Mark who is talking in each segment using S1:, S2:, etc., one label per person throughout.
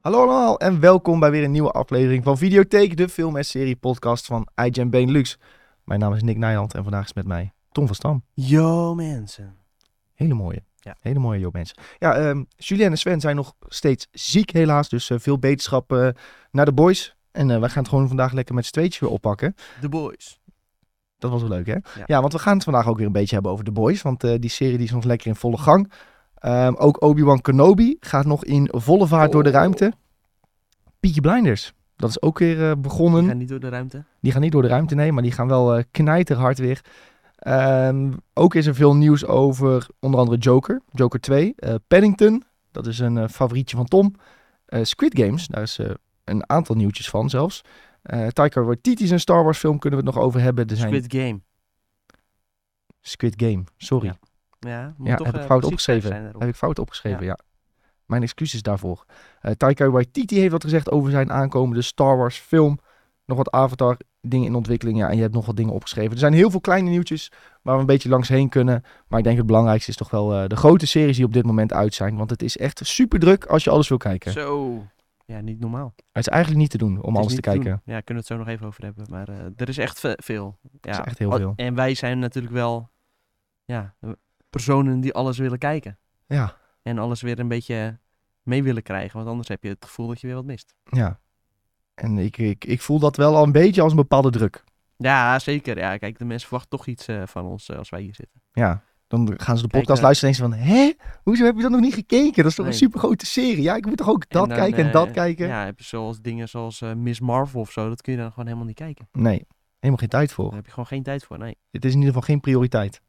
S1: Hallo allemaal en welkom bij weer een nieuwe aflevering van Videotheek, de film- en serie-podcast van IGN Benelux. Mijn naam is Nick Nijland en vandaag is met mij Tom van Stam.
S2: Yo mensen.
S1: Hele mooie.
S2: Ja.
S1: Hele mooie joh mensen. Ja, ehm Julien en Sven zijn nog steeds ziek helaas, dus eh, veel beterschap eh, naar de boys. En eh, wij gaan het gewoon vandaag lekker met z'n tweetjes weer oppakken.
S2: The Boys.
S1: Dat was wel leuk, hè? Ja.
S2: Ja.
S1: want we gaan het vandaag ook weer een beetje hebben over The Boys. Want eh, die serie die is nog lekker in volle gang. Ehm, ook Obi-Wan Kenobi gaat nog in volle vaart door de
S2: Oh.
S1: ruimte. Peaky Blinders, dat is ook weer eh, begonnen.
S2: Die gaan niet door de ruimte.
S1: Die gaan niet door de ruimte, nee, maar die gaan wel eh, knijterhard weer. Ehm, ook is er veel nieuws over onder andere Joker, Joker 2, eh, Paddington, dat is een eh, favorietje van Tom. Eh, Squid Games, daar is eh, een aantal nieuwtjes van zelfs. Eh Taika Waititi's een Star Wars film kunnen we het nog over hebben. Er zijn...
S2: Squid Game.
S1: Squid Game, sorry.
S2: Ja. Ja, moet
S1: Ja,
S2: toch,
S1: heb ik
S2: eh,
S1: fout
S2: precies
S1: opgeschreven.
S2: zijn daarop.
S1: Heb ik fout opgeschreven, ja. Mijn excuses daarvoor. Eh Taika Waititi heeft wat gezegd over zijn aankomende Star Wars film. Nog wat Avatar dingen in ontwikkeling. Ja, en je hebt nog wat dingen opgeschreven. Er zijn heel veel kleine nieuwtjes waar we een beetje langs heen kunnen. Maar ik denk het belangrijkste is toch wel eh, de grote series die op dit moment uit zijn. Want het is echt super druk als je alles wil kijken.
S2: Zo. Ja, niet normaal.
S1: Het is eigenlijk niet te doen om
S2: Het is
S1: alles te
S2: niet
S1: kijken.
S2: doen. Ja, kunnen we het zo nog even over hebben. Maar eh, er is echt ve- veel. Ja.
S1: is echt heel
S2: Al-
S1: veel.
S2: En wij zijn natuurlijk wel ja, eh, personen die alles willen kijken.
S1: Ja,
S2: En alles weer een beetje mee willen krijgen. Want anders heb je het gevoel dat je weer wat mist.
S1: ja. En ik, ik, ik voel dat wel al een beetje als een bepaalde druk.
S2: Ja, zeker. Ja, kijk, de mensen verwachten toch iets eh, van ons eh, als wij hier zitten.
S1: Ja, dan gaan ze de
S2: Kijk,
S1: podcast
S2: eh,
S1: luisteren en denken ze van... Hé, hoezo heb je dat nog niet gekeken? Dat is toch een
S2: Nee.
S1: super grote serie? Ja, ik moet toch ook dat
S2: dan,
S1: kijken en
S2: eh,
S1: dat kijken?
S2: Ja, heb je zoals dingen zoals eh, Miss Marvel of zo. Dat kun je dan gewoon helemaal niet kijken.
S1: Nee, helemaal geen tijd
S2: Daar
S1: voor.
S2: heb je gewoon geen tijd voor. Nou Nee.
S1: Het is in ieder geval geen prioriteit.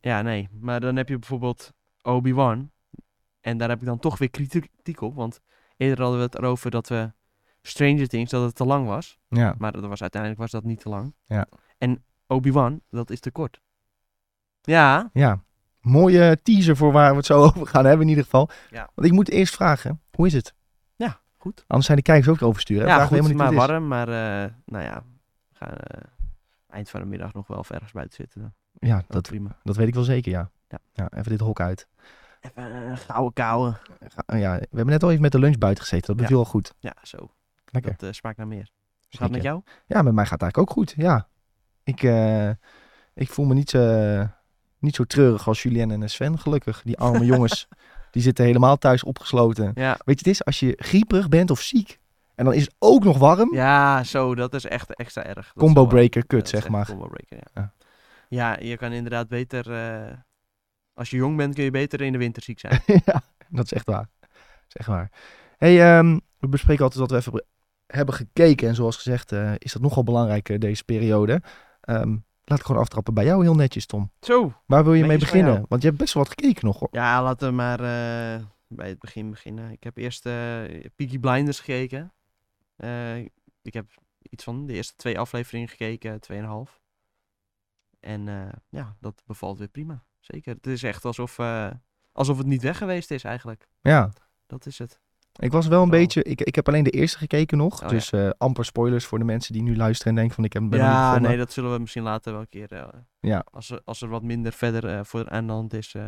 S2: Ja, nee. Maar dan heb je bijvoorbeeld Obi-Wan. En daar heb ik dan toch weer kritiek op. Want eerder hadden we het erover dat we Stranger Things, dat het te lang was.
S1: Ja,
S2: Maar dat was, uiteindelijk was dat niet te lang.
S1: Ja.
S2: En Obi-Wan, dat is te kort. Ja,
S1: ja. Mooie teaser voor waar we het zo over gaan hebben in ieder geval.
S2: Ja.
S1: Want ik moet eerst vragen, hoe is het?
S2: ja, goed.
S1: Anders zijn de kijkers ook oversturen.
S2: ja,
S1: vragen we
S2: goed,
S1: helemaal
S2: maar
S1: niet hoe het
S2: warm. Maar eh, nou ja, we gaan eh, eind van de middag nog wel even ergens buiten zitten. Dan.
S1: is. Ja,
S2: Dat
S1: dat,
S2: prima.
S1: dat weet ik wel zeker, ja.
S2: Ja.
S1: even dit hok uit.
S2: Even een gouden kouwen.
S1: Ga- Ja, we hebben net al even met de lunch buiten gezeten. Dat beviel al goed.
S2: Ja, zo.
S1: Lekker.
S2: Dat eh, smaakt naar meer. Gaat
S1: Zeker.
S2: het met jou?
S1: Ja, met mij gaat het eigenlijk ook goed. Ja. Ik, eh, ik voel me niet, eh, niet zo treurig als Julien en Sven, gelukkig. Die arme jongens, die zitten helemaal thuis opgesloten.
S2: Ja.
S1: Weet je, het is als je grieperig bent of ziek. En dan is het ook nog warm.
S2: Ja, zo, dat is echt extra erg. Dat is
S1: combo
S2: wel-
S1: breaker, kut,
S2: dat is
S1: zeg
S2: echt
S1: maar.
S2: combo breaker, ja.
S1: Ja.
S2: Ja. je kan inderdaad beter... eh, als je jong bent, kun je beter in de winter ziek zijn.
S1: ja, dat is echt waar. Dat is echt waar. hey, ehm, we bespreken altijd wat we even hebben gekeken. En zoals gezegd, eh, is dat nogal belangrijk eh, deze periode. Ehm, laat ik gewoon aftrappen bij jou heel netjes, Tom.
S2: Zo.
S1: Waar wil je mee
S2: Netjes bij
S1: beginnen?
S2: jou.
S1: Want je hebt best wel wat gekeken nog, hoor.
S2: Ja, laten we maar eh, bij het begin beginnen. Ik heb eerst eh Peaky Blinders gekeken. Eh, ik heb iets van de eerste twee afleveringen gekeken, tweeënhalf. En eh, ja, dat bevalt weer prima. Zeker. Het is echt alsof, eh, alsof het niet weg geweest is eigenlijk.
S1: Ja,
S2: Dat is het.
S1: ik was wel een
S2: Oh.
S1: beetje... Ik, ik heb alleen de eerste gekeken nog.
S2: Oh, ja.
S1: dus eh, amper spoilers voor de mensen die nu luisteren en denken van... Ik heb hem nog niet
S2: Ja,
S1: gevonden.
S2: nee, dat zullen we misschien later wel een keer. eh,
S1: Ja.
S2: Als er, als er wat minder verder eh, voor aan de hand is, eh,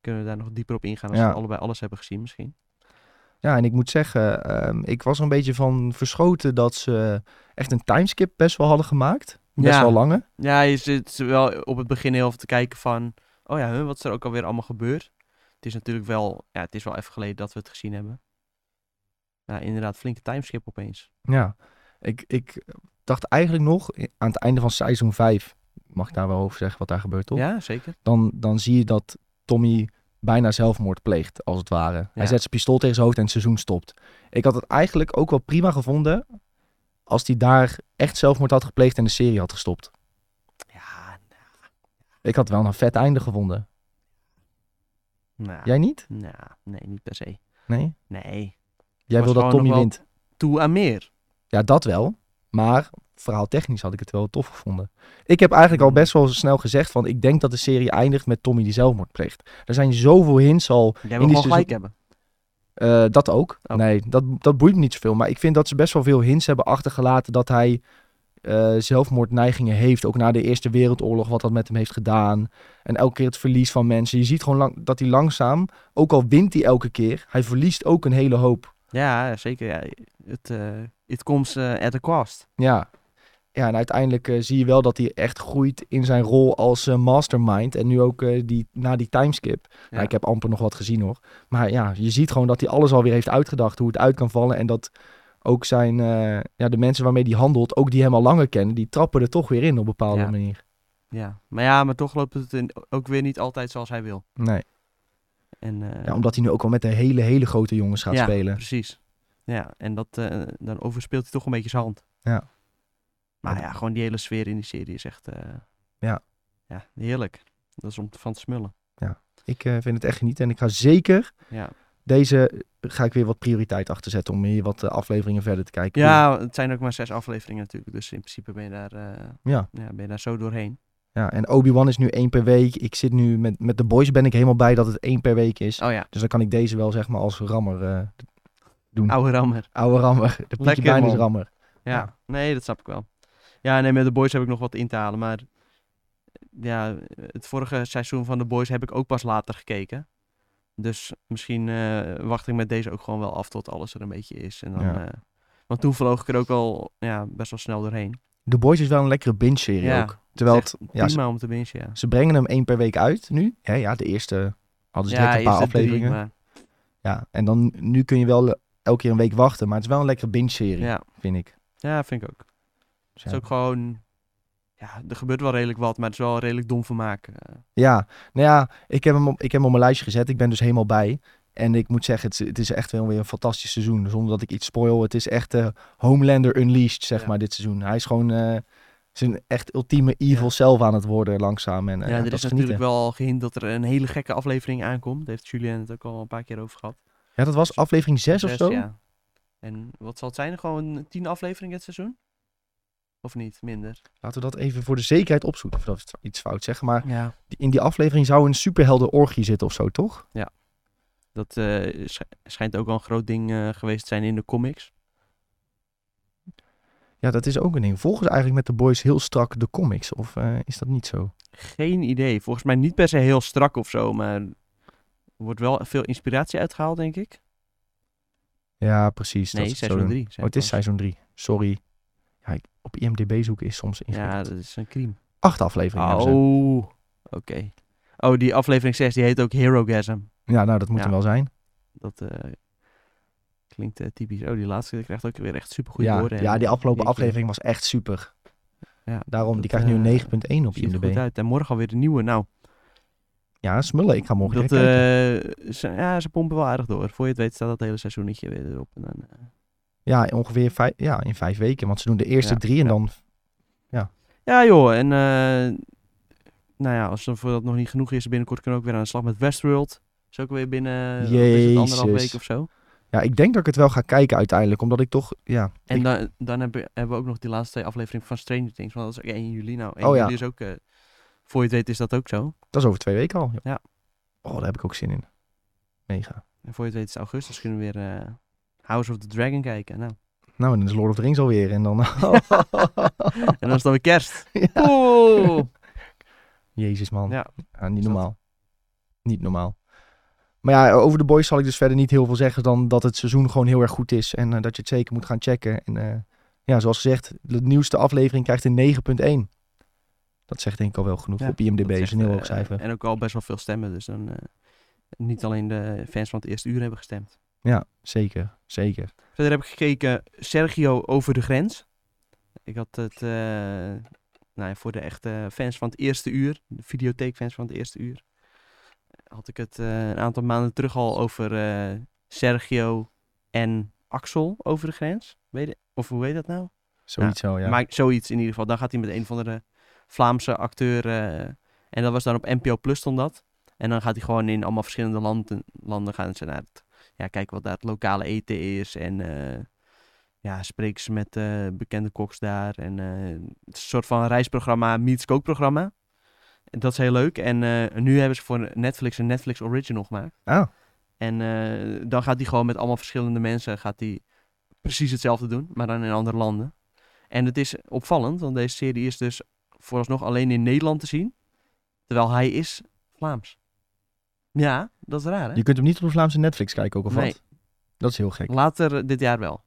S2: kunnen we daar nog dieper op ingaan. Als
S1: Ja.
S2: we allebei alles hebben gezien, misschien.
S1: Ja, en ik moet zeggen, ehm, ik was er een beetje van verschoten dat ze echt een timeskip best wel hadden gemaakt. Best
S2: Ja.
S1: wel lange.
S2: Ja, je zit wel op het begin heel even te kijken van. Oh ja, huh, wat is er ook alweer allemaal gebeurd? Het is natuurlijk wel. Ja, het is wel even geleden dat we het gezien hebben. Ja, inderdaad, flinke timeskip opeens.
S1: Ja, ik, ik dacht eigenlijk nog eh, aan het einde van seizoen 5, mag ik daar wel over zeggen wat daar gebeurt, toch?
S2: Ja, zeker.
S1: Dan, dan zie je dat Tommy bijna zelfmoord pleegt, als het ware. Hij
S2: Ja.
S1: zet zijn pistool tegen zijn hoofd en het seizoen stopt. Ik had het eigenlijk ook wel prima gevonden als hij daar echt zelfmoord had gepleegd en de serie had gestopt.
S2: Ja, nou.
S1: Ik had wel een vet einde gevonden.
S2: Nou,
S1: Jij niet?
S2: nou, nee, niet per se.
S1: Nee?
S2: Nee.
S1: Jij
S2: Was
S1: wil dat
S2: gewoon
S1: Tommy
S2: nog wel-
S1: wint.
S2: Toe aan meer.
S1: Ja, dat wel. Maar verhaaltechnisch had ik het wel tof gevonden. Ik heb eigenlijk al best wel snel gezegd van... ik denk dat de serie eindigt met Tommy die zelfmoord pleegt. Er zijn zoveel hints al.
S2: Jij
S1: die
S2: wil gewoon
S1: seizoen-
S2: gelijk hebben.
S1: eh, dat ook.
S2: Oh.
S1: Nee, dat, dat boeit me niet zoveel. Maar ik vind dat ze best wel veel hints hebben achtergelaten... dat hij eh, zelfmoordneigingen heeft. Ook na de Eerste Wereldoorlog, wat dat met hem heeft gedaan. En elke keer het verlies van mensen. Je ziet gewoon lang, dat hij langzaam... ook al wint hij elke keer... hij verliest ook een hele hoop.
S2: Ja, zeker. Ja. Het, eh, it comes eh, at a cost.
S1: Ja. Ja, en uiteindelijk eh, zie je wel dat hij echt groeit in zijn rol als eh, mastermind. En nu ook eh, die, na die timeskip. Nou,
S2: Ja.
S1: ik heb amper nog wat gezien hoor. Maar ja, je ziet gewoon dat hij alles alweer heeft uitgedacht. Hoe het uit kan vallen. En dat ook zijn, eh, ja, de mensen waarmee hij handelt, ook die hem al langer kennen, die trappen er toch weer in op een bepaalde
S2: Ja.
S1: manier.
S2: Ja. Maar ja, maar toch loopt het in- ook weer niet altijd zoals hij wil.
S1: Nee.
S2: En, eh,
S1: Ja, omdat hij nu ook wel met de hele, hele grote jongens gaat
S2: ja,
S1: spelen.
S2: precies. Ja, en dat, eh, dan overspeelt hij toch een beetje zijn hand.
S1: Ja.
S2: Maar ja, gewoon die hele sfeer in die serie is echt... eh,
S1: Ja.
S2: Ja, heerlijk. Dat is om van te smullen.
S1: Ik eh, vind het echt genieten. En ik ga zeker
S2: Ja,
S1: deze, eh, ga ik weer wat prioriteit achter zetten. Om hier wat eh, afleveringen verder te kijken.
S2: ja het zijn ook maar zes afleveringen natuurlijk. Dus in principe ben je daar, eh,
S1: Ja.
S2: ja, ben je daar zo doorheen.
S1: Ja, en Obi-Wan is nu één per week. Ik zit nu met, met de boys ben ik helemaal bij dat het één per week is.
S2: Oh ja,
S1: Dus dan kan ik deze wel zeg maar als rammer eh,
S2: oude rammer.
S1: oude rammer. De Peaky
S2: Lekker,
S1: Blinders
S2: man.
S1: rammer.
S2: Ja.
S1: Ja.
S2: nee, dat snap ik wel. Ja, nee, met de boys heb ik nog wat in te halen, maar eh, ja, het vorige seizoen van de boys heb ik ook pas later gekeken. Dus misschien eh, wacht ik met deze ook gewoon wel af tot alles er een beetje is. En dan,
S1: Ja.
S2: eh, want toen vloog ik er ook wel ja, best wel snel doorheen.
S1: De boys is wel een lekkere binge-serie
S2: Ja,
S1: ook. Terwijl
S2: het
S1: het, ja, ze,
S2: Prima om te bingen, ja.
S1: ze brengen hem één per week uit nu. Ja, ja de eerste hadden ze direct een paar
S2: eerst de drie,
S1: afleveringen.
S2: maar,
S1: ja, en dan nu kun je wel eh, elke keer een week wachten. Maar het is wel een lekkere binge-serie,
S2: ja.
S1: vind ik.
S2: ja, vind ik ook.
S1: Dus
S2: Het
S1: ja.
S2: is ook gewoon... Ja, er gebeurt wel redelijk wat, maar het is wel redelijk dom vermaak. eh.
S1: Ja, nou ja, ik heb, hem op, ik heb hem op mijn lijstje gezet. Ik ben dus helemaal bij. En ik moet zeggen, het, is- het is echt wel weer een fantastisch seizoen. Zonder dat ik iets spoil. Het is echt eh, Homelander Unleashed, zeg
S2: Ja.
S1: maar, dit seizoen. Hij is gewoon eh, zijn echt ultieme evil zelf aan het worden langzaam. En, eh,
S2: ja,
S1: ja,
S2: er
S1: dat
S2: is
S1: is
S2: natuurlijk
S1: genieten.
S2: wel al gehind dat er een hele gekke aflevering aankomt. Daar heeft Julian het ook al een paar keer over gehad.
S1: Ja, dat was aflevering 6 of
S2: Zes,
S1: zo.
S2: ja. En wat zal het zijn? Gewoon tien afleveringen dit seizoen? Of niet? Minder?
S1: Laten we dat even voor de zekerheid opzoeken. Of dat we iets fout zeggen. Maar
S2: Ja.
S1: die- in die aflevering zou een superheldenorgie zitten of zo, toch?
S2: Dat eh, sch- schijnt ook al een groot ding eh, geweest te zijn in de comics.
S1: Ja, dat is ook een ding. Volgens eigenlijk met de boys heel strak de comics. Of eh, is dat niet zo?
S2: Geen idee. Volgens mij niet per se heel strak of zo, maar er wordt wel veel inspiratie uitgehaald, denk ik.
S1: Ja, precies.
S2: Nee,
S1: dat is het zo
S2: seizoen
S1: doen.
S2: 3.
S1: Oh, het is seizoen 3. Sorry. Ja, ik- op IMDb zoeken is soms ingewikkeld.
S2: Ja, dat is een crime.
S1: Acht afleveringen. hebben ze.
S2: Oh, oké. Oh, die aflevering 6, die heet ook Herogasm.
S1: Ja, nou, dat moet
S2: Ja.
S1: hem wel zijn.
S2: Dat eh, klinkt eh, typisch. Oh, die laatste krijgt ook weer echt supergoede
S1: ja,
S2: woorden.
S1: ja, die afgelopen
S2: Jeetje.
S1: aflevering was echt super.
S2: Ja,
S1: Daarom, die
S2: dat,
S1: krijgt nu
S2: eh,
S1: een 9.1 op
S2: Ziet er goed
S1: IMDb.
S2: uit. En morgen alweer de nieuwe. Nou,
S1: Ja, smullen. Ik ga morgen
S2: dat,
S1: dat, kijken.
S2: eh, ze, ja, ze pompen wel aardig door. Voor je het weet staat dat hele seizoennetje weer erop. En dan, eh,
S1: Ja, ongeveer vijf, ja, in vijf weken. Want ze doen de eerste
S2: Ja,
S1: drie en
S2: ja.
S1: dan...
S2: Ja joh, en eh, nou ja, als dan voor dat nog niet genoeg is, binnenkort kunnen we ook weer aan de slag met Westworld. Is ook weer binnen eh, wat is het, anderhalf
S1: Jezus.
S2: week of zo.
S1: Ja, ik denk dat ik het wel ga kijken uiteindelijk. Omdat ik toch... Ja,
S2: En
S1: ik-
S2: dan, dan hebben, hebben we ook nog die laatste twee afleveringen van Stranger Things. Want dat is ook 1 juli nou. 1
S1: Oh, ja.
S2: juli is ook, eh, voor je het weet is dat ook zo.
S1: dat is over twee weken al.
S2: Ja.
S1: Oh, daar heb ik ook zin in. Mega.
S2: En voor je het weet is het augustus kunnen we weer eh, House of the Dragon kijken. Nou.
S1: Nou, en dan is Lord of the Rings alweer. En dan...
S2: En dan is het dan weer kerst.
S1: Ja.
S2: Oeh.
S1: Jezus man.
S2: Ja.
S1: Ja, niet
S2: Dus dat-
S1: normaal. Niet normaal. Maar ja, over de boys zal ik dus verder niet heel veel zeggen dan dat het seizoen gewoon heel erg goed is en eh, dat je het zeker moet gaan checken. En eh, ja, zoals gezegd, de nieuwste aflevering krijgt een 9.1. Dat zegt denk ik al wel genoeg.
S2: Ja,
S1: Op IMDb
S2: Dat
S1: is een heel
S2: echt,
S1: hoog
S2: eh,
S1: cijfer.
S2: En ook al best wel veel stemmen. Dus dan eh, niet alleen de fans van het eerste uur hebben gestemd.
S1: Ja, zeker. Zeker.
S2: Verder heb ik gekeken Sergio over de grens. Ik had het eh, nou ja, voor de echte fans van het eerste uur, de videotheekfans van het eerste uur, had ik het eh, een aantal maanden terug al over eh, Sergio en Axel over de grens. Weet je- of hoe heet dat nou?
S1: Zoiets zo, ja.
S2: Maar zoiets in ieder geval. Dan gaat hij met een van de Vlaamse acteur. eh, en dat was dan op NPO Plus stond dat. En dan gaat hij gewoon in allemaal verschillende landen, landen gaan ze naar het, ja, kijken wat daar het lokale eten is. En eh, ja, spreken ze met eh, bekende koks daar. En eh, het is een soort van reisprogramma, meets kookprogramma. En Dat is heel leuk. En eh, nu hebben ze voor Netflix een Netflix original gemaakt.
S1: Oh,
S2: En eh, dan gaat hij gewoon met allemaal verschillende mensen gaat hij precies hetzelfde doen, maar dan in andere landen. En het is opvallend, want deze serie is dus vooralsnog alleen in Nederland te zien. Terwijl hij is Vlaams. Ja, dat is raar hè?
S1: je kunt hem niet op de Vlaamse Netflix kijken ook of
S2: Nee.
S1: wat? Dat is heel gek.
S2: Later eh, dit jaar wel.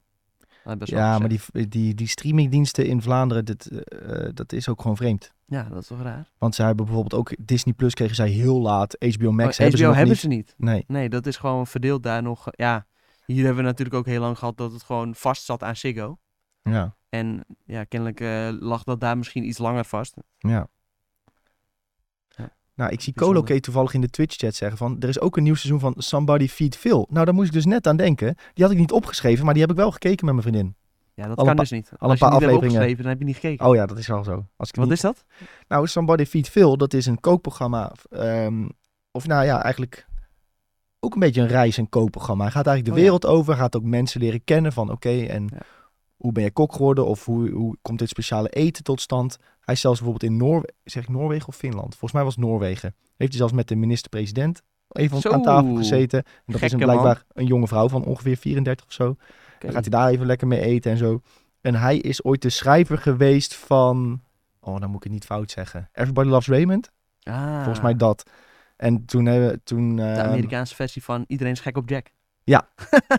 S2: Hebben ze al
S1: Ja, maar
S2: gezegd.
S1: die, die, die streamingdiensten in Vlaanderen, dit, eh, eh, dat is ook gewoon vreemd.
S2: Ja, dat is toch raar?
S1: Want zij hebben bijvoorbeeld ook Disney Plus kregen zij heel laat. HBO Max
S2: Maar
S1: hebben ze
S2: HBO
S1: nog
S2: hebben
S1: niet.
S2: ze niet.
S1: Nee,
S2: Nee, dat is gewoon verdeeld daar nog. eh, Ja, hier hebben we natuurlijk ook heel lang gehad dat het gewoon vast zat aan Ziggo.
S1: ja,
S2: En ja, kennelijk eh, lag dat daar misschien iets langer vast.
S1: ja.
S2: Ja.
S1: Nou, ik zie
S2: Bijzonder.
S1: Coloke toevallig in de Twitch-chat zeggen van... er is ook een nieuw seizoen van Somebody Feed Phil. Nou, daar moest ik dus net aan denken. Die had ik niet opgeschreven, maar die heb ik wel gekeken met mijn vriendin.
S2: Ja, dat
S1: Al een
S2: kan
S1: pa-
S2: dus niet. Als
S1: een
S2: je
S1: paar
S2: niet hebt
S1: afleveringen.
S2: opgeschreven, dan heb je niet gekeken.
S1: Oh ja, dat is al zo. Als ik het
S2: Wat
S1: niet...
S2: is dat?
S1: Nou, Somebody Feed Phil, dat is een kookprogramma. ehm, of nou ja, eigenlijk ook een beetje een reis- en kookprogramma. Hij gaat eigenlijk de
S2: Oh ja.
S1: wereld over, gaat ook mensen leren kennen van oké, en
S2: Ja.
S1: hoe ben je kok geworden? Of hoe, hoe komt dit speciale eten tot stand? Hij is zelfs bijvoorbeeld in Noorwegen, zeg ik Noorwegen of Finland? Volgens mij was het Noorwegen. Heeft hij zelfs met de minister-president even
S2: Zo,
S1: aan tafel gezeten. En dat is
S2: gekke
S1: een, blijkbaar een jonge vrouw van ongeveer 34 of zo.
S2: Oké.
S1: Dan gaat hij daar even lekker mee eten en zo. En hij is ooit de schrijver geweest van... Oh, dan moet ik het niet fout zeggen. Everybody Loves Raymond.
S2: Ah,
S1: Volgens mij dat. En toen hebben we... Toen,
S2: de
S1: ehm,
S2: Amerikaanse versie van Iedereen is gek op Jack.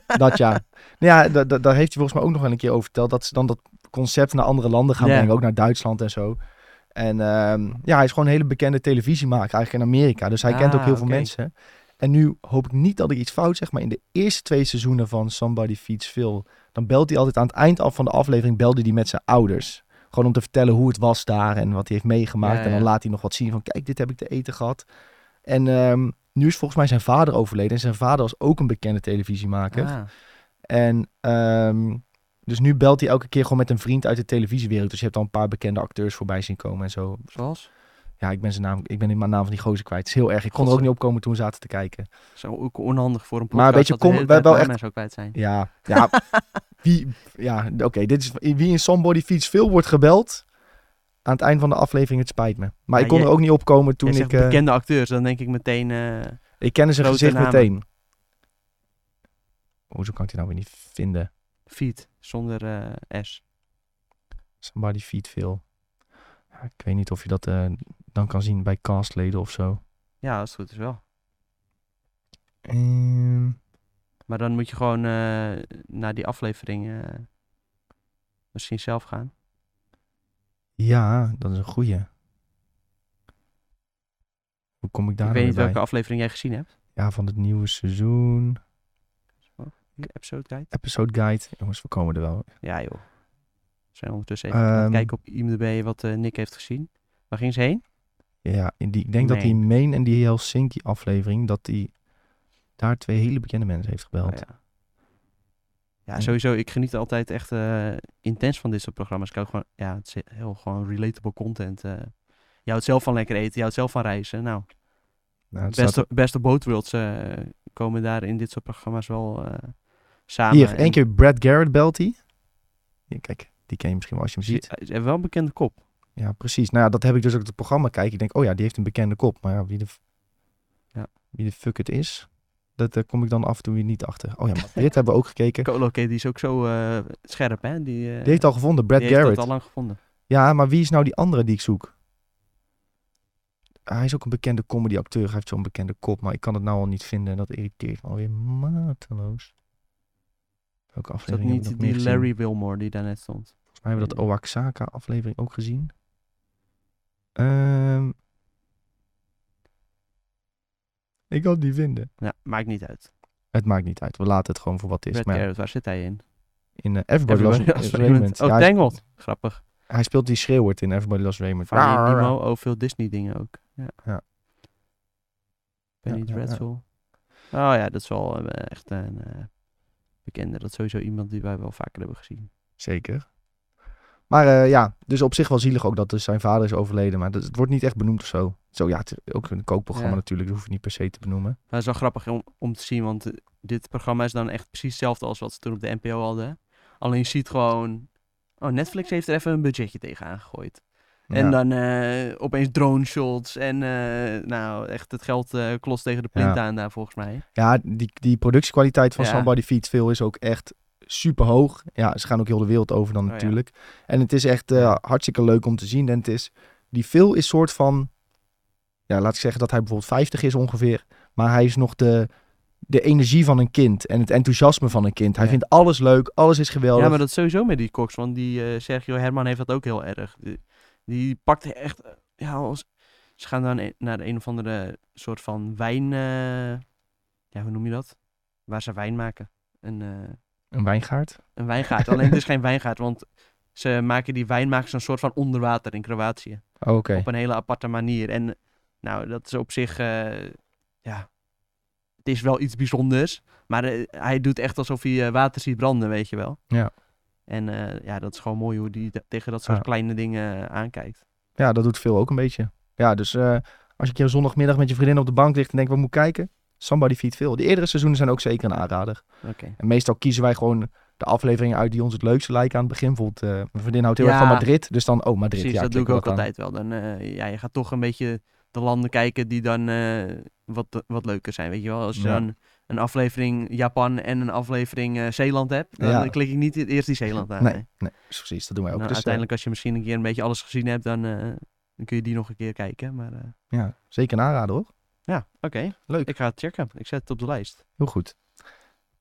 S1: dat ja. Nou ja, da- da- daar heeft hij volgens mij ook nog wel een keer over verteld. Dat ze dan dat concept naar andere landen gaan
S2: Ja.
S1: brengen. Ook naar Duitsland en zo. En ehm, ja, hij is gewoon een hele bekende televisiemaker eigenlijk in Amerika. Dus hij kent ook
S2: Ah,
S1: heel veel
S2: oké.
S1: mensen. En nu hoop ik niet dat ik iets fout zeg, maar in de eerste twee seizoenen van Somebody Feeds Phil, dan belt hij altijd aan het eind af van de aflevering, belde hij met zijn ouders. Gewoon om te vertellen hoe het was daar en wat hij heeft meegemaakt.
S2: Ja,
S1: En dan
S2: ja.
S1: laat hij nog wat zien van, kijk, dit heb ik te eten gehad. En ehm, nu is volgens mij zijn vader overleden. En zijn vader was ook een bekende televisiemaker.
S2: Ah,
S1: En ehm, dus nu belt hij elke keer gewoon met een vriend uit de televisiewereld. Dus je hebt al een paar bekende acteurs voorbij zien komen en zo.
S2: zoals?
S1: Ja, ik ben zijn naam, ik ben in mijn naam van die gozer kwijt. Het is heel erg. Ik kon er ook
S2: Godzijdank.
S1: niet op komen toen we zaten te kijken.
S2: Zo ook onhandig voor een podcast.
S1: Maar een beetje
S2: dat de
S1: kom-
S2: hele
S1: we
S2: tijd
S1: hebben wel
S2: namen
S1: echt-
S2: en zo kwijt zijn.
S1: Ja, ja. wie, ja, oké. dit is wie in Somebody Feeds veel wordt gebeld. Aan het eind van de aflevering, het spijt me. Maar
S2: Ja,
S1: ik kon
S2: jij-
S1: er ook niet op komen
S2: Toen
S1: toen ik.
S2: zegt
S1: eh,
S2: bekende acteurs, dan denk ik meteen... eh,
S1: ik kende zijn
S2: grote
S1: gezicht
S2: namen.
S1: meteen. Hoezo kan ik die nou weer niet vinden?
S2: Feed zonder eh, S.
S1: Somebody Feed veel. Ja, ik weet niet of je dat eh, dan kan zien bij castleden of zo.
S2: Ja, als het goed is wel.
S1: Ehm,
S2: Maar dan moet je gewoon eh, naar die aflevering eh, misschien zelf gaan.
S1: ja, dat is een goeie. Hoe kom ik daar nou
S2: ik weet niet
S1: weer bij?
S2: welke aflevering jij gezien hebt.
S1: Ja, van het nieuwe seizoen.
S2: Die Episode guide.
S1: Episode guide. Jongens, we komen er wel.
S2: Ja joh. We zijn ondertussen even aan het
S1: Ehm.
S2: kijken op IMDb wat eh, Nick heeft gezien. Waar ging ze heen?
S1: Ja, in die, ik denk dat die Main en die Helsinki aflevering, dat die daar twee hele bekende mensen heeft gebeld.
S2: Oh, ja.
S1: Hm.
S2: ja, sowieso. Ik geniet altijd echt eh, intens van dit soort programma's. Ik ook gewoon, ja, het is heel gewoon relatable content. eh. je houdt zelf van lekker eten, je houdt zelf van reizen. Nou,
S1: Nou, het staat
S2: beste, beste Boat Worlds eh, komen daar in dit soort programma's wel eh,
S1: er-
S2: samen.
S1: Hier,
S2: En
S1: één keer Brad Garrett belt hij. Hier, kijk, die ken je misschien wel als je hem
S2: Ze
S1: ziet.
S2: ze hebben wel een bekende kop.
S1: Ja, precies. Nou ja, dat heb ik dus ook op het programma kijken. Ik denk, oh ja, die heeft een bekende kop. Maar ja, wie de, f-
S2: Ja.
S1: wie de fuck het is, dat daar kom ik dan af en toe weer niet achter. Oh ja, maar Brit hebben we ook gekeken.
S2: Coloke, die is ook zo eh, scherp, hè? Die, eh,
S1: Die heeft al gevonden, Brad
S2: die heeft
S1: Garrett.
S2: dat al lang gevonden.
S1: Ja, maar wie is nou die andere die ik zoek? Ah, Hij is ook een bekende comedyacteur. Hij heeft zo'n bekende kop, maar ik kan het nou al niet vinden. En dat irriteert me alweer mateloos. Welke
S2: Is dat
S1: aflevering heb ik
S2: niet
S1: nog meer
S2: die
S1: gezien?
S2: Larry Wilmore die daar net stond?
S1: Volgens mij hebben we dat Oaxaca aflevering ook gezien. Ehm, Ik kan het niet vinden.
S2: Nou, maakt niet uit.
S1: Het maakt niet uit. We laten het gewoon voor wat het is.
S2: Brad
S1: Maar ja,
S2: Garrett, waar zit hij in?
S1: in eh, Everybody,
S2: Everybody
S1: Loves
S2: Loves
S1: Raymond.
S2: Raymond.
S1: Ja,
S2: Oh,
S1: hij-
S2: Tangled. Grappig.
S1: hij speelt die schreeuwert in Everybody Loves Raymond.
S2: Finding
S1: Rar, rar, rar.
S2: Nemo, oh, veel Disney dingen ook. Ja.
S1: Ja.
S2: Penny
S1: Ja, ja, ja.
S2: Dreadful. Oh ja, dat is wel eh, echt een eh, bekende. Dat is sowieso iemand die wij wel vaker hebben gezien.
S1: Zeker. Maar eh, ja, dus op zich wel zielig ook dat dus zijn vader is overleden. Maar dat, het wordt niet echt benoemd of zo. Zo ja, het is ook een kookprogramma
S2: Ja.
S1: natuurlijk. Dat hoef je niet per se te benoemen.
S2: Maar het is wel grappig om, om te zien, want eh, dit programma is dan echt precies hetzelfde als wat ze toen op de NPO hadden. Alleen je ziet gewoon, oh Netflix heeft er even een budgetje tegenaan gegooid.
S1: Ja.
S2: En dan eh, opeens drone shots en eh, nou echt het geld eh klost tegen de plint
S1: Ja.
S2: aan daar volgens mij.
S1: Ja, die, die productiekwaliteit van
S2: Ja.
S1: Somebody Feeds Phil is ook echt super hoog. Ja, ze gaan ook heel de wereld over dan
S2: Oh, ja.
S1: natuurlijk. En het is echt eh, hartstikke leuk om te zien. En het is, die Phil is soort van, ja, laat ik zeggen dat hij bijvoorbeeld 50 is ongeveer. Maar hij is nog de, de energie van een kind en het enthousiasme van een kind. Hij
S2: Ja.
S1: vindt alles leuk, alles is geweldig.
S2: Ja, maar dat is sowieso met die Cox. Want die eh, Sergio Herman heeft dat ook heel erg. Die, die pakt echt... eh, Ja, als, ze gaan dan e- naar een of andere soort van wijn... eh, ja, hoe noem je dat? Waar ze wijn maken. Een, eh,
S1: Een wijngaard.
S2: een wijngaard. Alleen het is geen wijngaard, want ze maken die wijn maken ze een soort van onder water in Kroatië.
S1: Oh, Oké.
S2: Op een hele aparte manier. En nou, dat is op zich... eh, ja... Het is wel iets bijzonders. Maar eh, hij doet echt alsof hij eh, water ziet branden, weet je wel.
S1: Ja.
S2: En eh, ja, dat is gewoon mooi hoe hij tegen dat soort
S1: Ja.
S2: kleine dingen eh, aankijkt.
S1: Ja, dat doet veel ook een beetje. Ja, dus eh, als je een keer zondagmiddag met je vriendin op de bank ligt en denkt, we moeten kijken. Somebody Feed Phil. De eerdere seizoenen zijn ook zeker een aanrader.
S2: Oké.
S1: En meestal kiezen wij gewoon de afleveringen uit die ons het leukste lijken aan het begin. Bijvoorbeeld, eh, mijn vriendin houdt heel erg van
S2: Ja.
S1: Madrid. Dus dan, oh, Madrid.
S2: Precies,
S1: ja,
S2: dat doe ik
S1: klikken we
S2: ook
S1: aan.
S2: altijd wel. Dan, eh, ja, je gaat toch een beetje de landen kijken die dan eh, wat, wat leuker zijn, weet je wel. Als je
S1: Ja.
S2: dan een aflevering Japan en een aflevering eh, Zeeland hebt, dan
S1: Ja.
S2: eh, klik ik niet eerst die Zeeland aan.
S1: Nee,
S2: nee.
S1: nee, precies. Dat doen wij ook.
S2: Nou,
S1: dus, eh,
S2: uiteindelijk als je misschien een keer een beetje alles gezien hebt, dan, eh, dan kun je die nog een keer kijken. Maar eh,
S1: ja, zeker een aanrader hoor.
S2: ja, oké.
S1: Leuk.
S2: Ik ga het checken. Ik zet het op de lijst.
S1: Heel goed.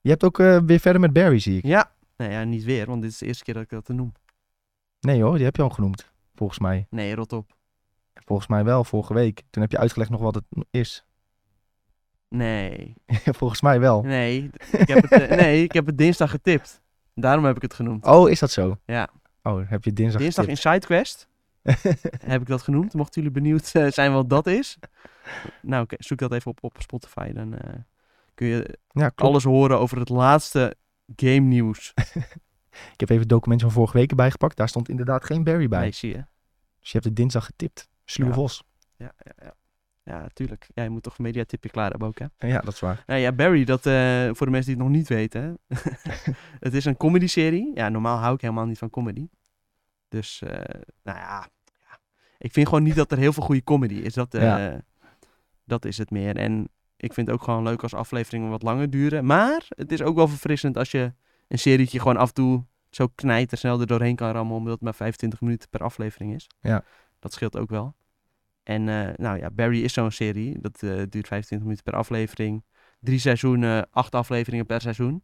S1: Je hebt ook eh, weer verder met Barry, zie ik.
S2: Ja. Nou ja, niet weer, want dit is de eerste keer dat ik dat noem.
S1: Nee hoor, die heb je al genoemd. Volgens mij.
S2: Nee, rot op.
S1: Volgens mij wel, vorige week. Toen heb je uitgelegd nog wat het is.
S2: Nee.
S1: Volgens mij wel.
S2: Nee. d- Ik heb het, eh, nee, ik heb het dinsdag getipt. Daarom heb ik het genoemd.
S1: Oh, is dat zo?
S2: Ja.
S1: Oh, heb je dinsdag
S2: Dinsdag in SideQuest heb ik dat genoemd. Mochten jullie benieuwd eh, zijn wat dat is. Nou, oké, zoek dat even op op Spotify. Dan eh, kun je
S1: Ja, klopt.
S2: alles horen over het laatste game nieuws.
S1: Ik heb even het document van vorige week erbij gepakt. Daar stond inderdaad geen Barry bij.
S2: Nee, zie je.
S1: Dus je hebt het dinsdag getipt. Sluwe
S2: Ja.
S1: Vos.
S2: Ja, ja, ja. ja tuurlijk. Ja, je moet toch een mediatipje klaar hebben ook, hè?
S1: Ja, dat is waar.
S2: Nou ja, Barry, dat, eh, voor de mensen die het nog niet weten. hè. het is een comedy-serie. Ja, normaal hou ik helemaal niet van comedy. Dus, eh, nou ja, ja. Ik vind gewoon niet dat er heel veel goede comedy is. Dat, eh,
S1: Ja.
S2: dat is het meer. En ik vind het ook gewoon leuk als afleveringen wat langer duren. Maar het is ook wel verfrissend als je een serietje gewoon af en toe zo knijter snel er doorheen kan rammen. Omdat het maar 25 minuten per aflevering is.
S1: Ja.
S2: Dat scheelt ook wel. En eh, nou ja, Barry is zo'n serie. Dat eh, duurt 25 minuten per aflevering drie seizoenen, acht afleveringen per seizoen.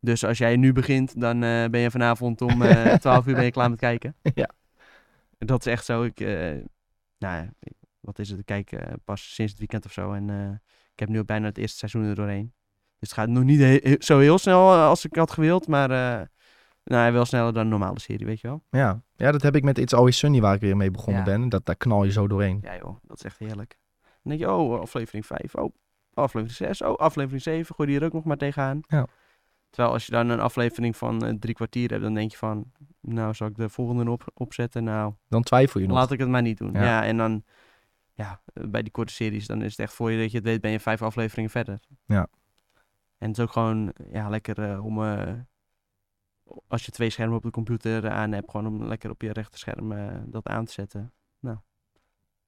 S2: Dus als jij nu begint, dan eh, ben je vanavond om eh 12 uur ben je klaar met kijken.
S1: Ja.
S2: Dat is echt zo. Ik, eh, nou, ja, ik- wat is het? Ik kijk eh, pas sinds het weekend of zo. En eh, ik heb nu ook bijna het eerste seizoen er doorheen. Dus het gaat nog niet he- he- zo heel snel eh, als ik had gewild. Maar eh, nou, ja, wel sneller dan een normale serie, weet je wel.
S1: Ja. ja, dat heb ik met It's Always Sunny waar ik weer mee begonnen
S2: Ja.
S1: ben. Dat, daar knal je zo doorheen.
S2: Ja joh, dat is echt heerlijk. Dan denk je, oh, aflevering 5, oh, aflevering 6, oh, aflevering 7, gooi die er ook nog maar tegenaan.
S1: Ja.
S2: Terwijl als je dan een aflevering van eh, drie kwartier hebt, dan denk je van, nou, zal ik de volgende op, opzetten? Nou,
S1: Dan twijfel je nog.
S2: laat ik het maar niet doen.
S1: Ja.
S2: Ja, en dan, ja, eh, bij die korte series, dan is het echt voor je dat je het weet, ben je vijf afleveringen verder.
S1: Ja.
S2: En het is ook gewoon, ja, lekker eh, om, eh, als je twee schermen op de computer aan hebt, gewoon om lekker op je rechterscherm eh, dat aan te zetten.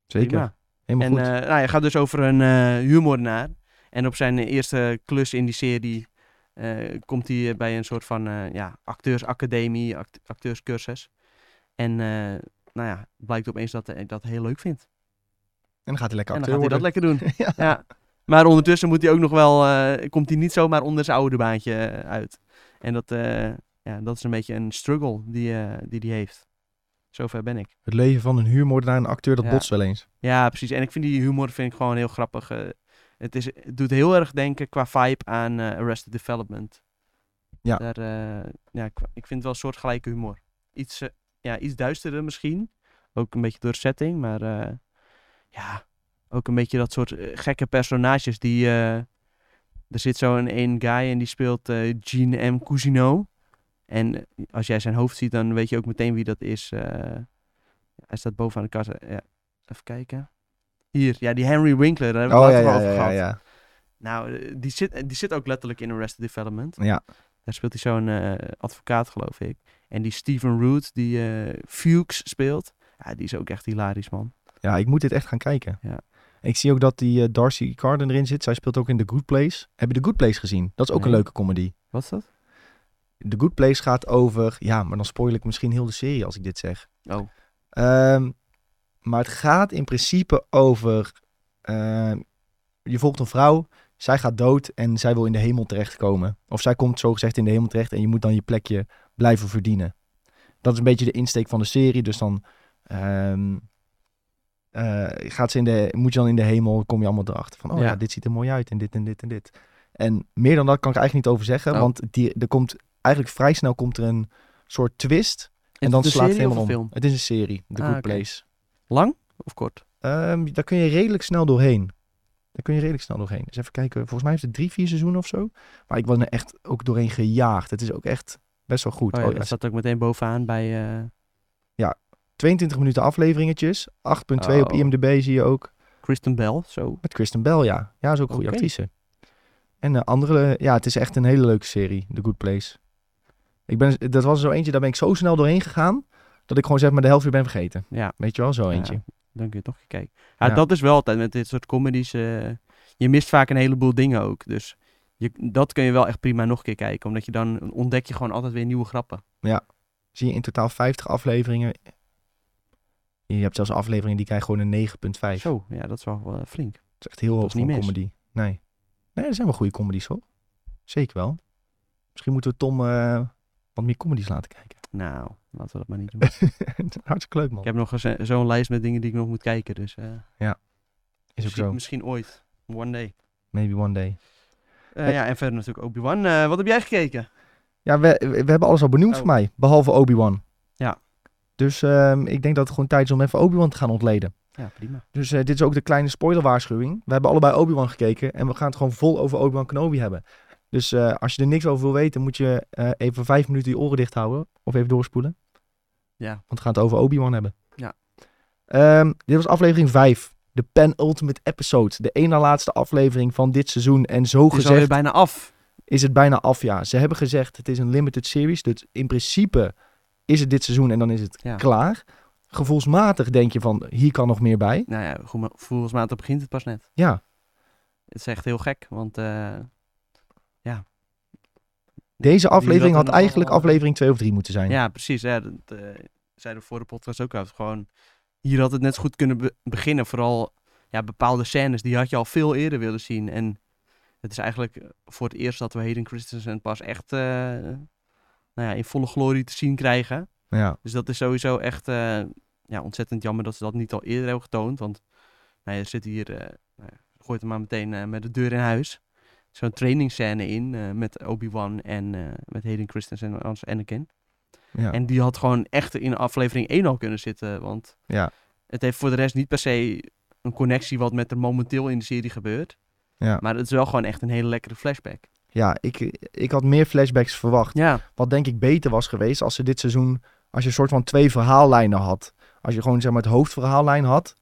S1: Zeker.
S2: Prima.
S1: Helemaal
S2: En
S1: goed.
S2: eh nou, hij gaat dus over een eh huurmoordenaar. En op zijn eerste klus in die serie eh, komt hij eh, bij een soort van eh, ja, acteursacademie, act- acteurscursus. En eh, nou ja, blijkt opeens dat hij dat heel leuk vindt.
S1: en dan gaat hij lekker
S2: en dan
S1: acteur
S2: gaat hij dat
S1: worden.
S2: lekker doen.
S1: ja.
S2: ja. Maar ondertussen moet hij ook nog wel, eh, komt hij niet zomaar onder zijn oude baantje eh, uit. En dat, eh, ja, dat is een beetje een struggle die eh, die, die heeft. Zover ben ik.
S1: Het leven van een huurmoordenaar en acteur, dat
S2: Ja.
S1: botst wel eens.
S2: Ja, precies. En ik vind die humor vind ik gewoon heel grappig. eh. het, is, het doet heel erg denken qua vibe aan eh, Arrested Development.
S1: Ja.
S2: Daar, eh, ja, qua- ik vind het wel soortgelijke humor. Iets, eh, ja, iets duisterder misschien. Ook een beetje door de setting, maar eh, ja, ook een beetje dat soort eh, gekke personages die... eh, er zit zo'n één guy en die speelt eh Gene M. Cousineau. En eh, als jij zijn hoofd ziet, dan weet je ook meteen wie dat is. eh. hij staat bovenaan de kast. eh, Ja. Even kijken. Hier, ja, die Henry Winkler, daar hebben we
S1: Oh
S2: het
S1: ja,
S2: later
S1: ja,
S2: wel
S1: ja,
S2: over
S1: ja,
S2: gehad.
S1: ja.
S2: Nou, eh, die zit, eh, die zit ook letterlijk in Arrested Development.
S1: Ja.
S2: Daar speelt hij zo'n eh, advocaat, geloof ik. En die Steven Root, die eh, Fuchs speelt. Ja, die is ook echt hilarisch, man.
S1: Ja, ik moet dit echt gaan kijken.
S2: Ja.
S1: Ik zie ook dat die eh, Darcy Carden erin zit. Zij speelt ook in The Good Place. Heb je The Good Place gezien? Dat is ook
S2: Nee.
S1: een leuke comedy.
S2: Wat is dat?
S1: The Good Place gaat over... Ja, maar dan spoil ik misschien heel de serie als ik dit zeg.
S2: Oh,
S1: Ehm, maar het gaat in principe over... ehm, je volgt een vrouw zij gaat dood en zij wil in de hemel terechtkomen. Of zij komt zogezegd in de hemel terecht en je moet dan je plekje blijven verdienen. Dat is een beetje de insteek van de serie. Dus dan ehm, eh, gaat ze in de, moet je dan in de hemel, kom je allemaal erachter van, oh ja.
S2: Ja.
S1: dit ziet er mooi uit en dit en dit en dit. En meer dan dat kan ik eigenlijk niet over zeggen,
S2: Oh.
S1: want die, er komt eigenlijk vrij snel komt er een soort twist. En
S2: Is
S1: dan
S2: het een
S1: slaat het
S2: serie of
S1: helemaal om.
S2: een film?
S1: Het is een serie, The
S2: Ah,
S1: Good
S2: oké.
S1: Place.
S2: Lang of kort?
S1: Ehm, daar kun je redelijk snel doorheen. Daar kun je redelijk snel doorheen. Dus even kijken. Volgens mij heeft het drie, vier seizoenen of zo. Maar ik was er echt ook doorheen gejaagd. Het is ook echt best wel goed.
S2: Oh, ja,
S1: Oh,
S2: dat
S1: ja,
S2: staat ook meteen bovenaan bij... eh,
S1: 22 minuten afleveringetjes. 8.2 op
S2: Oh.
S1: IMDb zie je ook.
S2: Kristen Bell, zo.
S1: Met Kristen Bell, ja. Ja, is ook een goede
S2: Oké.
S1: actrice. En eh, andere... Ja, het is echt een hele leuke serie. The Good Place. Ik ben, dat was zo eentje, daar ben ik zo snel doorheen gegaan... dat ik gewoon zeg maar de helft weer ben vergeten.
S2: Ja.
S1: Weet je wel, zo eentje.
S2: Ja, dan kun je toch kijken. Ja,
S1: Ja.
S2: dat is wel altijd met dit soort comedies. eh, je mist vaak een heleboel dingen ook. Dus je, dat kun je wel echt prima nog een keer kijken. Omdat je dan ontdek je gewoon altijd weer nieuwe grappen.
S1: zie je in totaal 50 afleveringen. Je hebt zelfs afleveringen die krijgen gewoon een 9.5. Dat
S2: Zo, ja, dat is wel eh, flink.
S1: is echt heel hoog
S2: is niet
S1: voor een
S2: mis.
S1: comedy. Nee. Nee, er zijn wel goede comedies hoor. Zeker wel. Misschien moeten we Tom eh, wat meer comedies laten kijken.
S2: Nou, laten we dat maar niet doen.
S1: Hartstikke leuk man.
S2: ik heb nog eens, eh, zo'n lijst met dingen die ik nog moet kijken. Dus eh,
S1: Is ook
S2: misschien,
S1: zo.
S2: misschien ooit. One day.
S1: Maybe one day.
S2: Eh,
S1: Hey.
S2: Ja, en verder natuurlijk Obi-Wan. Eh, wat heb jij gekeken?
S1: Ja, we, we we hebben alles al benoemd
S2: Oh.
S1: voor mij. Behalve Obi-Wan.
S2: Ja.
S1: Dus ehm, ik denk dat het gewoon tijd is om even Obi-Wan te gaan ontleden.
S2: Ja, prima.
S1: Dus eh, dit is ook de kleine spoilerwaarschuwing. We hebben allebei Obi-Wan gekeken en we gaan het gewoon vol over Obi-Wan Kenobi hebben. Dus eh, als je er niks over wil weten, moet je eh, even vijf minuten je oren dicht houden. Of even doorspoelen.
S2: Ja.
S1: Want we gaan het over Obi-Wan hebben.
S2: Ja.
S1: Ehm, dit was aflevering 5. De penultimate episode. De ene na laatste aflevering van dit seizoen. En zo
S2: Het is alweer
S1: gezegd
S2: bijna af.
S1: is het bijna af, ja. Ze hebben gezegd, het is een limited series. Dus in principe is het dit seizoen en dan is het
S2: Ja.
S1: klaar. Gevoelsmatig denk je van, hier kan nog meer bij.
S2: Nou ja, goed, maar volgens mij begint het pas net.
S1: Ja.
S2: Het is echt heel gek, want eh, ja.
S1: Deze aflevering
S2: dat
S1: had
S2: dan allemaal-
S1: eigenlijk aflevering 2 of 3 moeten zijn.
S2: Ja, precies. Ja, dat eh, zeiden we voor de podcast ook al. Gewoon, hier had het net zo goed kunnen be- beginnen. Vooral ja, bepaalde scènes, die had je al veel eerder willen zien. En het is eigenlijk eh, voor het eerst dat we Hayden Christensen pas echt eh, nou ja, in volle glorie te zien krijgen.
S1: Ja.
S2: Dus dat is sowieso echt eh, ja, ontzettend jammer dat ze dat niet al eerder hebben getoond. Want nou ja, er zit hier, eh, nou ja, gooit hem maar meteen eh, met de deur in huis. Zo'n trainingsscène in eh, met Obi-Wan en eh, met Hayden Christensen als Anakin.
S1: Ja.
S2: En die had gewoon echt in aflevering 1 al kunnen zitten. Want
S1: Ja.
S2: het heeft voor de rest niet per se een connectie wat met er momenteel in de serie gebeurt.
S1: Ja.
S2: Maar het is wel gewoon echt een hele lekkere flashback.
S1: Ja, ik, ik had meer flashbacks verwacht.
S2: Ja,
S1: Wat denk ik beter was geweest als ze dit seizoen... Als je een soort van twee verhaallijnen had. Als je gewoon zeg maar, het hoofdverhaallijn had.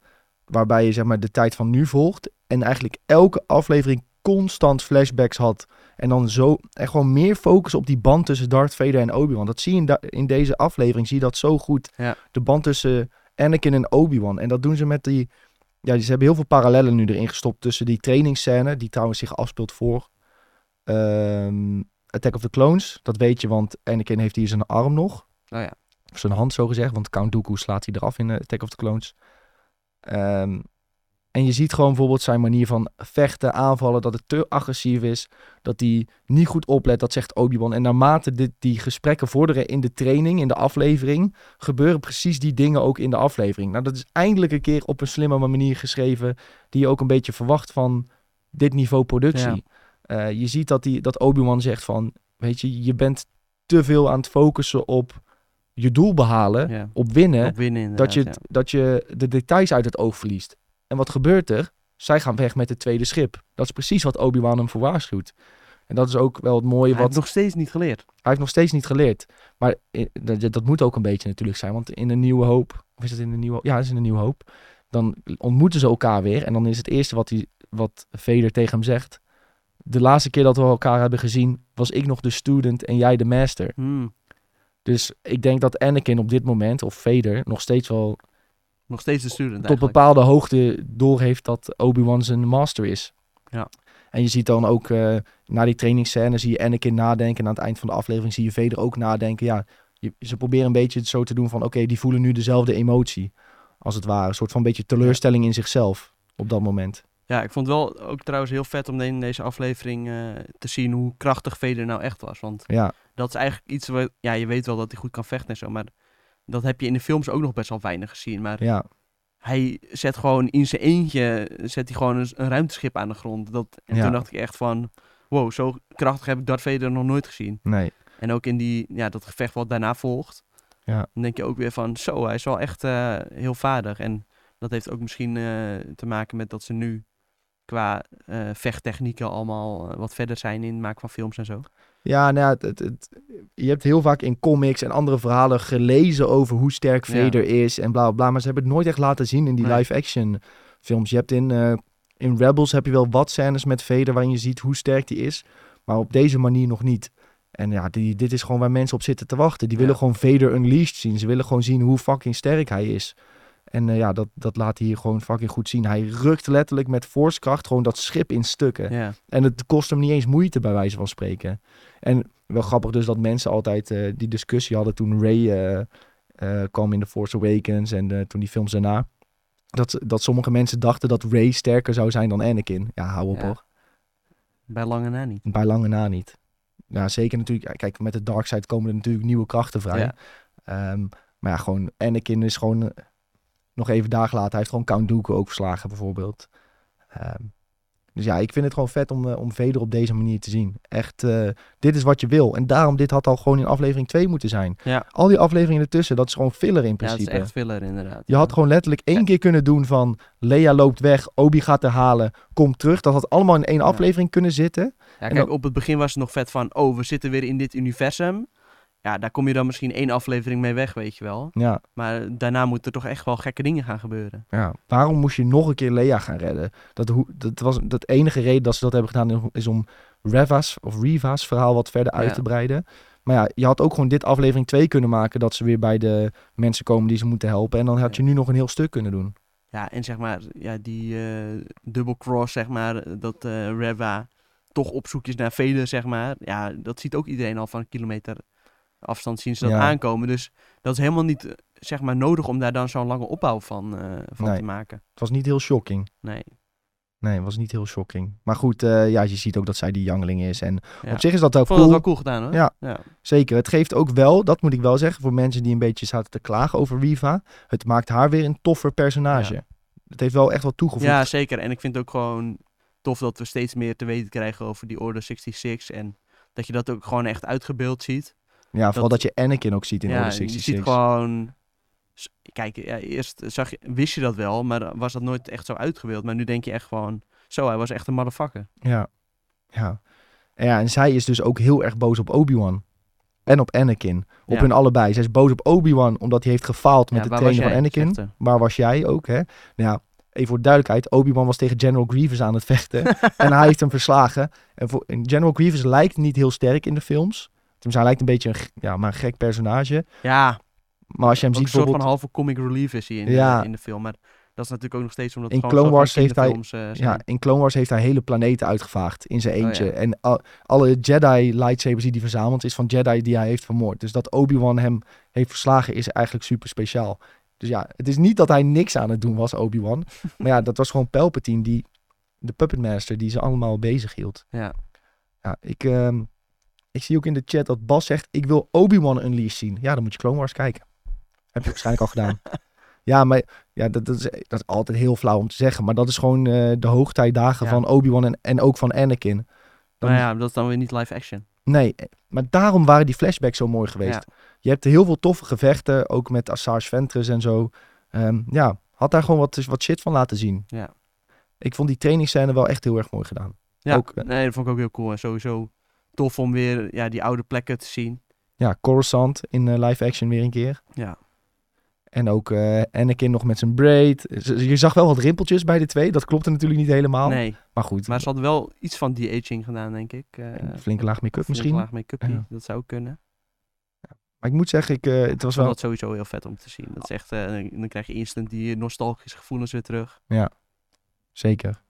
S1: Waarbij je zeg maar, de tijd van nu volgt. En eigenlijk elke aflevering constant flashbacks had. En dan zo echt gewoon meer focus op die band tussen Darth Vader en Obi-Wan. Dat zie je in, da- in deze aflevering, zie je dat zo goed.
S2: Ja.
S1: De band tussen Anakin en Obi-Wan. En dat doen ze met die... Ja, ze hebben heel veel parallellen nu erin gestopt tussen die trainingsscène, die trouwens zich afspeelt voor ehm, Attack of the Clones. Dat weet je, want Anakin heeft hier zijn arm nog.
S2: nou ja.
S1: Of zijn hand, zo gezegd. Want Count Dooku slaat hij eraf in eh, Attack of the Clones. Ehm, en je ziet gewoon bijvoorbeeld zijn manier van vechten, aanvallen, dat het te agressief is. Dat hij niet goed oplet, dat zegt Obi-Wan. En naarmate dit, die gesprekken vorderen in de training, in de aflevering, gebeuren precies die dingen ook in de aflevering. Nou, dat is eindelijk een keer op een slimme manier geschreven, die je ook een beetje verwacht van dit niveau productie.
S2: Ja.
S1: Eh, je ziet dat, die, dat Obi-Wan zegt van, weet je, je bent te veel aan het focussen op je doel behalen,
S2: ja.
S1: op winnen,
S2: Op winnen
S1: dat je,
S2: inderdaad,
S1: het- dat je de details uit het oog verliest. En wat gebeurt er? Zij gaan weg met het tweede schip. Dat is precies wat Obi-Wan hem voor waarschuwt. En dat is ook wel het mooie
S2: ja. Hij
S1: wat...
S2: heeft nog steeds niet geleerd.
S1: Hij heeft nog steeds niet geleerd. Maar eh, dat, dat moet ook een beetje natuurlijk zijn. Want in een nieuwe hoop... Of is dat in een nieuwe... Ja, dat is in een nieuwe hoop. Dan ontmoeten ze elkaar weer. En dan is het eerste wat, die, wat Vader tegen hem zegt... De laatste keer dat we elkaar hebben gezien... was ik nog de student en jij de master.
S2: Hmm.
S1: Dus ik denk dat Anakin op dit moment... of Vader nog steeds wel
S2: Nog steeds de student
S1: tot
S2: eigenlijk.
S1: bepaalde hoogte doorheeft dat Obi-Wan zijn master is.
S2: Ja.
S1: En je ziet dan ook eh, na die trainingsscène zie je Anakin nadenken. En aan het eind van de aflevering zie je Vader ook nadenken. Ja, je- ze proberen een beetje het zo te doen van... Oké, die voelen nu dezelfde emotie, als het ware. Een soort van beetje teleurstelling in zichzelf op dat moment.
S2: Ja, ik vond het wel ook trouwens heel vet om in deze aflevering eh, te zien hoe krachtig Vader nou echt was. Want
S1: Ja,
S2: dat is eigenlijk iets wat... Ja, je weet wel dat hij goed kan vechten en zo, maar dat heb je in de films ook nog best wel weinig gezien. Maar
S1: ja.
S2: hij zet gewoon in zijn eentje, zet hij gewoon een, een ruimteschip aan de grond. Dat, en
S1: Ja.
S2: toen dacht ik echt van, wow, zo krachtig heb ik Darth Vader nog nooit gezien.
S1: Nee.
S2: En ook in die, ja, dat gevecht wat daarna volgt.
S1: Ja.
S2: Dan denk je ook weer van, zo, hij is wel echt eh, heel vaardig. En dat heeft ook misschien eh, te maken met dat ze nu qua eh, vechttechnieken allemaal eh, wat verder zijn in het maken van films en zo.
S1: Ja, nou ja, het, het, het- je hebt heel vaak in comics en andere verhalen gelezen over hoe sterk
S2: Ja.
S1: Vader is en bla bla bla. Maar ze hebben het nooit echt laten zien in die
S2: Nee.
S1: live-action films. Je hebt in, eh, in Rebels heb je wel wat scènes met Vader waarin je ziet hoe sterk die is. Maar op deze manier nog niet. En ja, die, dit is gewoon waar mensen op zitten te wachten. Die
S2: Ja.
S1: willen gewoon Vader Unleashed zien. Ze willen gewoon zien hoe fucking sterk hij is. En eh, ja, dat, dat laat hij hier gewoon fucking goed zien. Hij rukt letterlijk met forcekracht gewoon dat schip in stukken.
S2: Ja,
S1: En het kost hem niet eens moeite, bij wijze van spreken. En wel grappig dus dat mensen altijd eh, die discussie hadden toen Ray eh, eh, kwam in The Force Awakens en eh, toen die films daarna. Dat, ze- dat sommige mensen dachten dat Ray sterker zou zijn dan Anakin. Ja, hou op
S2: Ja.
S1: hoor.
S2: bij lange na niet.
S1: Bij lange na niet. Ja, zeker natuurlijk. ja, Kijk, met de dark side komen er natuurlijk nieuwe krachten vrij.
S2: Ja.
S1: Ehm, maar ja, gewoon Anakin is gewoon eh, nog even dagen later. Hij heeft gewoon Count Dooku ook verslagen bijvoorbeeld. Ehm, dus ja, ik vind het gewoon vet om, eh, om Vader op deze manier te zien. Echt, eh, dit is wat je wil. En daarom, dit had al gewoon in aflevering 2 moeten zijn.
S2: Ja.
S1: Al die afleveringen ertussen, dat is gewoon filler in
S2: Ja, het is
S1: principe.
S2: echt filler inderdaad.
S1: Je had gewoon letterlijk één keer kunnen doen van... Leia loopt weg, Obi gaat haar halen, kom terug. Dat had allemaal in één
S2: Ja.
S1: aflevering kunnen zitten.
S2: Ja,
S1: En
S2: kijk,
S1: dan-
S2: op het begin was het nog vet van, oh, we zitten weer in dit universum. Ja, daar kom je dan misschien één aflevering mee weg, weet je wel.
S1: Ja,
S2: Maar daarna moeten er toch echt wel gekke dingen gaan gebeuren.
S1: Ja, waarom moest je nog een keer Leia gaan redden? Dat, hoe- dat was dat enige reden dat ze dat hebben gedaan is om Reva's of Riva's verhaal wat verder uit
S2: Ja.
S1: te breiden. Maar ja, je had ook gewoon dit aflevering 2 kunnen maken dat ze weer bij de mensen komen die ze moeten helpen. En dan had je nu nog een heel stuk kunnen doen.
S2: Ja, en zeg maar, ja, die eh double cross, zeg maar, dat eh Reva toch op zoek is naar Vader, zeg maar. Ja, dat ziet ook iedereen al van een kilometer afstand zien ze dat
S1: Ja.
S2: aankomen. Dus dat is helemaal niet, eh, zeg maar, nodig om daar dan zo'n lange opbouw van, eh, van
S1: Nee.
S2: te maken.
S1: Het was niet heel shocking.
S2: Nee.
S1: Nee, het was niet heel shocking. Maar goed, eh, ja, je ziet ook dat zij die jangeling is. En
S2: Ja.
S1: op zich is dat ook
S2: Ik vond dat
S1: cool.
S2: wel cool gedaan, hoor.
S1: Ja.
S2: ja.
S1: Zeker. Het geeft ook wel, dat moet ik wel zeggen, voor mensen die een beetje zaten te klagen over Riva. Het maakt haar weer een toffer personage. Het heeft wel echt wat toegevoegd.
S2: Ja, zeker. En ik vind het ook gewoon tof dat we steeds meer te weten krijgen over die Order 66. En dat je dat ook gewoon echt uitgebeeld ziet.
S1: Ja, vooral dat,
S2: Dat-
S1: je Anakin ook ziet in
S2: ja,
S1: Order
S2: je
S1: 66.
S2: ziet gewoon... s- Kijk, ja, eerst zag je, wist je dat wel, maar was dat nooit echt zo uitgebeeld. Maar nu denk je echt gewoon... Zo, hij was echt een motherfucker.
S1: Ja. Ja. En ja, en zij is dus ook heel erg boos op Obi-Wan. En op Anakin. Op
S2: Ja.
S1: hun allebei. Zij is boos op Obi-Wan omdat hij heeft gefaald met het
S2: ja, waar was
S1: trainen van
S2: jij?
S1: Anakin.
S2: Zegt ze.
S1: Waar was jij ook, hè? Nou ja, even voor de duidelijkheid. Obi-Wan was tegen General Grievous aan het vechten. en hij heeft hem verslagen. En, voor, en General Grievous lijkt niet heel sterk in de films. Tenminste, hij lijkt een beetje een, g- ja, maar een gek personage.
S2: Ja,
S1: Maar als je hem
S2: ook een
S1: ziet
S2: soort van
S1: bijvoorbeeld...
S2: halve comic relief is hij in, de-
S1: Ja.
S2: in de film. Maar dat is natuurlijk ook nog steeds omdat
S1: In
S2: het gewoon
S1: Clone
S2: een
S1: Wars
S2: soort
S1: heeft
S2: van
S1: hij-
S2: kinderfilms, eh, Oh,
S1: Ja, in Clone Wars heeft hij hele planeten uitgevaagd in zijn
S2: ja.
S1: eentje. En al- alle Jedi lightsabers die hij verzamelt is van Jedi die hij heeft vermoord. Dus dat Obi-Wan hem heeft verslagen is eigenlijk super speciaal. Dus ja, het is niet dat hij niks aan het doen was, Obi-Wan. maar ja, dat was gewoon Palpatine, die, de Puppet Master, die ze allemaal bezig hield.
S2: Ja.
S1: Ja, ik, ehm, ik zie ook in de chat dat Bas zegt, ik wil Obi-Wan Unleashed zien. Ja, dan moet je Clone Wars kijken. Heb je waarschijnlijk al gedaan. Ja, maar ja, dat, dat, is, dat is altijd heel flauw om te zeggen. Maar dat is gewoon eh, de hoogtijdagen
S2: Ja.
S1: van Obi-Wan en, en ook van Anakin. Dan-
S2: Nou ja, dat is dan weer niet live action.
S1: Nee, eh, maar daarom waren die flashbacks zo mooi geweest. Je hebt heel veel toffe gevechten, ook met Asajj Ventress en zo. Ehm, ja, had daar gewoon wat, wat shit van laten zien.
S2: Ja.
S1: Ik vond die trainingsscène wel echt heel erg mooi gedaan.
S2: Ja,
S1: Ook, eh,
S2: nee, dat vond ik ook heel cool. En sowieso tof om weer ja, die oude plekken te zien.
S1: Ja, Coruscant in eh, live action weer een keer.
S2: Ja.
S1: En ook eh, Anakin nog met zijn braid. Z- Je zag wel wat rimpeltjes bij de twee. Dat klopte natuurlijk niet helemaal.
S2: Nee,
S1: Maar goed,
S2: maar ze hadden wel iets van de-aging gedaan, denk ik. Eh,
S1: een flinke laag make-up
S2: flink
S1: misschien.
S2: laag make-upie,
S1: Ja.
S2: dat zou kunnen.
S1: Maar ik moet zeggen, ik, eh, het was
S2: Ik vond
S1: wel...
S2: dat sowieso heel vet om te zien. Dat is echt, eh, dan- dan krijg je instant die nostalgische gevoelens weer terug.
S1: Zeker.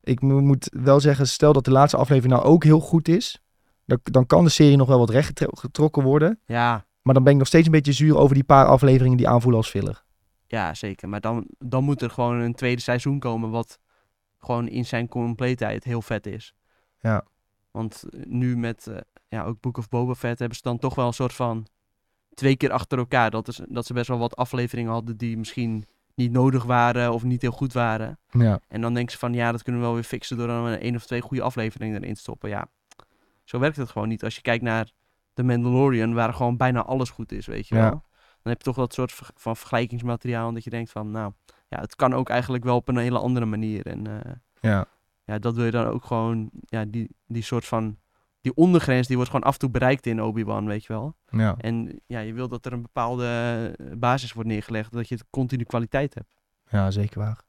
S1: Ik mo- moet wel zeggen, stel dat de laatste aflevering nou ook heel goed is. Dan, dan kan de serie nog wel wat rechtgetrokken worden.
S2: Ja,
S1: Maar dan ben ik nog steeds een beetje zuur over die paar afleveringen die aanvoelen als filler.
S2: ja zeker. Maar dan, dan moet er gewoon een tweede seizoen komen wat gewoon in zijn compleetheid heel vet is.
S1: Ja.
S2: Want nu met eh, ja, ook Book of Boba Fett hebben ze dan toch wel een soort van twee keer achter elkaar. Dat, is, dat ze best wel wat afleveringen hadden die misschien niet nodig waren of niet heel goed waren.
S1: Ja.
S2: En dan denken ze van ja, dat kunnen we wel weer fixen door dan één of twee goede afleveringen erin te stoppen. Ja, zo werkt het gewoon niet. Als je kijkt naar The Mandalorian, waar gewoon bijna alles goed is, weet je
S1: Ja.
S2: wel. Dan heb je toch dat soort ver- van vergelijkingsmateriaal. Dat je denkt van nou, ja, het kan ook eigenlijk wel op een hele andere manier. En eh,
S1: Ja.
S2: ja, dat wil je dan ook gewoon, ja, die, die soort van, die ondergrens die wordt gewoon af en toe bereikt in Obi-Wan, weet je wel.
S1: Ja.
S2: En ja, je wil dat er een bepaalde eh, basis wordt neergelegd, dat je continu kwaliteit hebt.
S1: Ja, zeker waar.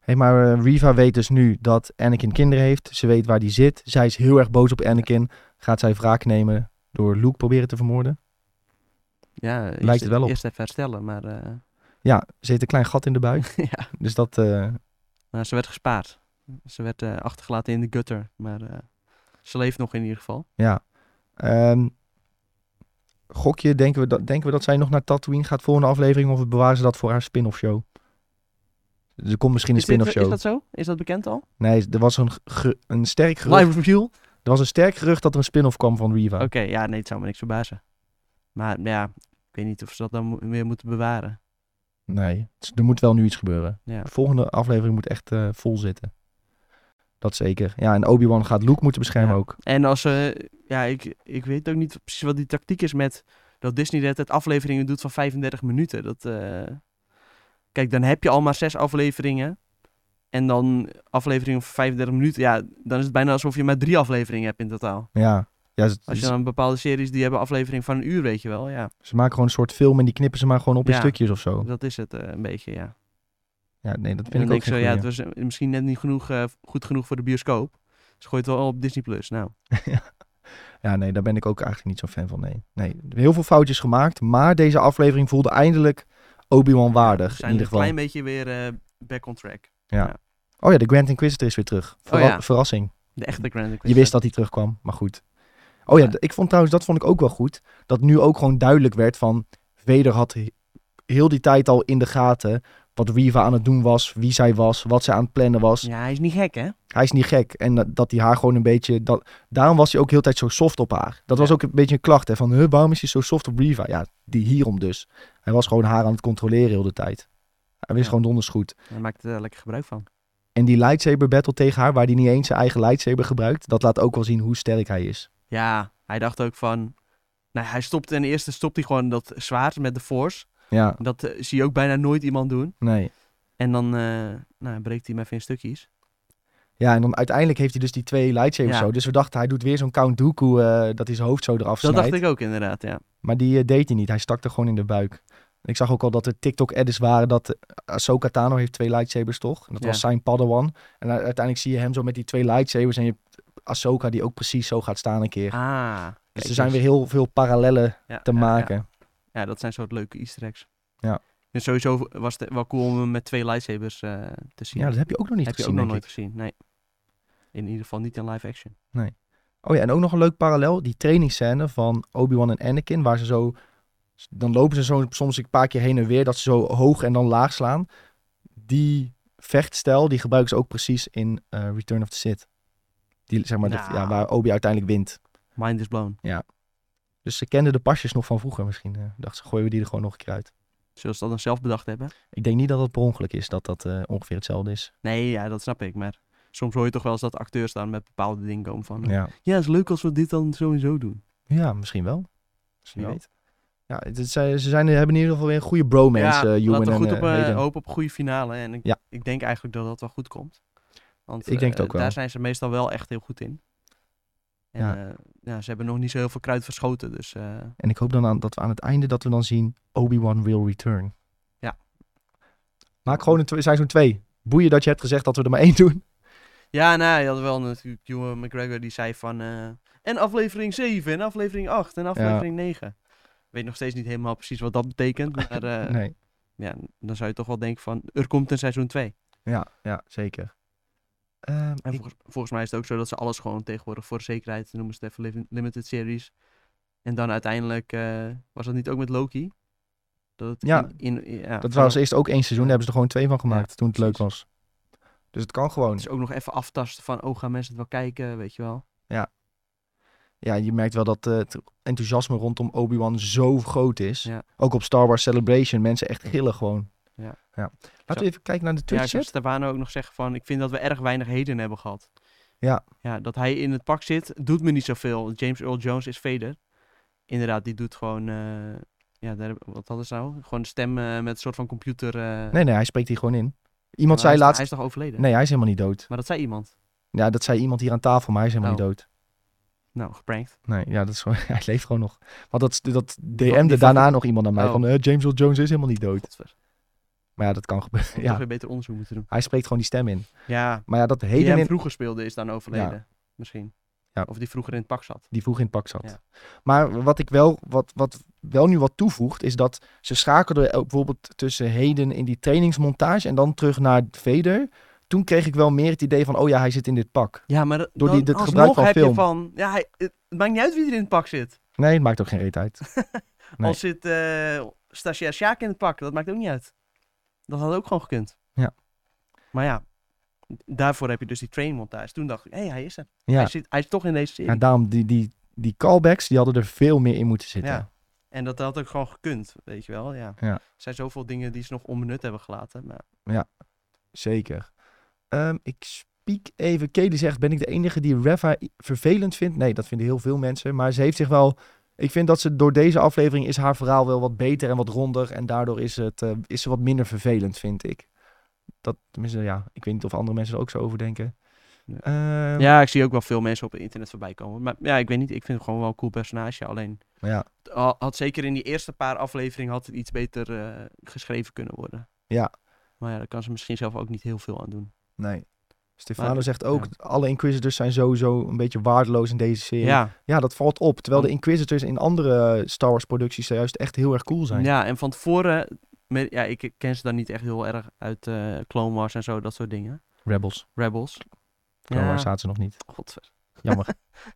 S1: Hé, maar eh, Riva weet dus nu dat Anakin kinderen heeft. Ze weet waar die zit. Zij is heel erg boos op Anakin. Gaat zij wraak nemen door Luke proberen te vermoorden?
S2: Ja, Lijkt
S1: het wel op.
S2: Eerst even herstellen, maar eh,
S1: Ja, ze heeft een klein gat in de buik.
S2: ja,
S1: Dus dat... eh,
S2: maar ze werd gespaard. Ze werd eh, achtergelaten in de gutter, maar eh, ze leeft nog in ieder geval.
S1: ehm, gokje, denken we, dat, denken we dat zij nog naar Tatooine gaat volgende aflevering? Of bewaren ze dat voor haar spin-off show? Er komt misschien een
S2: Is, dit-
S1: spin-off show.
S2: is dat zo? Is dat bekend al?
S1: Nee, er was een, ge- een sterk gerucht.
S2: Live review? Oké,
S1: Er was een sterk gerucht dat er een spin-off kwam van Riva.
S2: ja, nee, het zou me niks verbazen. Maar ja, ik weet niet of ze dat dan mo- weer moeten bewaren.
S1: Nee, het is- er moet wel nu iets gebeuren.
S2: Ja.
S1: De volgende aflevering moet echt eh, vol zitten. Dat zeker. Ja, en Obi-Wan gaat Luke moeten beschermen
S2: Ja.
S1: ook.
S2: En als ze, ja, ik, ik weet ook niet precies wat die tactiek is met dat Disney de hele tijd afleveringen doet van 35 minuten. Dat, eh, kijk, dan heb je al maar zes afleveringen. En dan afleveringen van 35 minuten. Ja, dan is het bijna alsof je maar drie afleveringen hebt in totaal.
S1: Ja, ja ze,
S2: Als je
S1: ze-
S2: dan bepaalde series die hebben aflevering van een uur, weet je wel. Ja,
S1: ze maken gewoon een soort film en die knippen ze maar gewoon op in
S2: Ja.
S1: stukjes of zo.
S2: dat is het eh, een beetje, ja.
S1: Ja, nee, dat vind
S2: en dan
S1: ik
S2: denk
S1: ook
S2: ik zo,
S1: geen
S2: ja, het
S1: goeie.
S2: was eh, misschien net niet genoeg, eh, goed genoeg voor de bioscoop. Dus gooi het wel op Disney+. Plus. Nou,
S1: Ja, nee, daar ben ik ook eigenlijk niet zo'n fan van. Nee. nee, heel veel foutjes gemaakt, maar deze aflevering voelde eindelijk Obi-Wan
S2: we
S1: waardig. In
S2: zijn
S1: ieder
S2: een
S1: geval.
S2: klein beetje weer eh, back on track.
S1: Oh ja, de Grand Inquisitor is weer terug. Verra-
S2: Oh ja.
S1: Verrassing.
S2: De echte Grand
S1: Je wist dat hij terugkwam, maar goed. Oh ja,
S2: Ja.
S1: d- ik vond trouwens, dat vond ik ook wel goed. Dat nu ook gewoon duidelijk werd van... Vader had he- heel die tijd al in de gaten... wat Riva aan het doen was, wie zij was, wat zij aan het plannen was.
S2: Ja, hij is niet gek, hè?
S1: Hij is niet gek. En dat, dat hij haar gewoon een beetje... Dat, daarom was hij ook heel de tijd zo soft op haar. Dat was
S2: Ja.
S1: ook een beetje een klacht, hè. Van, huh, waarom is hij zo soft op Riva? Ja, die hierom dus. Hij was gewoon haar aan het controleren heel de tijd. Hij wist
S2: Ja.
S1: gewoon donders goed.
S2: Hij maakt er eh, lekker gebruik van.
S1: En die lightsaber battle tegen haar... waar hij niet eens zijn eigen lightsaber gebruikt... dat laat ook wel zien hoe sterk hij is.
S2: Ja, hij dacht ook van... Nou, hij stopt ten eerste stopt hij gewoon dat zwaard met de force.
S1: Ja,
S2: Dat eh, zie je ook bijna nooit iemand doen.
S1: nee.
S2: En dan eh, nou, breekt hij hem even in stukjes.
S1: Ja, en dan uiteindelijk heeft hij dus die twee lightsabers
S2: Ja.
S1: zo. Dus we dachten, hij doet weer zo'n Count Dooku, eh, dat hij zijn hoofd zo eraf
S2: Dat
S1: snijdt.
S2: dacht ik ook inderdaad, ja.
S1: Maar die eh, deed hij niet. Hij stak er gewoon in de buik. Ik zag ook al dat er TikTok-edits waren dat eh, Ahsoka Tano heeft twee lightsabers, toch? En dat
S2: Ja.
S1: was zijn padawan. En u- uiteindelijk zie je hem zo met die twee lightsabers en je hebt Ahsoka die ook precies zo gaat staan een keer.
S2: Ah. kijk
S1: dus er
S2: eens.
S1: zijn weer heel veel parallellen
S2: Ja,
S1: te
S2: ja,
S1: maken.
S2: Ja, Ja, dat zijn soort leuke easter eggs.
S1: Ja.
S2: En sowieso was het wel cool om hem met twee lightsabers eh, te zien.
S1: Ja, dat heb je ook nog niet
S2: heb je
S1: gezien,
S2: ook nog
S1: denk
S2: nooit
S1: ik.
S2: gezien, nee. In ieder geval niet in live action.
S1: Oh ja, en ook nog een leuk parallel. Die trainingsscène van Obi-Wan en Anakin, waar ze zo... Dan lopen ze zo soms een paar keer heen en weer, dat ze zo hoog en dan laag slaan. Die vechtstijl, die gebruiken ze ook precies in eh, Return of the Sith. Die, zeg maar, de-
S2: Nou.
S1: ja, waar Obi uiteindelijk wint.
S2: Mind is blown.
S1: Dus ze kenden de pasjes nog van vroeger misschien. eh. dachten ze, gooien we die er gewoon nog een keer uit.
S2: Zullen ze dat dan zelf bedacht hebben?
S1: Ik denk niet dat het per ongeluk is dat dat eh, ongeveer hetzelfde is.
S2: Nee, ja, dat snap ik. Maar soms hoor je toch wel eens dat acteurs daar met bepaalde dingen komen van...
S1: Ja,
S2: Ja, het is leuk als we dit dan sowieso doen.
S1: ja misschien wel. Dus wie
S2: Ja.
S1: weet. Ja, het, het zijn, ze zijn, hebben in ieder geval weer een goede bromance, eh, Ewan
S2: laten we
S1: en
S2: goed
S1: eh,
S2: op, eh,
S1: Hayden.
S2: hopen op een goede finale. En ik,
S1: Ja.
S2: ik denk eigenlijk dat dat wel goed komt. Want
S1: Ik denk het
S2: eh,
S1: ook wel.
S2: daar zijn ze meestal wel echt heel goed in. En
S1: Ja.
S2: ja. ja, ze hebben nog niet zo heel veel kruid verschoten. Dus eh,
S1: En ik hoop dan aan, dat we aan het einde dat we dan zien Obi-Wan will return.
S2: Ja.
S1: Maak gewoon een tw- seizoen 2. Boeien dat je hebt gezegd dat we er maar één doen.
S2: ja, nou, je had wel natuurlijk Ewan McGregor die zei van... eh, en aflevering 7, en aflevering 8, en aflevering 9. Ik weet nog steeds niet helemaal precies wat dat betekent. Maar eh,
S1: nee.
S2: ja, dan zou je toch wel denken van, er komt een seizoen 2.
S1: Ja, ja, zeker. Ehm,
S2: En
S1: ik-
S2: volgens, volgens mij is het ook zo dat ze alles gewoon tegenwoordig voor de zekerheid noemen ze het even lim- limited series. En dan uiteindelijk eh, was dat niet ook met Loki? Dat het
S1: Ja,
S2: in, in- ja,
S1: dat
S2: gewoon-
S1: was eerst ook één seizoen. Daar hebben ze er gewoon twee van gemaakt toen het leuk was. Dus het kan gewoon.
S2: Het is ook nog even aftasten van, oh, gaan mensen het wel kijken, weet je wel.
S1: Ja, je merkt wel dat eh, het enthousiasme rondom Obi-Wan zo groot is.
S2: Ja.
S1: Ook op Star Wars Celebration. Mensen echt gillen gewoon.
S2: Ja.
S1: Laten we even kijken naar de
S2: Ja, ik
S1: Twitch
S2: zag
S1: chat.
S2: Stabano ook nog zeggen van, ik vind dat we erg weinig heden hebben gehad.
S1: Ja.
S2: Ja, dat hij in het pak zit, doet me niet zoveel. James Earl Jones is Vader. Inderdaad, die doet gewoon, eh, ja, daar, wat hadden ze nou? Gewoon de stem eh, met een soort van computer. eh, maar
S1: Nee, nee, hij spreekt hier gewoon in. Iemand
S2: hij,
S1: zei
S2: is,
S1: laatst...
S2: hij is toch overleden?
S1: Nee, hij is helemaal niet dood.
S2: Maar dat zei iemand.
S1: Ja, dat zei iemand hier aan tafel, maar hij is helemaal
S2: Oh.
S1: niet dood.
S2: Nou, geprankt.
S1: Nee, ja, dat is gewoon, hij leeft gewoon nog. Want dat, dat
S2: Wat,
S1: DM'de
S2: die
S1: daarna
S2: van-
S1: nog iemand aan mij
S2: Oh.
S1: van... eh, James Earl Jones is helemaal niet dood.
S2: Godver.
S1: Maar ja, dat kan gebeuren.
S2: Ja. Toch
S1: Ja,
S2: weer beter onderzoek moeten doen.
S1: hij spreekt gewoon die stem in.
S2: Ja,
S1: Maar ja, dat
S2: die
S1: heden
S2: hem
S1: in...
S2: vroeger speelde is dan overleden. Misschien.
S1: Ja.
S2: Of die vroeger in het pak zat.
S1: die vroeg in het pak zat.
S2: Ja.
S1: Maar wat ik wel, wat, wat wel nu wat toevoegt, is dat ze schakelden ook bijvoorbeeld tussen heden in die trainingsmontage en dan terug naar Vader. Toen kreeg ik wel meer het idee van, oh ja, hij zit in dit pak.
S2: Ja, maar
S1: Door die-
S2: dan
S1: dit
S2: alsnog
S1: gebruik van
S2: heb je
S1: film.
S2: van... Ja, hij, het, het maakt niet uit wie er in het pak zit.
S1: Nee, het maakt ook geen reet uit. Nee.
S2: Al zit eh stagiair Sjaak in het pak, dat maakt ook niet uit. Dat had ook gewoon gekund.
S1: Ja.
S2: Maar ja, daarvoor heb je dus die trainmontage. Toen dacht ik, hé, hij is er. Hij,
S1: Ja,
S2: zit, hij is toch in deze serie.
S1: en daarom die, die, die callbacks, die hadden er veel meer in moeten zitten.
S2: Ja. En dat had ook gewoon gekund, weet je wel. Ja.
S1: Ja.
S2: Er zijn zoveel dingen die ze nog onbenut hebben gelaten. Maar
S1: Zeker. Ehm, ik spiek even. Kelly zegt, ben ik de enige die Reva i- vervelend vindt? Nee, dat vinden heel veel mensen. Maar ze heeft zich wel... Ik vind dat ze door deze aflevering is haar verhaal wel wat beter en wat ronder. En daardoor is, het, eh, is ze wat minder vervelend, vind ik. Dat, tenminste, ja, ik weet niet of andere mensen er ook zo over denken.
S2: Ja.
S1: Ehm,
S2: Ja, ik zie ook wel veel mensen op het internet voorbij komen. Maar ja, ik weet niet. Ik vind het gewoon wel een cool personage. Alleen,
S1: ja.
S2: het al- had zeker in die eerste paar afleveringen had het iets beter eh, geschreven kunnen worden.
S1: Ja.
S2: Maar ja, daar kan ze misschien zelf ook niet heel veel aan doen.
S1: Nee. Stefano
S2: Maar-
S1: zegt ook, alle Inquisitors zijn sowieso een beetje waardeloos in deze serie. Ja,
S2: Ja,
S1: dat valt op. Terwijl de Inquisitors in andere eh, Star Wars producties juist echt heel erg cool zijn.
S2: ja, en van tevoren... me- ja, ik ken ze dan niet echt heel erg uit eh Clone Wars en zo, dat soort dingen.
S1: Rebels.
S2: Rebels.
S1: Ja.
S2: ja,
S1: Waar zaten ze nog niet?
S2: godver.
S1: Jammer.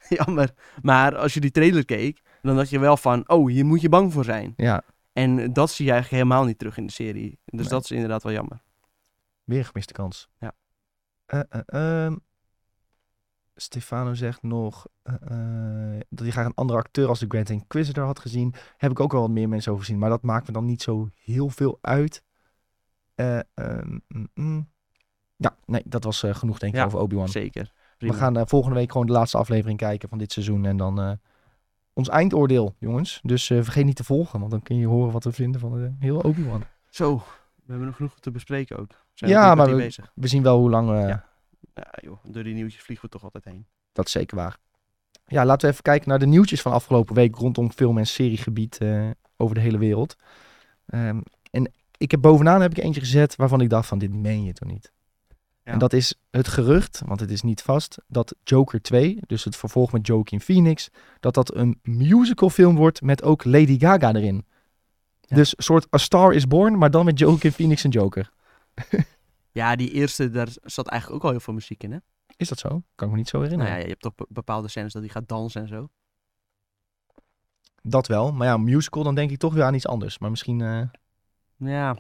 S2: Jammer. Maar als je die trailer keek, dan dacht je wel van... Oh, hier moet je bang voor zijn.
S1: ja,
S2: En dat zie je eigenlijk helemaal niet terug in de serie. Dus
S1: Nee.
S2: dat is inderdaad wel jammer.
S1: weer gemiste kans.
S2: Ja.
S1: Eh, eh, ehm. Stefano zegt nog eh, eh, dat hij graag een andere acteur als de Grand Inquisitor had gezien. Heb ik ook wel wat meer mensen over gezien, maar dat maakt me dan niet zo heel veel uit. Eh, ehm, mm, mm. Ja, nee, dat was eh, genoeg denk ik
S2: Ja,
S1: over Obi-Wan.
S2: Zeker.
S1: We
S2: Prima.
S1: gaan eh, volgende week gewoon de laatste aflevering kijken van dit seizoen en dan eh, ons eindoordeel, jongens. Dus eh, vergeet niet te volgen, want dan kun je horen wat we vinden van eh, heel Obi-Wan.
S2: Zo, we hebben nog genoeg te bespreken ook. We Zijn
S1: Ja,
S2: ja,
S1: maar
S2: maar
S1: we-
S2: bezig.
S1: We zien wel hoe lang eh,
S2: Ja. Ja, joh, door die nieuwtjes vliegen we toch altijd heen.
S1: Dat is zeker waar. Ja, laten we even kijken naar de nieuwtjes van afgelopen week rondom film- en seriegebied eh, over de hele wereld. Ehm, en ik heb bovenaan heb ik eentje gezet waarvan ik dacht van dit meen je toch niet.
S2: Ja.
S1: En dat is het gerucht, want het is niet vast, dat Joker 2, dus het vervolg met Joaquin Phoenix, dat dat een musicalfilm wordt met ook Lady Gaga erin.
S2: Ja.
S1: Dus een soort A Star is Born, maar dan met Joaquin Phoenix en Joker.
S2: Ja, die eerste, daar zat eigenlijk ook al heel veel muziek in, hè?
S1: Is dat zo? Kan ik me niet zo herinneren.
S2: Nou ja, je hebt toch be- bepaalde scènes dat hij gaat dansen en zo.
S1: Dat wel, maar ja, musical dan denk ik toch weer aan iets anders. Maar misschien... eh,
S2: Ja,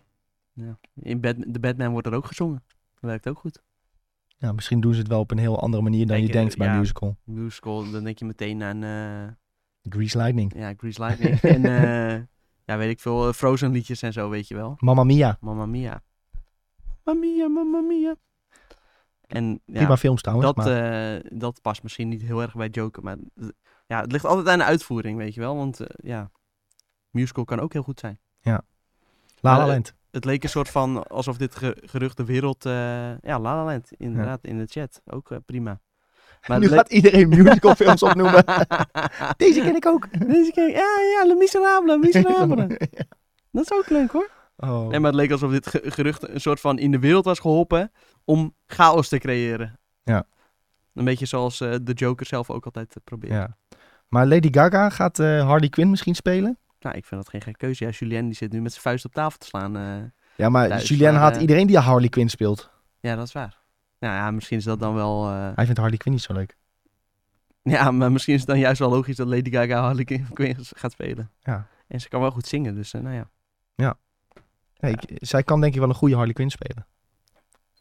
S2: ja. In Bat- de Batman wordt er ook gezongen. Dat werkt ook goed.
S1: Ja, misschien doen ze het wel op een heel andere manier dan
S2: Kijk,
S1: je
S2: eh,
S1: denkt bij een
S2: ja.
S1: musical.
S2: Musical, dan denk je meteen aan eh,
S1: Grease Lightning.
S2: ja, Grease Lightning en eh, ja, weet ik veel, eh, Frozen liedjes en zo, weet je wel.
S1: Mamma Mia.
S2: Mamma Mia. Mamma Mia, Mamma Mia. En ja,
S1: Prima films trouwens.
S2: Dat,
S1: maar
S2: eh, dat past misschien niet heel erg bij Joker, maar d- ja, het ligt altijd aan de uitvoering, weet je wel. Want eh, ja, musical kan ook heel goed zijn.
S1: La La
S2: maar, eh,
S1: Land.
S2: Het leek een soort van alsof dit ge- gerucht de wereld... eh, ja, La La Land, inderdaad, in de chat. Ook eh, prima.
S1: nu
S2: het leek-
S1: gaat iedereen musicalfilms opnoemen. Deze ken ik ook.
S2: Deze ken ik. Ja, ja, Le Miserable, Miserable. dat is ook leuk hoor.
S1: oh.
S2: Nee, maar het leek alsof dit ge- gerucht een soort van in de wereld was geholpen om chaos te creëren.
S1: Ja.
S2: Een beetje zoals eh, de Joker zelf ook altijd eh, probeert.
S1: ja. maar Lady Gaga gaat eh, Harley Quinn misschien spelen.
S2: Nou, ik vind dat geen gekke keuze. Ja, Julien die zit nu met zijn vuist op tafel te slaan. eh.
S1: Ja, maar
S2: Thuis,
S1: Julien
S2: maar,
S1: haat
S2: eh,
S1: iedereen die Harley Quinn speelt.
S2: Ja, dat is waar. Nou ja, misschien is dat dan wel... eh,
S1: Hij vindt Harley Quinn niet zo leuk.
S2: Ja, maar misschien is het dan juist wel logisch dat Lady Gaga Harley Quinn gaat spelen.
S1: Ja.
S2: En ze kan wel goed zingen, dus eh, nou ja.
S1: Nee, ik- zij kan denk ik wel een goede Harley Quinn spelen.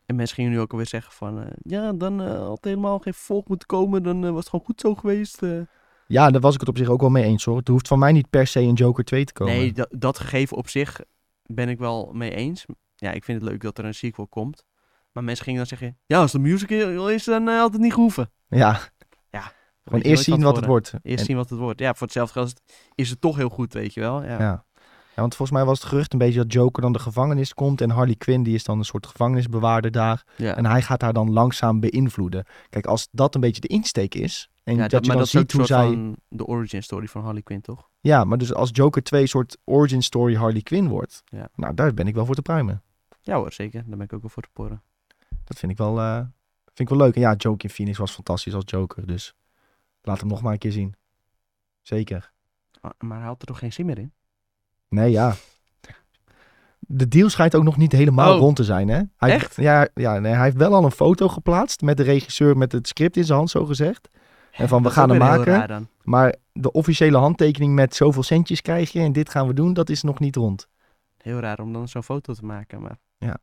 S2: En mensen gingen nu ook alweer zeggen van... eh, ja, dan eh, had helemaal geen volk moeten komen. Dan eh, was het gewoon goed zo geweest. eh.
S1: Ja, daar was ik het op zich ook wel mee eens hoor. Het hoeft van mij niet per se een Joker 2 te komen.
S2: Nee, dat, dat gegeven op zich ben ik wel mee eens. Ja, ik vind het leuk dat er een sequel komt. Maar mensen gingen dan zeggen... Ja, als de musical is, dan eh, had het niet gehoeven.
S1: Ja,
S2: Weet
S1: gewoon
S2: je
S1: eerst
S2: nooit
S1: zien wat
S2: van
S1: het
S2: tevoren.
S1: wordt.
S2: Eerst
S1: En-
S2: zien wat het wordt. Ja, voor hetzelfde geld is het, is het toch heel goed, weet je wel. Ja.
S1: Ja. Ja, want volgens mij was het gerucht een beetje dat Joker dan de gevangenis komt en Harley Quinn die is dan een soort gevangenisbewaarder daar.
S2: Ja.
S1: En hij gaat haar dan langzaam beïnvloeden. Kijk, als dat een beetje de insteek is en
S2: Ja,
S1: dat,
S2: dat-
S1: je
S2: maar
S1: dan
S2: dat is ook
S1: ziet hoe
S2: een soort
S1: zij...
S2: van de origin story van Harley Quinn, toch?
S1: Ja, maar dus als Joker 2 een soort origin story Harley Quinn wordt,
S2: Ja.
S1: nou daar ben ik wel voor te pruimen.
S2: Ja hoor, zeker. Daar ben ik ook wel voor te porren.
S1: Dat vind ik wel, eh, vind ik wel leuk. En ja, Joker in Phoenix was fantastisch als Joker, dus laat hem nog maar een keer zien. Zeker.
S2: Ah, Maar hij had er toch geen zin meer in?
S1: Nee, ja. De deal schijnt ook nog niet helemaal
S2: Oh.
S1: rond te zijn, hè? Hij,
S2: Echt?
S1: Ja, ja nee, hij heeft wel al een foto geplaatst met de regisseur met het script in zijn hand, zo gezegd. En van, we
S2: Dat is ook
S1: gaan hem
S2: weer heel
S1: maken.
S2: raar dan.
S1: Maar de officiële handtekening met zoveel centjes krijg je en dit gaan we doen, dat is nog niet rond.
S2: Heel raar om dan zo'n foto te maken. Maar
S1: Ja,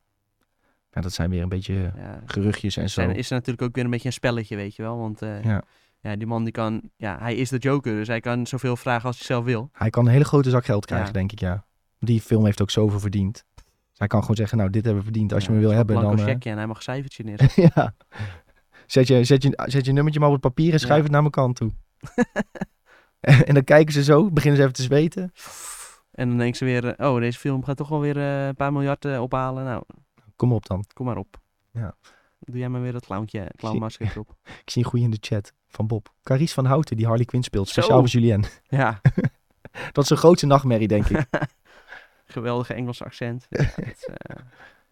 S1: dat zijn weer een beetje eh,
S2: ja,
S1: geruchtjes en zo.
S2: zijn, is er natuurlijk ook weer een beetje een spelletje, weet je wel. Want eh,
S1: Ja.
S2: ja. die man die kan, ja, hij is de Joker. Dus hij kan zoveel vragen als hij zelf wil.
S1: Hij kan een hele grote zak geld krijgen,
S2: Ja.
S1: denk ik, ja. Die film heeft ook zoveel verdiend. Dus hij kan gewoon zeggen, nou, dit hebben we verdiend. Als je me wil hebben,
S2: Blanco
S1: dan... eh,
S2: checkje en hij mag een cijfertje neer.
S1: ja. Zet je, zet, je, zet je nummertje maar op het papier en schuif
S2: Ja.
S1: het naar mijn kant toe. en dan kijken ze zo, beginnen ze even te zweten.
S2: en dan denken ze weer, eh, oh, deze film gaat toch wel weer eh, een paar miljard eh, ophalen. Nou,
S1: Kom op dan.
S2: kom maar op.
S1: Ja.
S2: Doe jij maar weer dat clowntje, clownmasker op.
S1: Ik zie een goeie in de chat van Bob. Carice van Houten, die Harley Quinn speelt. Speciaal
S2: Zo.
S1: voor Julien.
S2: Ja,
S1: Dat is zijn grootste nachtmerrie, denk ik.
S2: geweldige Engelse accent. Ja, dat eh,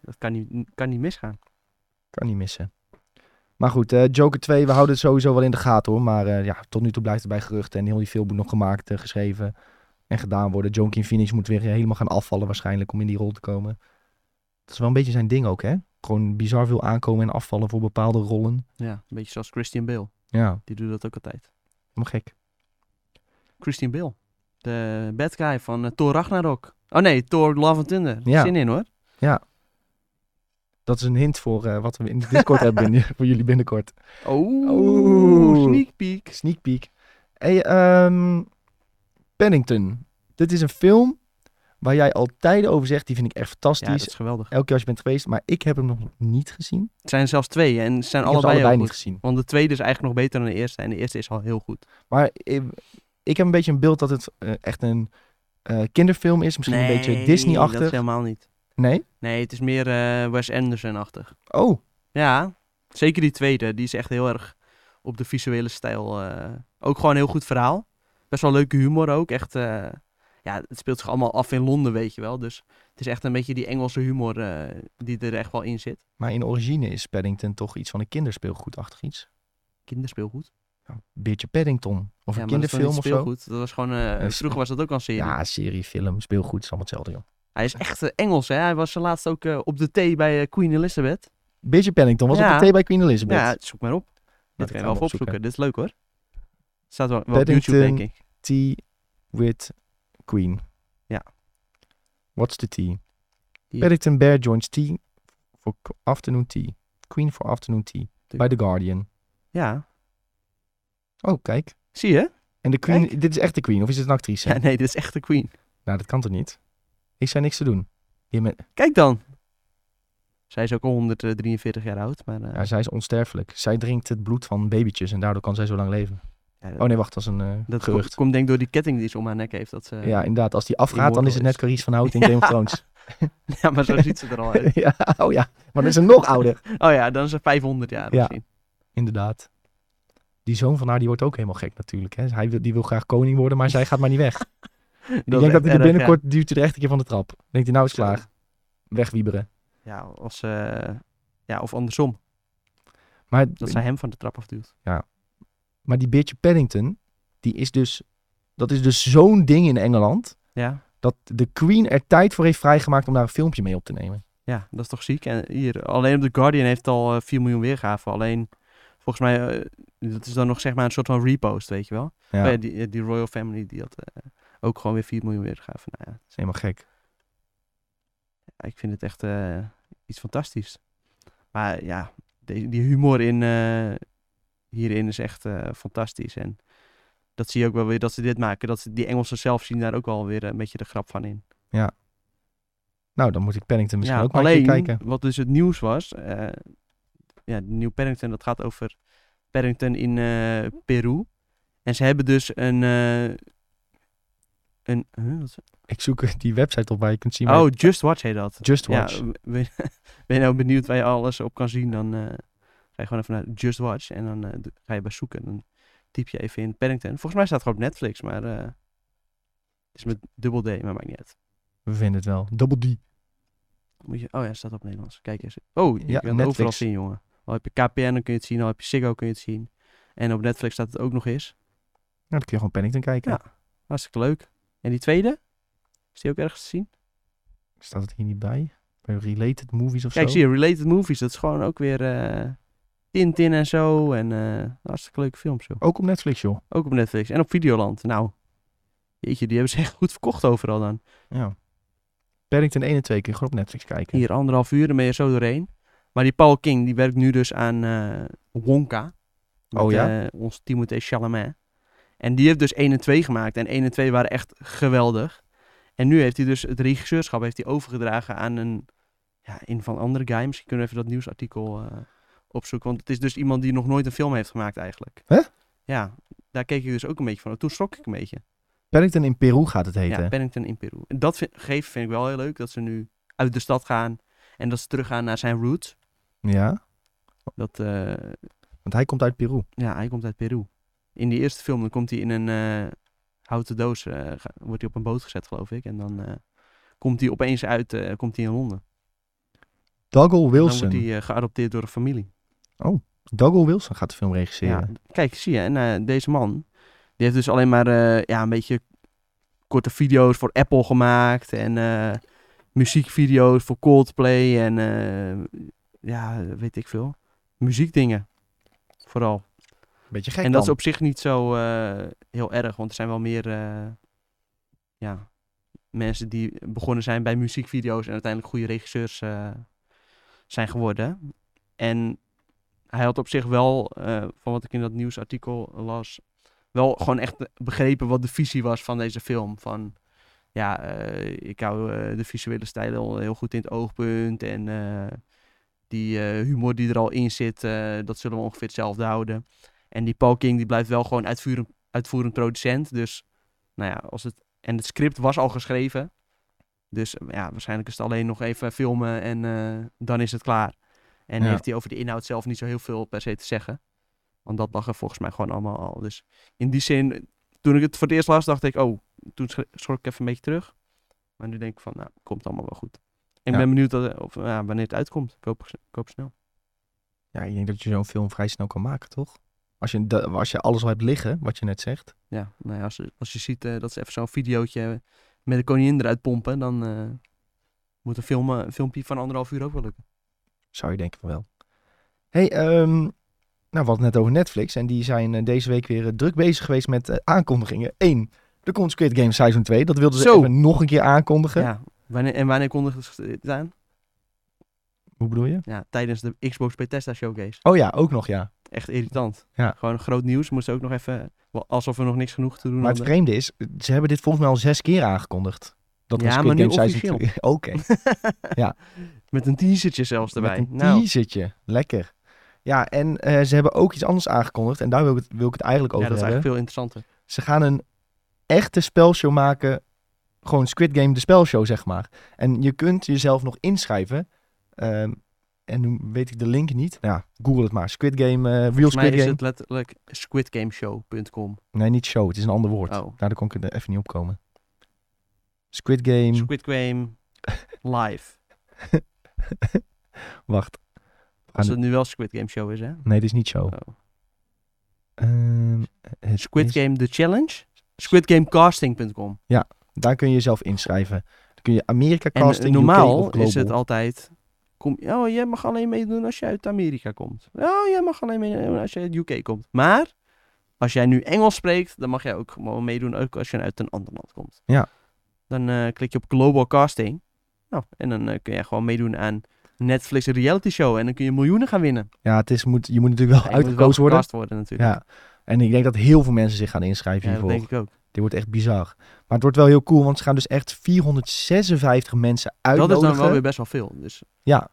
S2: dat kan, niet, kan niet misgaan.
S1: kan niet missen. Maar goed, eh, Joker 2, we houden het sowieso wel in de gaten hoor. Maar eh, ja, tot nu toe blijft het bij geruchten. En heel die film moet nog gemaakt, eh, geschreven en gedaan worden. Jonkin Phoenix moet weer helemaal gaan afvallen waarschijnlijk om in die rol te komen. Dat is wel een beetje zijn ding ook, hè? Gewoon bizar veel aankomen en afvallen voor bepaalde rollen.
S2: Ja, een beetje zoals Christian Bale.
S1: Ja,
S2: Die doet dat ook altijd.
S1: helemaal gek.
S2: Christian Bale. De bad guy van eh, Thor Ragnarok. Oh nee, Thor Love and Thunder.
S1: Ja.
S2: Zin in hoor.
S1: Dat is een hint voor eh, wat we in de Discord hebben binnen- voor jullie binnenkort.
S2: Oh,
S1: Oeh.
S2: sneak peek.
S1: Sneak peek. Hey, ehm, Paddington. Dit is een film waar jij al tijden over zegt. Die vind ik echt
S2: Ja, dat
S1: fantastisch.
S2: is geweldig.
S1: elke keer als je bent geweest, maar ik heb hem nog niet gezien.
S2: Het zijn er zelfs twee en ze zijn
S1: ik heb ze
S2: allebei,
S1: allebei
S2: heel
S1: niet
S2: goed.
S1: gezien.
S2: Want de tweede is eigenlijk nog beter dan de eerste en de eerste is al heel goed.
S1: Maar ik, ik heb een beetje een beeld dat het eh, echt een eh, kinderfilm is, misschien een beetje
S2: dat is
S1: Disney-achtig.
S2: helemaal niet.
S1: Nee?
S2: Nee, het is meer eh, Wes Anderson-achtig.
S1: Oh,
S2: Ja, zeker die tweede. Die is echt heel erg op de visuele stijl. eh, ook gewoon een heel goed verhaal. Best wel leuke humor ook. Echt, eh, ja, het speelt zich allemaal af in Londen, weet je wel. Dus het is echt een beetje die Engelse humor eh, die er echt wel in zit.
S1: maar in origine is Paddington toch iets van een kinderspeelgoedachtig iets.
S2: Kinderspeelgoed.
S1: Ja, een beetje Paddington. Of een
S2: maar dat is wel
S1: kinderfilm
S2: niet
S1: of zo.
S2: speelgoed. Dat was gewoon, eh,
S1: Eh,
S2: vroeger was dat ook al een serie.
S1: Ja, serie, film, speelgoed, is allemaal hetzelfde, joh.
S2: Hij is echt eh, Engels, hè. Hij was eh, laatst ook eh, op de thee bij eh, Queen Elizabeth.
S1: Beetje Paddington was
S2: Ja.
S1: op de thee bij Queen Elizabeth.
S2: Ja, zoek maar op. Dit
S1: ik
S2: kan je
S1: ga
S2: wel
S1: hem
S2: even opzoeken.
S1: opzoeken.
S2: Dit is leuk, hoor. Staat wel, wel op YouTube,
S1: Paddington.
S2: denk ik.
S1: Tea with Queen.
S2: Ja.
S1: What's the tea?
S2: Hier.
S1: Paddington Bear joins tea for co- afternoon tea. Queen for afternoon tea. Bij The Guardian.
S2: Ja,
S1: Oh, kijk.
S2: zie je?
S1: En de Queen,
S2: Kijk.
S1: dit is echt de Queen of is het een actrice?
S2: Ja, nee, dit is echt de Queen.
S1: Nou, dat kan toch niet? Ik zei niks te doen. Hier met,
S2: Kijk dan. Zij is ook al 143 jaar oud, maar... eh,
S1: ja, zij is onsterfelijk. Zij drinkt het bloed van babytjes en daardoor kan zij zo lang leven.
S2: ja, dat,
S1: Oh nee, wacht, dat is een eh,
S2: dat
S1: gerucht.
S2: komt denk ik door die ketting die ze om haar nek heeft. Dat ze, ja.
S1: Ja, inderdaad. Als die afgaat, dan is het
S2: Immortal
S1: net Carice
S2: is.
S1: van Hout in Game of Thrones.
S2: maar zo ziet ze er al uit.
S1: ja, oh ja. Maar dan is ze nog ouder.
S2: Oh ja, dan is ze 500 jaar
S1: Ja.
S2: misschien.
S1: Inderdaad. Die zoon van haar, die wordt ook helemaal gek natuurlijk. Hè? Hij wil, die wil graag koning worden, maar zij gaat maar niet weg. Ik
S2: is
S1: denk dat
S2: echt
S1: hij er
S2: erg,
S1: binnenkort duwt hij er echt een keer van de trap. Dan Denkt hij, nou is het klaar. Wegwieberen.
S2: Ja, ja, als, eh, ja of andersom.
S1: Maar,
S2: Dat zij hem van de trap afduwt.
S1: maar die bitch Paddington, die is dus... Dat is dus zo'n ding in Engeland.
S2: Ja.
S1: dat de Queen er tijd voor heeft vrijgemaakt om daar een filmpje mee op te nemen.
S2: ja, dat is toch ziek. En hier, alleen op The Guardian heeft al eh, 4 miljoen weergaven. Alleen, volgens mij, eh, dat is dan nog zeg maar een soort van repost, weet je wel.
S1: Ja,
S2: Oh ja,
S1: dat
S2: die, eh, die Royal Family, die had eh, ook gewoon weer 4 miljoen weergaven. Nou ja,
S1: is helemaal gek.
S2: Ja, ik vind het echt eh, iets fantastisch. Maar ja, de- die humor in, eh, hierin is echt eh, fantastisch. En dat zie je ook wel weer dat ze dit maken. Dat ze, die Engelsen zelf zien daar ook wel weer een beetje de grap van in.
S1: Nou, dan moet ik Pennington misschien
S2: ja,
S1: ook maar een
S2: alleen,
S1: keer kijken.
S2: wat dus het nieuws was... eh, ja, Nieuw Paddington, dat gaat over Paddington in eh, Peru. En ze hebben dus een... eh, een huh, wat is het?
S1: Ik zoek die website op waar je kunt zien. waar
S2: oh, Just Watch heet dat.
S1: Just Watch.
S2: Ja, ben, ben je nou benieuwd waar je alles op kan zien, dan eh, ga je gewoon even naar Just Watch en dan eh, d- ga je bij zoeken. Dan typ je even in Paddington. Volgens mij staat het gewoon op Netflix, maar eh is met dubbel D, maar maakt niet uit.
S1: We vinden het wel. Double D. Nou,
S2: Moet je, oh ja, het staat op Nederlands. Kijk eens. Oh, je
S1: Ja,
S2: kan het overal
S1: Netflix.
S2: zien, jongen. Al heb je KPN, dan kun je het zien. Al heb je Ziggo, kun je het zien. En op Netflix staat het ook nog eens.
S1: Nou, dan kun je gewoon Pennington kijken.
S2: Ja. Hartstikke leuk. En die tweede? Is die ook ergens te zien?
S1: Staat het hier niet bij? Bij related movies of
S2: Kijk,
S1: zo?
S2: zie je, Related Movies. Dat is gewoon ook weer eh, Tintin en zo. En eh, hartstikke leuke films, joh.
S1: Ook op Netflix, joh.
S2: Ook op Netflix. En op Videoland. Nou, jeetje, die hebben ze echt goed verkocht overal dan.
S1: Ja. Paddington 1 en 2 kun je gewoon op Netflix kijken.
S2: Hier anderhalf uur, dan ben je zo doorheen. Maar die Paul King, die werkt nu dus aan eh, Wonka. Met,
S1: Oh ja?
S2: eh, ons Timothée Chalamet. En die heeft dus 1 en 2 gemaakt. En 1 en 2 waren echt geweldig. En nu heeft hij dus het regisseurschap heeft hij overgedragen aan een, ja, een van andere guy. Misschien kunnen we even dat nieuwsartikel eh, opzoeken. Want het is dus iemand die nog nooit een film heeft gemaakt eigenlijk.
S1: Hè?
S2: Ja, daar keek ik dus ook een beetje van. Toen schrok ik een beetje.
S1: Paddington in Peru gaat het heten.
S2: Ja, Paddington in Peru. En dat vind, geef, vind ik wel heel leuk, dat ze nu uit de stad gaan en dat ze teruggaan naar zijn roots.
S1: ja,
S2: Dat, eh,
S1: want hij komt uit Peru.
S2: ja, hij komt uit Peru. In die eerste film dan komt hij in een eh, houten doos, eh, ga- wordt hij op een boot gezet geloof ik. En dan eh, komt hij opeens uit, eh, komt hij in Londen.
S1: Dougal Wilson.
S2: Dan wordt hij eh, geadopteerd door een familie.
S1: Dougal Wilson gaat de film regisseren.
S2: Ja, kijk, zie je, en eh, deze man, die heeft dus alleen maar eh, ja, een beetje korte video's voor Apple gemaakt en eh, muziekvideo's voor Coldplay en eh, ja, weet ik veel. Muziekdingen, vooral.
S1: Beetje gek
S2: en dat is
S1: dan.
S2: op zich niet zo eh, heel erg, want er zijn wel meer eh, ja, mensen die begonnen zijn bij muziekvideo's en uiteindelijk goede regisseurs eh, zijn geworden. En hij had op zich wel, eh, van wat ik in dat nieuwsartikel las, wel gewoon echt begrepen wat de visie was van deze film. Van ja, eh, ik hou eh, de visuele stijl heel goed in het oogpunt en eh, die eh, humor die er al in zit, eh, dat zullen we ongeveer hetzelfde houden. En die Paul King die blijft wel gewoon uitvoerend, uitvoerend producent. Dus nou ja, als het. En het script was al geschreven. Dus eh, ja, waarschijnlijk is het alleen nog even filmen en eh, dan is het klaar. En
S1: Ja.
S2: heeft hij over de inhoud zelf niet zo heel veel per se te zeggen. Want dat lag er volgens mij gewoon allemaal al. Dus in die zin, eh, toen ik het voor het eerst las, dacht ik, oh, toen schri- schrok ik even een beetje terug. Maar nu denk ik van, nou, komt allemaal wel goed. Ik
S1: Ja.
S2: ben benieuwd dat, of, ja, wanneer het uitkomt. Ik hoop, ik hoop snel.
S1: Ja, ik denk dat je zo'n film vrij snel kan maken, toch? Als je, da- als je alles al hebt liggen, wat je net zegt.
S2: Ja, nou ja, als, als je ziet eh, dat ze even zo'n videootje eh, met de koningin eruit pompen, dan eh, moet een, film, eh, een filmpje van anderhalf uur ook wel lukken.
S1: Zou je denken van wel. hey, ehm, nou, we hadden het net over Netflix. En die zijn eh, deze week weer eh, druk bezig geweest met eh, aankondigingen. Eén, de komt Squid Game Seizoen 2. Dat wilden ze
S2: Zo.
S1: even nog een keer aankondigen.
S2: Ja, wanneer, en wanneer kondigde ze dit aan?
S1: Hoe bedoel je?
S2: Ja, tijdens de Xbox Bethesda Showcase.
S1: Oh ja, ook nog ja.
S2: Echt irritant.
S1: Ja.
S2: Gewoon groot nieuws, moesten ook nog even, wel alsof we nog niks genoeg te doen
S1: Maar het
S2: hadden.
S1: vreemde is, ze hebben dit volgens mij al zes keer aangekondigd. Dat
S2: Ja,
S1: was Squid
S2: maar nu
S1: Game Seizoen
S2: officieel.
S1: 2. Oké,
S2: Met een teasertje zelfs erbij.
S1: met een
S2: nou,
S1: teasertje. Lekker. Ja, en eh, ze hebben ook iets anders aangekondigd. En daar wil ik het, wil ik het eigenlijk
S2: ja,
S1: over
S2: dat is
S1: hebben.
S2: eigenlijk veel interessanter.
S1: Ze gaan een echte spelshow maken. Gewoon Squid Game, de spelshow, zeg maar. En je kunt jezelf nog inschrijven. Ehm, en nu weet ik de link niet. Nou, ja, google het maar. Squid Game, eh, Real
S2: Volgens mij
S1: Squid
S2: is
S1: Game.
S2: het letterlijk squidgameshow.com.
S1: Nee, niet show. Het is een ander woord.
S2: Oh.
S1: Nou, daar kon ik er even niet op komen. Squid Game.
S2: Squid Game live.
S1: Wacht.
S2: Als
S1: de-
S2: het nu wel Squid Game Show is, hè?
S1: Nee, dit is niet show.
S2: Oh.
S1: Ehm, het
S2: Squid
S1: is-
S2: Game The Challenge? Squidgamecasting.com.
S1: Daar kun je jezelf inschrijven. Dan kun je Amerika
S2: En
S1: casting,
S2: eh,
S1: UK
S2: normaal
S1: of global.
S2: is het altijd... Kom, oh, jij mag alleen meedoen als je uit Amerika komt. Oh, jij mag alleen meedoen als je uit UK komt. Maar als jij nu Engels spreekt, dan mag jij ook gewoon meedoen ook als je uit een ander land komt.
S1: Ja.
S2: Dan eh, klik je op Global Casting. Nou, en dan eh, kun jij gewoon meedoen aan Netflix een reality show en dan kun je miljoenen gaan winnen.
S1: Ja, het is, moet, je moet natuurlijk wel
S2: Ja, je moet wel
S1: uitgekozen worden.
S2: gecast worden natuurlijk.
S1: Ja. En ik denk dat heel veel mensen zich gaan inschrijven
S2: Ja, dat
S1: hiervoor.
S2: denk ik ook.
S1: Dit wordt echt bizar. Maar het wordt wel heel cool, want ze gaan dus echt 456 mensen
S2: Dat
S1: uitnodigen.
S2: is dan wel weer best wel veel. Dus,
S1: Ja.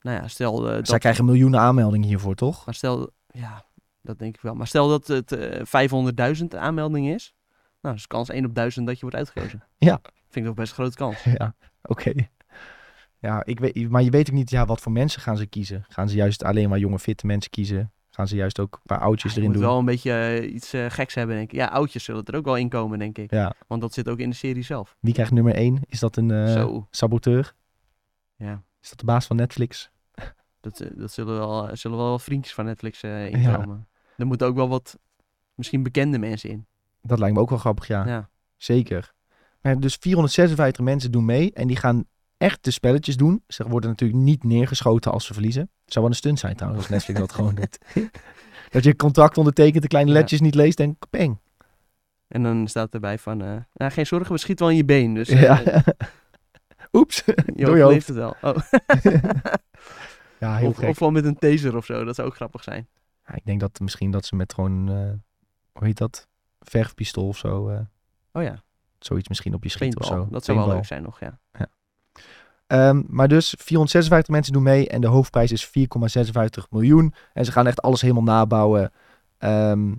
S2: Nou ja, stel eh, dat...
S1: Zij krijgen miljoenen aanmeldingen hiervoor, toch?
S2: Maar stel... Ja, dat denk ik wel. Maar stel dat het eh 500.000 aanmelding is. Nou, is kans 1 op 1000 dat je wordt uitgekozen.
S1: Ja.
S2: Vind ik nog best een grote kans.
S1: Ja, oké. Ja, ik weet, maar je weet ook niet ja, wat voor mensen gaan ze kiezen. Gaan ze juist alleen maar jonge, fitte mensen kiezen? Gaan ze juist ook een paar oudjes
S2: Je
S1: erin
S2: moet
S1: doen?
S2: wel een beetje eh, iets eh, geks hebben, denk ik. Ja, oudjes zullen er ook wel in komen, denk ik.
S1: Ja.
S2: Want dat zit ook in de serie zelf.
S1: Wie krijgt nummer 1? Is dat een eh,
S2: Zo.
S1: saboteur?
S2: Ja.
S1: Is dat de baas van Netflix?
S2: Dat, eh, dat zullen, wel, er zullen wel wat vriendjes van Netflix eh,
S1: Ja.
S2: inkomen. Er moeten ook wel wat, misschien bekende mensen in.
S1: Dat lijkt me ook wel grappig, ja.
S2: Ja.
S1: Zeker. Maar dus 456 mensen doen mee en die gaan echt de spelletjes doen. Ze worden natuurlijk niet neergeschoten als ze verliezen. Het zou wel een stunt zijn trouwens, als Netflix dat gewoon doet. dat je een contract ondertekent, de kleine
S2: Ja.
S1: letjes niet leest en peng.
S2: En dan staat erbij van, eh, nou, geen zorgen, we schieten wel in je been. Dus eh,
S1: Ja. Oeps.
S2: je
S1: Door je hoofd.
S2: overleeft het wel. Oh,
S1: Ja, heel
S2: of,
S1: gek.
S2: of wel met een taser of zo, dat zou ook grappig zijn.
S1: Ja, ik denk dat misschien dat ze met gewoon, eh, hoe heet dat? Verfpistool of zo. eh,
S2: Oh ja,
S1: zoiets misschien op je schiet of
S2: paintball.
S1: zo.
S2: Dat zou wel
S1: Paintball.
S2: leuk zijn nog, ja.
S1: Ehm, maar dus 456 mensen doen mee en de hoofdprijs is 4,56 miljoen. En ze gaan echt alles helemaal nabouwen. Ehm,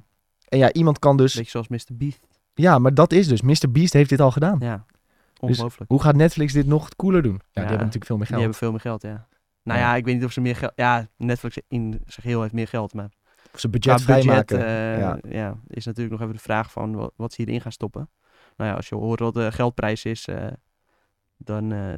S1: en ja, iemand kan dus...
S2: Beetje zoals Mr. Beast.
S1: Ja, maar dat is dus. Mr. Beast heeft dit al gedaan.
S2: Ja, ongelooflijk.
S1: Hoe gaat Netflix dit nog cooler doen? Ja, die hebben natuurlijk veel meer
S2: Die
S1: geld.
S2: hebben veel meer dus geld, ja. Nou
S1: Ja.
S2: ja. ik weet niet of ze meer geld... Ja, Netflix in zich heel heeft meer geld, maar...
S1: Of ze budget
S2: qua budget,
S1: vrijmaken.
S2: eh,
S1: ja.
S2: ja. is natuurlijk nog even de vraag van wat, wat ze hierin gaan stoppen. Nou ja, als je hoort wat de geldprijs is, eh, dan eh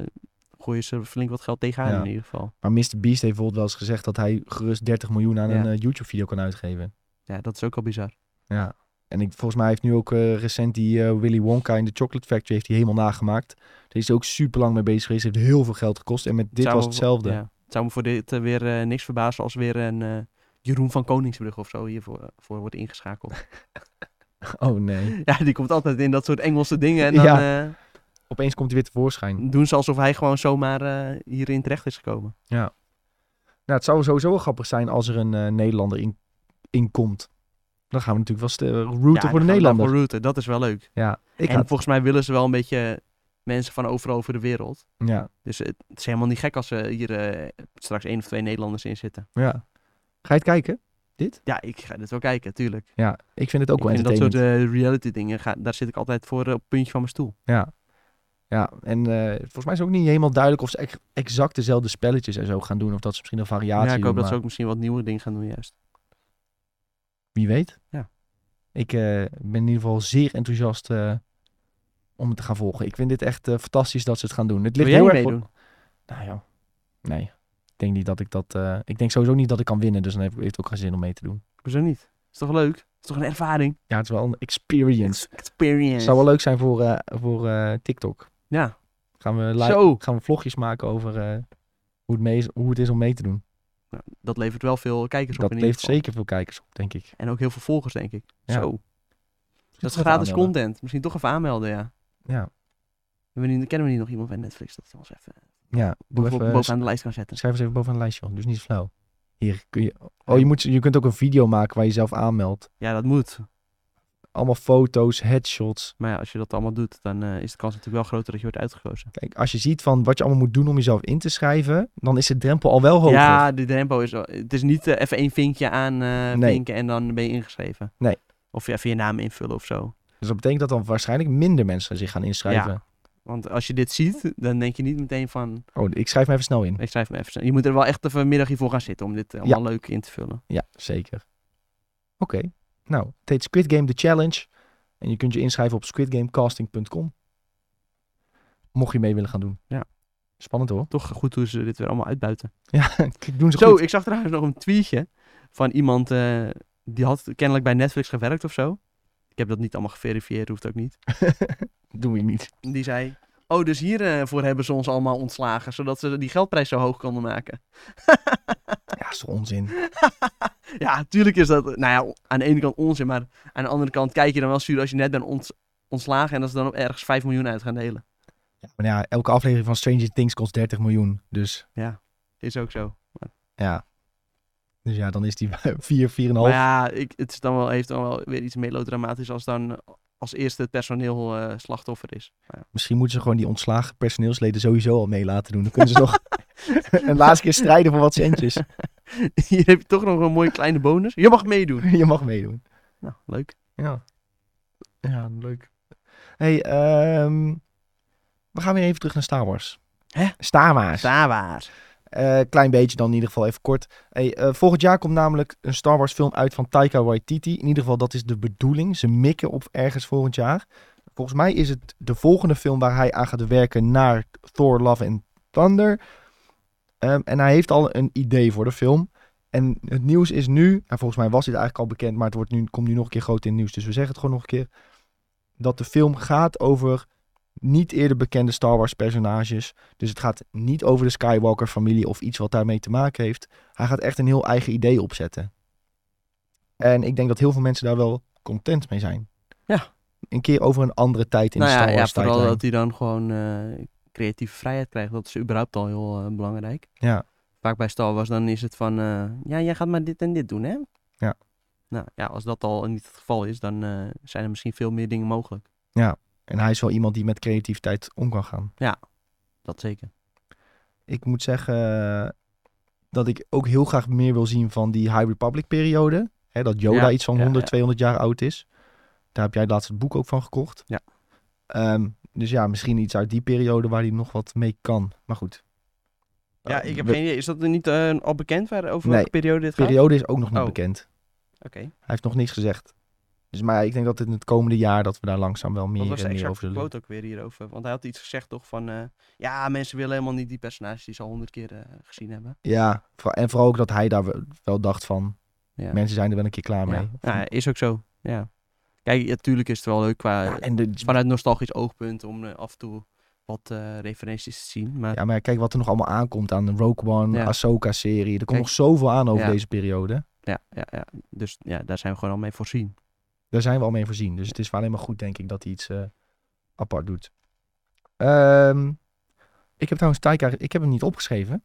S2: gooien ze flink wat geld tegenaan
S1: Ja.
S2: in ieder geval.
S1: Maar Mr. Beast heeft bijvoorbeeld wel eens gezegd dat hij gerust 30 miljoen aan
S2: Ja.
S1: een eh, YouTube-video kan uitgeven.
S2: Ja, dat is ook al bizar.
S1: Ja. En ik, volgens mij heeft nu ook eh, recent die eh, Willy Wonka in de Chocolate Factory heeft hij helemaal nagemaakt. Daar is hij ook super lang mee bezig geweest. Heeft heel veel geld gekost. En met dit
S2: Zou
S1: was
S2: me-
S1: hetzelfde.
S2: Ja, het zou me voor dit eh, weer eh, niks verbazen als weer een eh, Jeroen van Koningsbrug of zo hiervoor eh, voor wordt ingeschakeld.
S1: Oh nee.
S2: ja, die komt altijd in dat soort Engelse dingen en dan
S1: Ja.
S2: eh,
S1: Opeens komt hij weer tevoorschijn.
S2: doen ze alsof hij gewoon zomaar eh, hierin terecht is gekomen.
S1: Nou, het zou sowieso wel grappig zijn als er een eh, Nederlander in, in komt. Dan gaan we natuurlijk wel st- eh,
S2: Ja,
S1: routen
S2: dan
S1: voor de
S2: gaan we
S1: Nederlander.
S2: daarvoor routen, dat is wel leuk.
S1: Ja, ik
S2: en
S1: had,
S2: volgens mij willen ze wel een beetje mensen van overal over de wereld.
S1: ja,
S2: Dus het, het is helemaal niet gek als er hier eh, straks één of twee Nederlanders in zitten.
S1: ja. Ga je het kijken?
S2: Ja, ik ga dit wel kijken, tuurlijk.
S1: Ja, ik vind het ook
S2: Ik
S1: wel
S2: vind dat soort
S1: entertainment.
S2: eh, reality dingen, ga, daar zit ik altijd voor eh, op het puntje van mijn stoel.
S1: Ja. Ja, en eh, volgens mij is het ook niet helemaal duidelijk of ze ex- exact dezelfde spelletjes en zo gaan doen. Of dat ze misschien een
S2: Ja,
S1: variatie
S2: ik
S1: doen,
S2: hoop dat ze
S1: maar
S2: ook misschien wat nieuwe dingen gaan doen juist.
S1: Wie weet.
S2: Ja.
S1: Ik eh, ben in ieder geval zeer enthousiast eh, om het te gaan volgen. Ik vind dit echt eh, fantastisch dat ze het gaan doen. Het
S2: Wil
S1: ligt
S2: jij
S1: heel erg voor-
S2: meedoen?
S1: Nou ja, nee. Ik denk niet dat ik dat... eh, ik denk sowieso niet dat ik kan winnen, dus dan heb ik heeft het ook geen zin om mee te doen.
S2: Hoezo niet? Is toch leuk? Is toch een ervaring?
S1: Ja, het is wel een experience.
S2: Experience.
S1: zou wel leuk zijn voor, eh, voor eh, TikTok.
S2: Ja,
S1: Gaan we, li-
S2: zo.
S1: gaan we vlogjes maken over eh, hoe, het mee is, hoe het is om mee te doen.
S2: Nou, dat levert wel veel kijkers op
S1: Dat
S2: in ieder
S1: levert
S2: geval.
S1: zeker veel kijkers op, denk ik.
S2: En ook heel veel volgers, denk ik.
S1: Ja.
S2: Zo. Dat is
S1: Even
S2: gratis
S1: aanmelden.
S2: content. Misschien toch even aanmelden, ja.
S1: Ja.
S2: Hebben we niet- Kennen we niet nog iemand bij Netflix dat ons even
S1: Ja, doe
S2: boven-
S1: even, eh,
S2: bovenaan de lijst kan zetten?
S1: schrijf eens even boven een lijstje, joh. dus niet flauw. Hier kun je... Oh, je, moet, je kunt ook een video maken waar je zelf aanmeldt.
S2: Ja, dat moet.
S1: Allemaal foto's, headshots.
S2: Maar ja, als je dat allemaal doet, dan eh, is de kans natuurlijk wel groter dat je wordt uitgekozen.
S1: Kijk, als je ziet van wat je allemaal moet doen om jezelf in te schrijven, dan is de drempel al wel hoger.
S2: Ja, de tempo is wel... Het is niet eh, even één vinkje aan eh
S1: Nee.
S2: vinken en dan ben je ingeschreven.
S1: Nee.
S2: Of je even je naam invullen of zo.
S1: Dus dat betekent dat dan waarschijnlijk minder mensen zich gaan inschrijven.
S2: Want als je dit ziet, dan denk je niet meteen van...
S1: Oh, ik schrijf me even snel in.
S2: Ik schrijf me even... Je moet er wel echt even een middag hiervoor gaan zitten om dit eh, allemaal leuk in te vullen.
S1: Ja, zeker. Oké. Nou, het heet Squid Game The Challenge. En je kunt je inschrijven op squidgamecasting.com. Mocht je mee willen gaan doen.
S2: Ja.
S1: Spannend hoor.
S2: Toch goed hoe ze dit weer allemaal uitbuiten.
S1: Ja, kijk, doen ze
S2: Zo,
S1: goed.
S2: ik zag trouwens nog een tweetje van iemand eh, die had kennelijk bij Netflix gewerkt of zo. Ik heb dat niet allemaal geverifieerd, hoeft ook niet.
S1: Doen we niet.
S2: Die zei, oh, dus hiervoor hebben ze ons allemaal ontslagen, zodat ze die geldprijs zo hoog konden maken.
S1: Ja, is toch onzin.
S2: Ja, tuurlijk is dat, eh, nou ja, aan de ene kant onzin, maar aan de andere kant kijk je dan wel zuur als je net bent ont- ontslagen en dat ze dan op ergens 5 miljoen uit gaan delen.
S1: Ja, maar ja, elke aflevering van Stranger Things kost 30 miljoen. Dus
S2: Ja. Is ook zo. Maar,
S1: Ja. Dus ja, dan is die 4, 4,5.
S2: maar ja, ik, het is dan wel, heeft dan wel weer iets melodramatisch als dan als eerste het personeel eh, slachtoffer is. Maar
S1: Misschien moeten ze gewoon die ontslagen personeelsleden sowieso al mee laten doen. Dan kunnen ze nog een laatste keer strijden voor wat centjes.
S2: ja. Hier heb je toch nog een mooie kleine bonus. Je mag meedoen.
S1: Je mag meedoen.
S2: Nou, leuk.
S1: Ja. Ja, leuk. hey, ehm, we gaan weer even terug naar Star Wars.
S2: Hè?
S1: Star Wars.
S2: Sawaar.
S1: Eh, klein beetje dan in ieder geval even kort. Hey, eh, volgend jaar komt namelijk een Star Wars film uit van Taika Waititi. In ieder geval, dat is de bedoeling. Ze mikken op ergens volgend jaar. Volgens mij is het de volgende film waar hij aan gaat werken naar Thor, Love and Thunder. Ehm, en hij heeft al een idee voor de film. En het nieuws is nu, en volgens mij was dit eigenlijk al bekend, maar het wordt nu, komt nu nog een keer groot in het nieuws. Dus we zeggen het gewoon nog een keer. Dat de film gaat over niet eerder bekende Star Wars personages. Dus het gaat niet over de Skywalker familie of iets wat daarmee te maken heeft. Hij gaat echt een heel eigen idee opzetten. En ik denk dat heel veel mensen daar wel content mee zijn.
S2: Ja.
S1: Een keer over een andere tijd in
S2: Nou
S1: de
S2: ja,
S1: Star
S2: ja,
S1: Wars
S2: vooral
S1: tijdlijn.
S2: dat hij dan gewoon eh, creatieve vrijheid krijgt. Dat is überhaupt al heel eh, belangrijk.
S1: Ja.
S2: Vaak bij Star Wars dan is het van, eh, ja, jij gaat maar dit en dit doen, hè?
S1: Ja.
S2: Nou ja, als dat al niet het geval is, dan eh, zijn er misschien veel meer dingen mogelijk.
S1: En hij is wel iemand die met creativiteit om kan gaan.
S2: Dat zeker.
S1: Ik moet zeggen eh, dat ik ook heel graag meer wil zien van die High Republic periode. Hè, dat Yoda
S2: Ja,
S1: iets van
S2: ja,
S1: 100,
S2: ja.
S1: 200 jaar oud is. Daar heb jij laatst het boek ook van gekocht.
S2: Ja.
S1: Ehm, dus ja, misschien iets uit die periode waar hij nog wat mee kan. Maar goed.
S2: Ja,
S1: Eh,
S2: ik heb
S1: we-
S2: geen idee. Is dat niet eh, al bekend waar, over
S1: Nee,
S2: welke periode dit
S1: De periode is ook nog niet
S2: Oh.
S1: bekend.
S2: gaat? Oké.
S1: Hij heeft nog niks gezegd. Dus maar ik denk dat in het komende jaar dat we daar langzaam wel
S2: Wat
S1: meer
S2: was de
S1: en meer over
S2: exacte
S1: zullen.
S2: quote ook weer hierover? Want hij had iets gezegd toch van, eh, ja, mensen willen helemaal niet die personages die ze al honderd keer eh, gezien hebben.
S1: Ja, voor- en vooral ook dat hij daar wel- wel dacht van,
S2: Ja.
S1: mensen zijn er wel een keer klaar mee.
S2: Ja. Ja, is ook zo. Ja. Kijk, natuurlijk is het wel leuk qua,
S1: Ja, ah, en de,
S2: vanuit nostalgisch oogpunt om eh, af en toe wat eh, referenties te zien. Maar
S1: Ja, maar kijk wat er nog allemaal aankomt aan de Rogue One,
S2: Ja.
S1: Ahsoka-serie. Er komt
S2: Kijk.
S1: nog zoveel aan over
S2: Ja.
S1: deze periode.
S2: ja, ja, ja. Dus ja, daar zijn we gewoon al mee voorzien.
S1: Daar zijn we al mee voorzien. Dus het is wel alleen maar goed, denk ik, dat hij iets eh, apart doet. Ehm, ik heb trouwens Taika... Ik heb hem niet opgeschreven.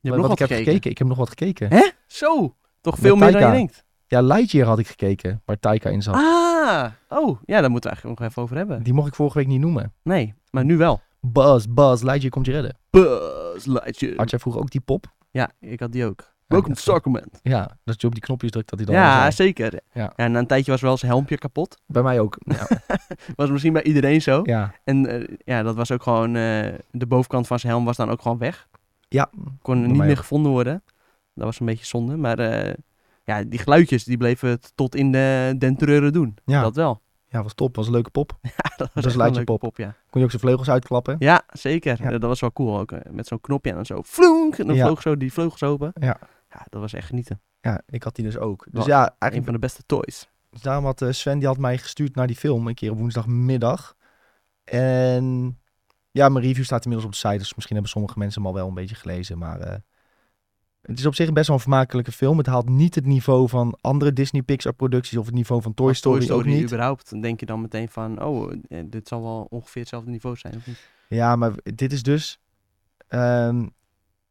S2: Je
S1: want
S2: hebt nog
S1: ik
S2: wat
S1: heb
S2: gekeken.
S1: gekeken. Ik heb nog wat gekeken.
S2: Hè? Zo! Toch veel meer dan je
S1: Taika.
S2: denkt.
S1: Ja, Lightyear had ik gekeken, waar Taika in zat.
S2: Ah! Oh, ja, daar moeten we eigenlijk nog even over hebben.
S1: Die mocht ik vorige week niet noemen.
S2: Nee, maar nu wel.
S1: Buzz, Buzz, Lightyear komt je redden.
S2: Buzz Lightyear.
S1: Had jij vroeger ook die pop?
S2: Ja, ik had die ook. Welkom
S1: dat
S2: to
S1: wel.
S2: Starcommand.
S1: Ja, dat je op die knopjes drukt dat hij dan...
S2: Ja,
S1: al zei.
S2: zeker.
S1: Ja.
S2: En na een tijdje was wel zijn helmpje kapot.
S1: Bij mij ook. Ja.
S2: Was misschien bij iedereen zo.
S1: ja.
S2: En eh, ja, dat was ook gewoon... eh, de bovenkant van zijn helm was dan ook gewoon weg.
S1: Ja.
S2: kon
S1: Bij
S2: niet
S1: mij
S2: meer
S1: ook.
S2: gevonden worden. Dat was een beetje zonde. Maar eh, ja, die geluidjes die bleven het tot in de den treuren doen.
S1: Ja.
S2: Dat wel.
S1: ja, was top. Was een leuke pop.
S2: Ja, dat
S1: is
S2: was echt wel een
S1: Lightyear
S2: leuke
S1: Pop.
S2: ja.
S1: Kon je ook zijn vleugels uitklappen.
S2: ja, zeker.
S1: Ja.
S2: Dat was wel cool ook. eh, Met zo'n knopje en dan zo vloenk. En dan
S1: Ja.
S2: vloog zo die vleugels open.
S1: Ja.
S2: Ja, dat was echt genieten.
S1: Ja, ik had die dus ook. Dus
S2: Wel,
S1: ja,
S2: Een
S1: eigenlijk
S2: van de beste toys.
S1: dus daarom had eh, Sven die had mij gestuurd naar die film een keer op woensdagmiddag. En ja, mijn review staat inmiddels op de site, dus misschien hebben sommige mensen hem al wel een beetje gelezen. Maar eh, het is op zich best wel een vermakelijke film. Het haalt niet het niveau van andere Disney Pixar producties of het niveau van Toy
S2: Maar
S1: Story, ook niet.
S2: überhaupt. Dan denk je dan meteen van, oh, eh, dit zal wel ongeveer hetzelfde niveau zijn. Of niet?
S1: Ja, maar dit is dus ehm,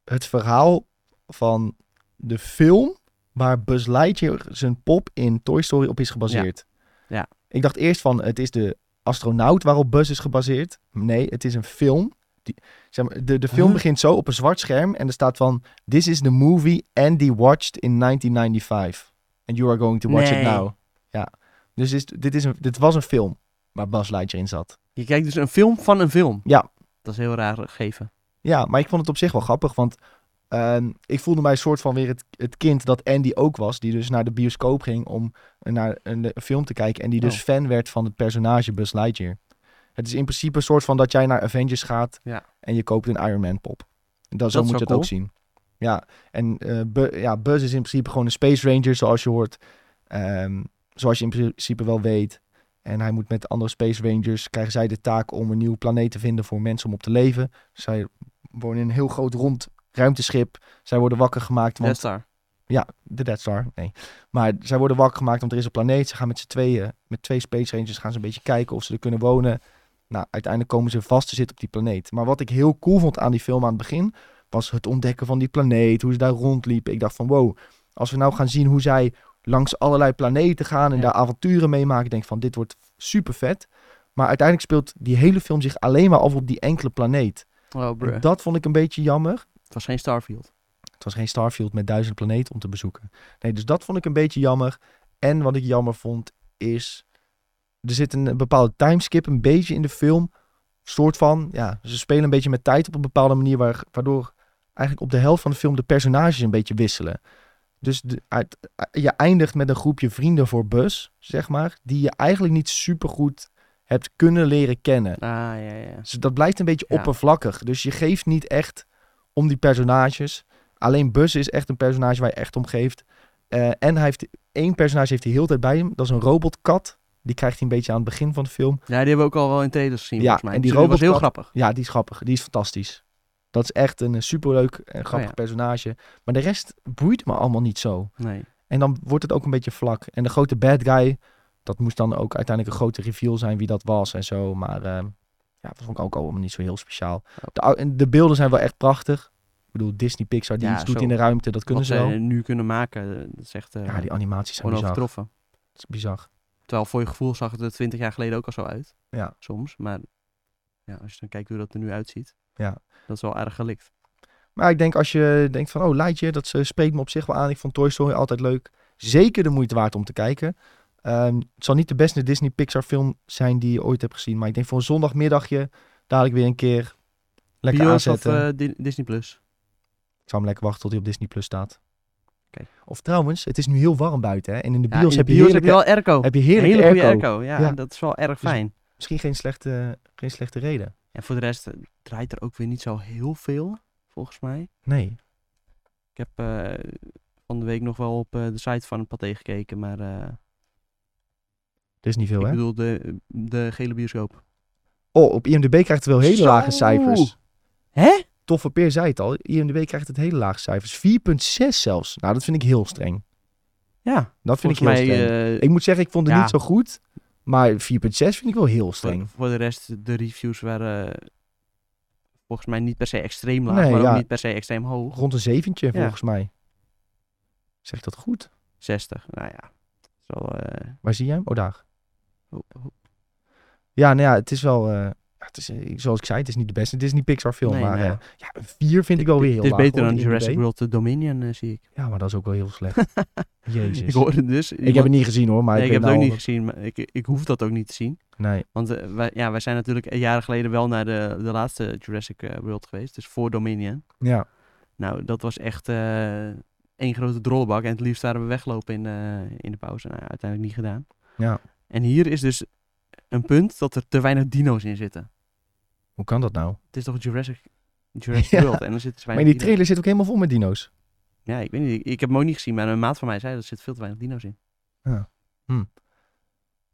S1: het verhaal van de film waar Buzz Lightyear zijn pop in Toy Story op is gebaseerd.
S2: Ja.
S1: Ik dacht eerst van het is de astronaut waarop Buzz is gebaseerd. Nee, het is een film. Die, zeg maar, de, de film
S2: Huh?
S1: begint zo op een zwart scherm en er staat van This is the movie Andy watched in 1995. And you are going to watch
S2: Nee.
S1: it now. Ja. Dus dit, is- dit, is een, dit was een film waar Buzz Lightyear in zat.
S2: Je kijkt dus een film van een film.
S1: Ja.
S2: Dat is heel raar eh, gegeven.
S1: Ja, maar ik vond het op zich wel grappig, want ehm, ik voelde mij soort van weer het, het kind dat Andy ook was, die dus naar de bioscoop ging om naar een, een film te kijken en die dus
S2: Oh.
S1: fan werd van het personage Buzz Lightyear. Het is in principe een soort van dat jij naar Avengers gaat
S2: Ja.
S1: en je koopt een Iron Man pop. Dat, zo
S2: is
S1: moet je
S2: wel
S1: het
S2: cool.
S1: ook zien. Ja, en eh, Bu- ja, Buzz is in principe gewoon een Space Ranger, zoals je hoort. Ehm, zoals je in principe wel weet. En hij moet met andere Space Rangers, krijgen zij de taak om een nieuwe planeet te vinden voor mensen om op te leven. Zij wonen in een heel groot rond ruimteschip. Zij worden wakker gemaakt,
S2: Death
S1: want
S2: Star.
S1: de Dead Star, nee. Maar zij worden wakker gemaakt, want er is een planeet. Ze gaan met z'n tweeën, met twee Space Rangers, gaan ze een beetje kijken of ze er kunnen wonen. Nou, uiteindelijk komen ze vast te zitten op die planeet. Maar wat ik heel cool vond aan die film aan het begin, was het ontdekken van die planeet, hoe ze daar rondliepen. Ik dacht van wow, als we nou gaan zien hoe zij langs allerlei planeten gaan en
S2: Ja.
S1: daar avonturen meemaken, ik denk van dit wordt super vet. Maar uiteindelijk speelt die hele film zich alleen maar af op die enkele planeet.
S2: Oh,
S1: En
S2: bruh.
S1: dat vond ik een beetje jammer.
S2: Het was geen Starfield.
S1: Het was geen Starfield met duizend planeten om te bezoeken. Nee, dus dat vond ik een beetje jammer. En wat ik jammer vond is... Er zit een bepaalde timeskip een beetje in de film. soort van, ja, ze spelen een beetje met tijd op een bepaalde manier... Waar, waardoor eigenlijk op de helft van de film de personages een beetje wisselen. Dus de, uit, je eindigt met een groepje vrienden voor bus, zeg maar... die je eigenlijk niet supergoed hebt kunnen leren kennen.
S2: Ah, ja, ja.
S1: Dus dat blijft een beetje
S2: Ja.
S1: oppervlakkig. Dus je geeft niet echt om die personages. Alleen Bus is echt een personage waar je echt om geeft. Eh, en hij heeft één personage heeft hij heel de tijd bij hem. Dat is een robotkat. Die krijgt hij een beetje aan het begin van de film.
S2: Ja, die hebben we ook al wel in trailers gezien,
S1: Ja,
S2: volgens mij.
S1: en die
S2: Dus was heel
S1: robotkat-
S2: grappig.
S1: Ja, die is grappig. Die is fantastisch. Dat is echt een eh, superleuk en grappig
S2: Oh ja.
S1: personage. Maar de rest boeit me allemaal niet zo.
S2: Nee.
S1: En dan wordt het ook een beetje vlak. En de grote bad guy, dat moest dan ook uiteindelijk een grote reveal zijn wie dat was en zo. Maar ehm, ja, dat vond ik ook allemaal niet zo heel speciaal.
S2: Oh.
S1: De, au- en de beelden zijn wel echt prachtig. Ik bedoel, Disney Pixar, die
S2: Ja,
S1: iets doet
S2: zo.
S1: in de ruimte, dat kunnen
S2: Wat
S1: ze wel.
S2: zij nu kunnen maken, eh, dat is echt eh,
S1: Ja, die animaties zijn bizar. Dat
S2: onovertroffen.
S1: is bizar.
S2: Terwijl voor je gevoel zag het er twintig jaar geleden ook al zo uit.
S1: Ja.
S2: Soms. Maar ja, als je dan kijkt hoe dat er nu uitziet.
S1: Ja.
S2: Dat is wel erg gelikt.
S1: Maar ik denk als je denkt van, oh, Lightyear, dat eh, spreekt me op zich wel aan. Ik vond Toy Story altijd leuk. Zeker de moeite waard om te kijken. Ehm, het zal niet de beste Disney Pixar film zijn die je ooit hebt gezien. Maar ik denk voor een zondagmiddagje dadelijk weer een keer lekker
S2: Bios
S1: aanzetten.
S2: of eh, Di- Disney Plus?
S1: Ik zou hem lekker wachten tot hij op Disney Plus staat.
S2: Oké.
S1: Of trouwens, het is nu heel warm buiten. Hè? En in de
S2: Ja,
S1: bios,
S2: in
S1: heb,
S2: de
S1: je
S2: bios heb
S1: heerlijke,
S2: je wel airco.
S1: heb je
S2: Een
S1: heerlijke
S2: hele goede
S1: airco.
S2: airco. Ja,
S1: Ja.
S2: dat is wel erg
S1: Dus-
S2: fijn.
S1: Misschien geen slechte, geen slechte reden.
S2: En voor de rest eh, draait er ook weer niet zo heel veel, volgens mij.
S1: Nee.
S2: Ik heb eh, van de week nog wel op eh, de site van het paté gekeken, maar eh,
S1: Er is niet veel,
S2: ik
S1: hè?
S2: bedoel de, de gele bioscoop.
S1: Oh, op IMDb krijgt het wel hele
S2: Zo.
S1: lage cijfers.
S2: Hè?
S1: Toffe Peer zei het al. IMDb krijgt het hele lage cijfers. 4,6 zelfs. Nou, dat vind ik heel streng.
S2: Ja,
S1: Dat vind
S2: volgens
S1: ik heel
S2: mij
S1: streng.
S2: eh,
S1: ik moet zeggen, ik vond het
S2: ja.
S1: niet zo goed. Maar 4,6 vind ik wel heel
S2: voor,
S1: streng.
S2: voor de rest, de reviews waren eh, volgens mij niet per se extreem laag,
S1: Nee,
S2: maar
S1: ja.
S2: ook niet per se extreem hoog.
S1: Rond een zeventje,
S2: Ja.
S1: volgens mij. Zeg ik dat goed?
S2: 60, nou ja. Dat is wel, eh,
S1: Waar zie jij hem? Oh, daar.
S2: ho- ho-
S1: Ja, nou ja, het is wel... eh, het is, eh, zoals ik zei, het is niet de beste Disney Pixar film.
S2: nee,
S1: maar
S2: nou ja.
S1: eh, ja, een 4 vind ik wel weer heel
S2: Het is
S1: laag,
S2: beter
S1: hoor,
S2: dan
S1: op
S2: Jurassic
S1: IMDb.
S2: World Dominion, eh, zie ik.
S1: Ja, maar dat is ook wel heel slecht. Jezus.
S2: Ik
S1: Ik,
S2: hoorde dus. iemand-
S1: heb het niet gezien hoor, maar
S2: nee, ik
S1: ik,
S2: heb
S1: weet
S2: het ook
S1: nou al
S2: niet gezien, maar ik, ik hoef dat ook niet te zien.
S1: dat- Nee,
S2: Want eh, wij, ja, wij zijn natuurlijk jaren geleden wel naar de, de laatste Jurassic eh, World geweest. Dus voor Dominion.
S1: ja.
S2: Nou, dat was echt eh, één grote drollenbak. En het liefst waren we weglopen in, eh, in de pauze. Nou, ja, uiteindelijk niet gedaan.
S1: Ja.
S2: En hier is dus een punt dat er te weinig dino's in zitten.
S1: Hoe kan dat nou?
S2: Het is toch Jurassic, Jurassic
S1: Ja.
S2: World en er zitten te
S1: Maar in die
S2: weinig dino's.
S1: trailer zit ook helemaal vol met dino's.
S2: Ja, ik weet niet. Ik, ik heb hem ook niet gezien, maar een maat van mij zei dat er zit veel te weinig dino's in.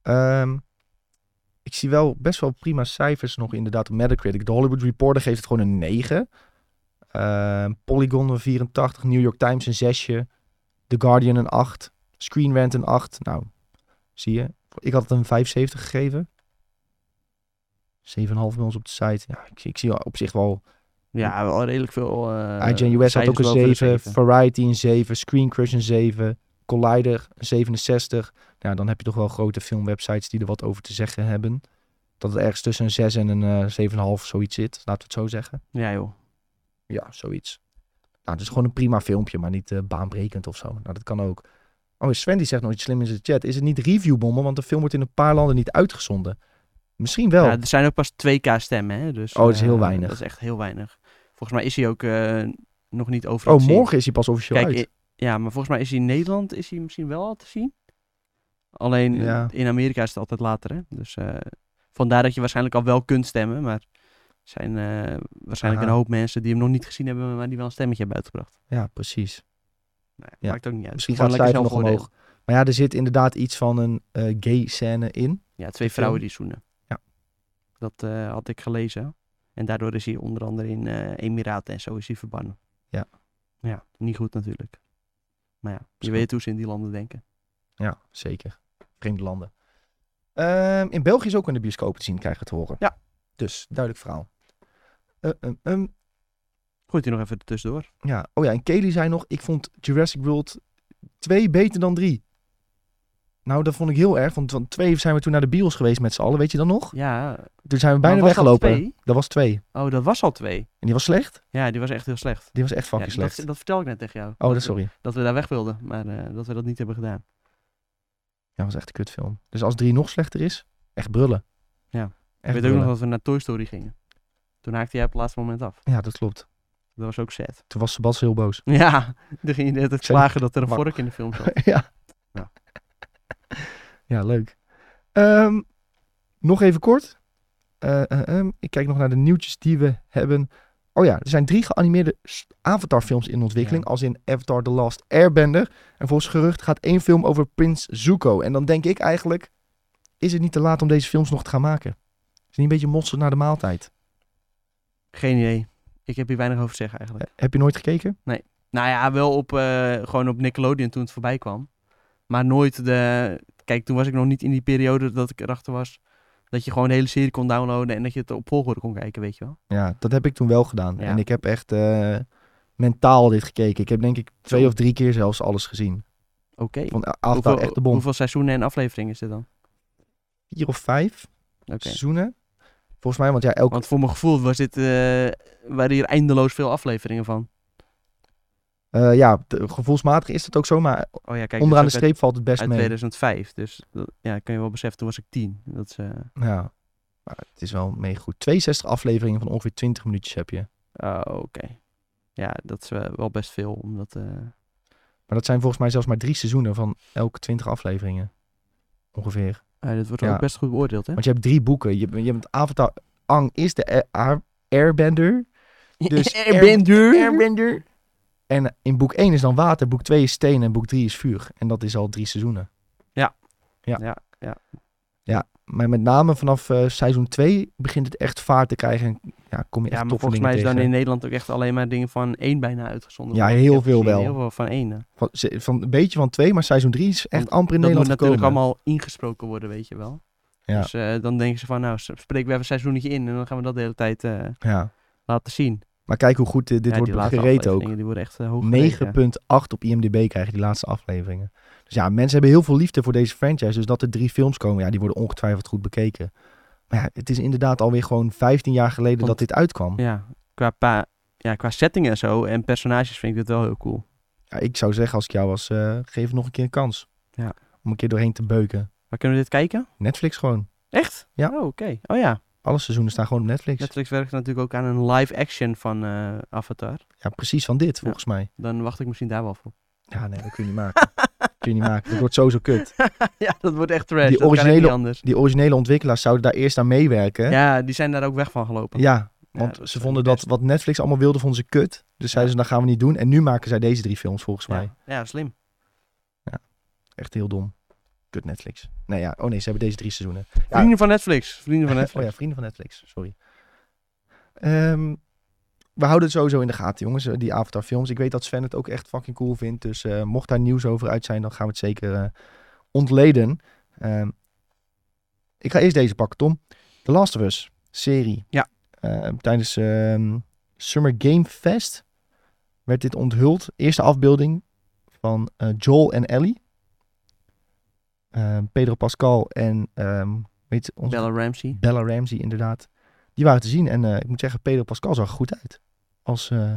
S1: Ehm, ik zie wel best wel prima cijfers nog inderdaad op Metacritic. De Hollywood Reporter geeft het gewoon een 9. Ehm, Polygon een 84. New York Times een 6. The Guardian een 8. Screen Rant een 8. Nou, zie je. Ik had het een 75 gegeven. 7,5 bij ons op de site. Ja, ik, ik zie op zich wel
S2: Ja, wel redelijk veel. eh
S1: IGN US had
S2: cijfers
S1: ook een
S2: wel voor de
S1: 7, Variety een 7, Screen Crush een 7, Collider een 67. Nou, dan heb je toch wel grote filmwebsites die er wat over te zeggen hebben. Dat het ergens tussen een 6 en een eh 7,5 zoiets zit, laten we het zo zeggen.
S2: Ja joh.
S1: Ja, zoiets. Nou, het is gewoon een prima filmpje, maar niet eh, baanbrekend of zo. Nou, dat kan ook. Oh, Sven die zegt nog iets slim in zijn chat. Is het niet reviewbommen, want de film wordt in een paar landen niet uitgezonden? Misschien wel.
S2: Ja, er zijn ook pas 2K stemmen, hè? Dus,
S1: Oh, dat is heel
S2: eh,
S1: weinig.
S2: Dat is echt heel weinig. Volgens mij is hij ook eh, nog niet overal
S1: oh,
S2: te zien.
S1: morgen is hij pas officieel
S2: Kijk,
S1: uit.
S2: i- ja, maar volgens mij is hij in Nederland is hij misschien wel al te zien. Alleen eh,
S1: Ja.
S2: in Amerika is het altijd later, hè? Dus eh, vandaar dat je waarschijnlijk al wel kunt stemmen, maar er zijn eh, waarschijnlijk
S1: Aha.
S2: een hoop mensen die hem nog niet gezien hebben, maar die wel een stemmetje hebben uitgebracht.
S1: Ja, precies.
S2: Nou, ja,
S1: Ja.
S2: Maakt ook niet uit.
S1: Misschien
S2: Gewoon
S1: gaat het
S2: lekker
S1: cijfer nog
S2: zelf oordelen.
S1: omhoog. Maar ja, er zit inderdaad iets van een eh, gay scène in.
S2: Ja, twee
S1: film.
S2: vrouwen die zoenen.
S1: Ja.
S2: Dat eh, had ik gelezen. En daardoor is hij onder andere in eh, Emiraten en zo is hij verbannen.
S1: Ja.
S2: Ja, niet goed natuurlijk. Maar ja, je
S1: Zo.
S2: weet hoe ze in die landen denken.
S1: Ja, zeker. Vreemde landen. Ehm, in België is ook in de bioscoop te zien, krijgen we te horen.
S2: Ja.
S1: Dus, duidelijk verhaal. Eh, ehm, ehm,
S2: Gooit hij nog even tussendoor.
S1: Ja. Oh ja, en Kelly zei nog, ik vond Jurassic World 2 beter dan 3. Nou, dat vond ik heel erg, want van 2 zijn we toen naar de bios geweest met z'n allen, weet je dat nog?
S2: Ja,
S1: Toen zijn we bijna
S2: was dat
S1: weggelopen.
S2: twee?
S1: Dat was 2. En
S2: oh, dat was al twee.
S1: die was slecht?
S2: Ja, die was echt heel slecht.
S1: Die was echt
S2: Ja,
S1: fucking
S2: dat,
S1: slecht.
S2: dat vertel ik net tegen jou.
S1: Oh, dat, sorry.
S2: Dat we daar weg wilden, maar eh, dat we dat niet hebben gedaan.
S1: Ja, dat was echt een kutfilm. Dus als 3 nog slechter is, echt brullen.
S2: Ja.
S1: Echt
S2: ik weet ook nog
S1: brullen.
S2: dat we naar Toy Story gingen. Toen haakte jij op het laatste moment af.
S1: Ja, dat klopt.
S2: Dat was ook sad.
S1: Toen was Sebas heel boos.
S2: Ja, toen ging je net het
S1: Zei-
S2: klagen dat er een
S1: Wa-
S2: vork in de film zat.
S1: ja.
S2: Ja.
S1: ja, leuk. Ehm, nog even kort. Eh, eh, ehm, ik kijk nog naar de nieuwtjes die we hebben. Oh ja, er zijn drie geanimeerde s- Avatar-films in ontwikkeling.
S2: Ja.
S1: Als in Avatar The Last Airbender. En volgens gerucht gaat één film over Prins Zuko. En dan denk ik eigenlijk, is het niet te laat om deze films nog te gaan maken? Is het niet een beetje mosterd naar de maaltijd?
S2: Geen idee. Ik heb hier weinig over te zeggen eigenlijk.
S1: Eh, Heb je nooit gekeken?
S2: Nou ja, wel op, eh, gewoon op Nickelodeon toen het voorbij kwam. Maar nooit de... Kijk, toen was ik nog niet in die periode dat ik erachter was... dat je gewoon de hele serie kon downloaden... en dat je het op volgorde kon kijken, weet je wel.
S1: Ja, dat heb ik toen wel gedaan.
S2: Ja.
S1: En ik heb echt eh, mentaal dit gekeken. Ik heb denk ik twee
S2: Zo.
S1: of drie keer zelfs alles gezien.
S2: Oké.
S1: Ik vond Avatar echt de bom.
S2: hoeveel seizoenen en afleveringen is dit dan?
S1: Vier of vijf
S2: Oké.
S1: seizoenen. Volgens mij, want ja, elke...
S2: Want voor mijn gevoel was dit, eh, waren hier eindeloos veel afleveringen van.
S1: eh, ja, de- gevoelsmatig is dat ook zo, maar
S2: Oh ja, kijk, dit is
S1: onderaan de
S2: ook uit-
S1: streep valt het best
S2: Uit
S1: mee.
S2: 2005, dus dat- ja, kun je wel beseffen, toen was ik tien. Dat is, eh,
S1: Ja, maar het is wel mee goed. 62 afleveringen van ongeveer 20 minuutjes heb je.
S2: ah, oké. Ja, dat is eh, wel best veel, omdat... eh,
S1: Maar dat zijn volgens mij zelfs maar drie seizoenen van elke 20 afleveringen. Ongeveer.
S2: Eh, dit wordt
S1: Ja.
S2: ook best goed beoordeeld, hè?
S1: Want je hebt drie boeken. Je, hebt- je hebt Avatar... Ang is de air- air- Airbender. Dus
S2: er bent duur.
S1: Airbender. En eh, in boek 1 is dan water, boek 2 is steen en boek 3 is vuur. En dat is al drie seizoenen.
S2: Ja.
S1: Ja.
S2: Ja, ja.
S1: Ja, maar met name vanaf eh, seizoen 2 begint het echt vaart te krijgen. En ja, kom je
S2: Ja,
S1: echt
S2: maar
S1: toffe
S2: volgens
S1: dingen
S2: mij is
S1: tegen.
S2: dan in Nederland ook echt alleen maar dingen van één bijna uitgezonden.
S1: Ja,
S2: worden.
S1: heel
S2: Ik heb
S1: veel
S2: gezien,
S1: wel.
S2: Heel veel van één. eh. hè.
S1: Van, ze- van een beetje van 2, maar seizoen 3 is echt
S2: Want
S1: amper in
S2: dat moet
S1: Nederland
S2: natuurlijk
S1: gekomen.
S2: allemaal ingesproken worden, weet je wel.
S1: Ja.
S2: Dus eh, dan denken ze van, nou, s- spreken we even een seizoenetje in en dan gaan we dat de hele tijd eh,
S1: Ja.
S2: laten zien.
S1: Maar kijk hoe goed eh, dit
S2: Ja, die
S1: wordt
S2: laatste
S1: gereed ook.
S2: afleveringen, Die worden echt eh, hoog
S1: 9.8
S2: gereden.
S1: op IMDb krijgen die laatste afleveringen. Dus ja, mensen hebben heel veel liefde voor deze franchise. Dus dat er drie films komen, ja, die worden ongetwijfeld goed bekeken. Maar ja, het is inderdaad alweer gewoon 15 jaar geleden
S2: Want-
S1: dat dit uitkwam.
S2: Ja, qua, pa- ja, qua setting en zo en personages vind ik dit wel heel cool.
S1: Ja, ik zou zeggen, als ik jou was, eh, geef het nog een keer een kans.
S2: Ja.
S1: Om een keer doorheen te beuken.
S2: Waar kunnen we dit kijken?
S1: Netflix gewoon.
S2: Echt?
S1: Ja.
S2: Oh, oké. Oh ja.
S1: Alle seizoenen staan gewoon op Netflix.
S2: Netflix werkt natuurlijk ook aan een live action van eh, Avatar.
S1: Ja, precies van dit, volgens mij.
S2: Dan wacht ik misschien daar wel voor.
S1: Ja, nee, dat kun je niet maken. dat kun je niet maken. Dat wordt sowieso kut.
S2: ja, dat wordt echt trash.
S1: Die
S2: dat kan echt
S1: originele-
S2: niet anders.
S1: Die originele ontwikkelaars zouden daar eerst aan meewerken.
S2: Ja, die zijn daar ook weg van gelopen.
S1: Ja,
S2: Ja,
S1: want
S2: dat is
S1: ze
S2: wel
S1: vonden
S2: niet
S1: dat wat Netflix allemaal wilde, vonden ze kut. Dus zeiden ze, dat gaan we niet doen. En nu maken zij deze drie films, volgens mij.
S2: Ja. ja, slim.
S1: Echt heel dom. Kut Netflix. Nee, ja. Oh nee, ze hebben deze drie seizoenen. Ja.
S2: Vrienden van Netflix. Vrienden van
S1: Oh
S2: Netflix.
S1: ja, vrienden van Netflix. Sorry. Ehm, we houden het sowieso in de gaten, jongens. eh, Die Avatar films. Ik weet dat Sven het ook echt fucking cool vindt. Dus eh, mocht daar nieuws over uit zijn, dan gaan we het zeker eh, ontleden. Ehm, ik ga eerst deze pakken, Tom. The Last of Us serie.
S2: Ja.
S1: Eh, tijdens ehm, Summer Game Fest werd dit onthuld. Eerste afbeelding van eh, Joel en Ellie. Ehm, Pedro Pascal en ehm, weet onze
S2: Bella Ramsey.
S1: Bella Ramsey inderdaad. Die waren te zien. En eh, ik moet zeggen, Pedro Pascal zag er goed uit. Als, eh,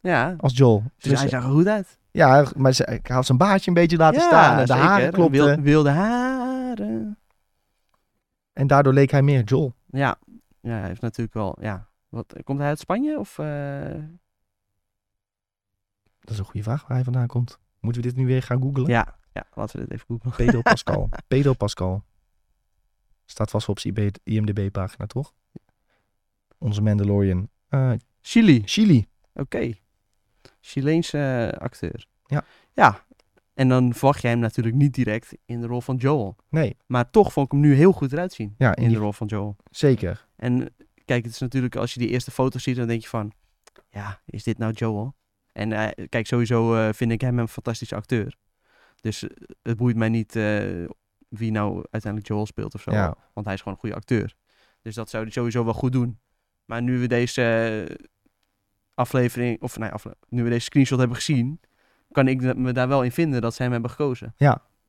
S2: Ja,
S1: als Joel.
S2: dus hij
S1: Dus,
S2: zag er goed uit.
S1: ja, maar ze, hij had zijn baardje een beetje laten
S2: ja,
S1: staan. En de
S2: zeker.
S1: haren klopten.
S2: Wil- wilde haren.
S1: En daardoor leek hij meer Joel.
S2: Ja. ja, hij heeft natuurlijk wel... Ja. Wat, komt hij uit Spanje of... eh,
S1: Dat is een goede vraag waar hij vandaan komt. Moeten we dit nu weer gaan googlen?
S2: Ja, ja, laten we dit even googlen.
S1: Pedro Pascal. Pedro Pascal. Staat vast op zijn IMDB-pagina, toch? Onze Mandalorian. Eh,
S2: Chili,
S1: Chili.
S2: oké. Chileense eh, acteur.
S1: Ja.
S2: Ja, en dan verwacht jij hem natuurlijk niet direct in de rol van Joel.
S1: Nee,
S2: Maar toch vond ik hem nu heel goed eruit zien
S1: ja, in
S2: in de
S1: die,
S2: rol van Joel.
S1: zeker.
S2: En kijk, het is natuurlijk als je die eerste foto's ziet, dan denk je van... Ja, is dit nou Joel? En eh, kijk, sowieso eh, vind ik hem een fantastische acteur. Dus eh, het boeit mij niet eh, wie nou uiteindelijk Joel speelt of zo.
S1: Ja.
S2: Want hij is gewoon een goede acteur. Dus dat zou hij sowieso wel goed doen. Maar nu we deze eh, aflevering, of nee, afle- nu we deze screenshot hebben gezien, kan ik da- me daar wel in vinden dat ze hem hebben gekozen.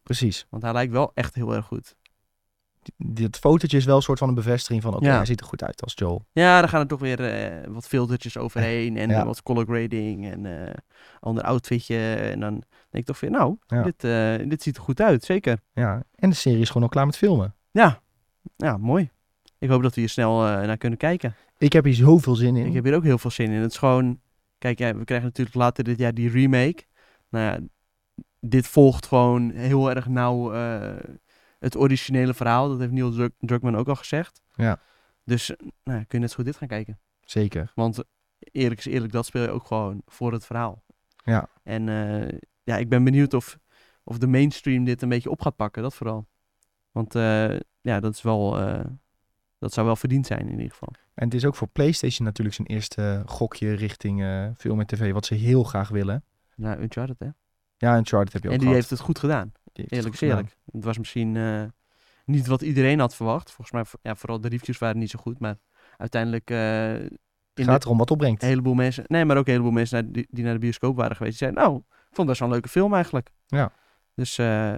S1: Precies.
S2: Want hij lijkt wel echt heel erg goed.
S1: Dit fotootje is wel een soort van een bevestiging van... oké,
S2: Ja.
S1: hij ziet er goed uit als Joel.
S2: Ja, daar gaan er toch weer eh, wat filtertjes overheen en
S1: Ja.
S2: eh, wat color grading en eh ander outfitje. En dan denk ik toch weer, nou,
S1: Ja.
S2: dit, eh, dit ziet er goed uit, zeker.
S1: Ja. En de serie is gewoon al klaar met filmen.
S2: Ja, ja mooi. Ik hoop dat we hier snel eh, naar kunnen kijken.
S1: Ik heb hier zoveel zin in.
S2: Ik heb hier ook heel veel zin in. Het is gewoon... Kijk, ja, we krijgen natuurlijk later dit jaar die remake. Nou ja, dit volgt gewoon heel erg nauw eh, het originele verhaal. Dat heeft Neil Druk- Druckmann ook al gezegd.
S1: Ja.
S2: Dus eh, nou, ja, kun je net zo goed dit gaan kijken.
S1: Zeker.
S2: Want eh, eerlijk is eerlijk, dat speel je ook gewoon voor het verhaal.
S1: Ja.
S2: En eh, ja, ik ben benieuwd of, of de mainstream dit een beetje op gaat pakken, dat vooral. Want eh, ja, dat is wel... eh, dat zou wel verdiend zijn in ieder geval.
S1: En het is ook voor PlayStation natuurlijk zijn eerste gokje richting eh, film en tv... wat ze heel graag willen.
S2: Nou, Uncharted, hè?
S1: Ja, Uncharted heb je ook
S2: En die
S1: gehad.
S2: heeft het goed gedaan,
S1: Die heeft het
S2: eerlijk
S1: goed
S2: is eerlijk. Het was misschien eh, niet wat iedereen had verwacht. Volgens mij, ja, vooral de reviews waren niet zo goed. Maar uiteindelijk... eh, in
S1: gedaan.
S2: de-
S1: Gaat erom wat opbrengt.
S2: een heleboel mensen, nee, maar ook een heleboel mensen naar, die, die naar de bioscoop waren geweest, die zeiden, nou, ik vond dat best wel een leuke film eigenlijk.
S1: Ja.
S2: Dus, eh,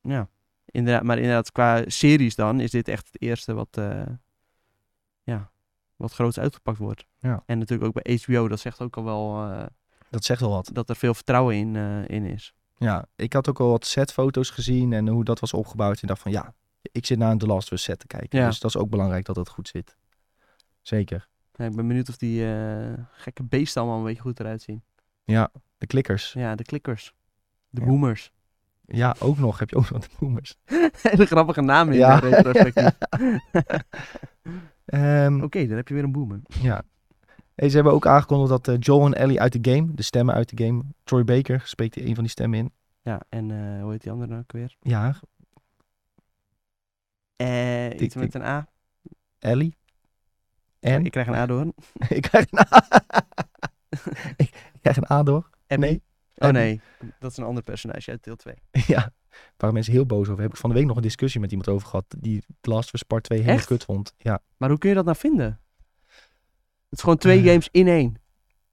S2: ja, inderdaad, maar inderdaad, qua series dan, is dit echt het eerste wat, eh, ja, wat groots uitgepakt wordt.
S1: Ja.
S2: En natuurlijk ook bij HBO, dat zegt ook al wel eh,
S1: Dat zegt wel wat.
S2: dat er veel vertrouwen in, eh, in is.
S1: Ja, ik had ook al wat setfoto's gezien en hoe dat was opgebouwd. En dacht van ja, ik zit naar een The Last of Us set te kijken.
S2: Ja.
S1: Dus dat is ook belangrijk dat het goed zit. Zeker.
S2: Ja, ik ben benieuwd of die eh, gekke beesten allemaal een beetje goed eruit zien.
S1: De klikkers.
S2: Ja, de klikkers. De
S1: Ja.
S2: boomers.
S1: Ja, ook nog. Heb je ook nog de boomers.
S2: Hele grappige naam in
S1: Ja.
S2: eh, retrospectief.
S1: Ehm,
S2: Oké, daar heb je weer een boomer.
S1: Ja. Hey, ze hebben ook aangekondigd dat eh, Joel en Ellie uit de game, de stemmen uit de game, Troy Baker spreekt een van die stemmen in.
S2: Ja, en eh, hoe heet die andere nou ook weer?
S1: Ja,
S2: Eh,
S1: Tik,
S2: iets met
S1: tik.
S2: een A. Oh,
S1: Ellie. En?
S2: Ik krijg een A door.
S1: ik krijg een A. ik krijg een A door.
S2: Abby?
S1: Nee.
S2: Oh
S1: Abby.
S2: nee, dat is een ander personage uit deel 2.
S1: Ja, waar mensen heel boos over. Heb ik van de week nog een discussie met iemand over gehad. Die The Last of Us Part 2 helemaal
S2: Echt?
S1: kut vond. Ja.
S2: Maar hoe kun je dat nou vinden? Het is gewoon twee
S1: Eh,
S2: games in één.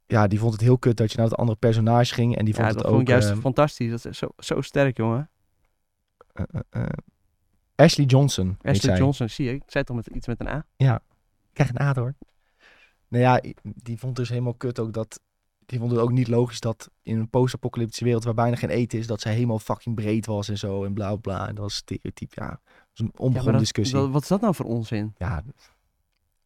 S1: ja, die vond het heel kut dat je naar het andere personage ging. En die
S2: Ja,
S1: vond
S2: dat
S1: het
S2: vond
S1: ook...
S2: ik juist
S1: ehm,
S2: fantastisch. Dat is zo, zo sterk, jongen.
S1: eh, eh, eh, Ashley Johnson. heet
S2: Ashley
S1: zij.
S2: Johnson, zie je. Ik zei toch met, iets met een A?
S1: Ik Krijg een A door. Nou ja, i- die vond dus helemaal kut ook dat... Die vond het ook niet logisch dat in een post-apocalyptische wereld waar bijna geen eten is, dat zij helemaal fucking breed was en zo en bla bla. En dat was stereotype, ja. Dat was een
S2: Ja,
S1: onbegonnen
S2: maar dat-
S1: discussie.
S2: dat- wat is dat nou voor onzin?
S1: Ja, dat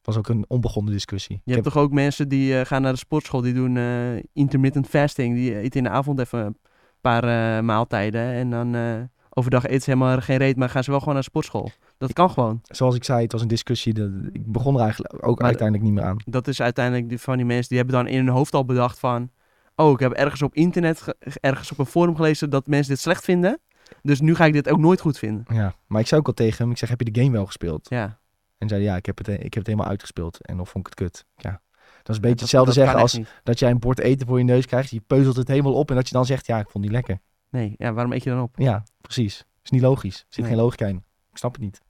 S1: was ook een onbegonnen discussie.
S2: Je
S1: Ik
S2: hebt toch ook mensen die eh, gaan naar de sportschool, die doen eh, intermittent fasting. Die eten in de avond even een paar eh, maaltijden. En dan eh, overdag eten ze helemaal geen reet, maar gaan ze wel gewoon naar de sportschool. Dat kan gewoon.
S1: zoals ik zei, het was een discussie. De, ik begon er eigenlijk ook
S2: Maar-
S1: uiteindelijk niet meer aan.
S2: dat is uiteindelijk die, van die mensen die hebben dan in hun hoofd al bedacht van... Oh, ik heb ergens op internet, ge- ergens op een forum gelezen dat mensen dit slecht vinden. Dus nu ga ik dit ook nooit goed vinden.
S1: Ja. Maar ik zei ook al tegen hem, ik zeg, heb je de game wel gespeeld?
S2: Ja,
S1: En zei hij, ja, ik heb het, ik heb het helemaal uitgespeeld. En dan vond ik het kut. Ja. Dat is een beetje
S2: dat-
S1: hetzelfde
S2: dat
S1: zeggen
S2: kan echt
S1: als
S2: niet.
S1: dat jij een bord eten voor je neus krijgt. Je peuzelt het helemaal op en dat je dan zegt, ja, ik vond die lekker.
S2: Nee, ja, waarom eet je dan op?
S1: Ja, precies. Is niet logisch. Er zit
S2: Nee.
S1: geen logica in. Ik snap het niet.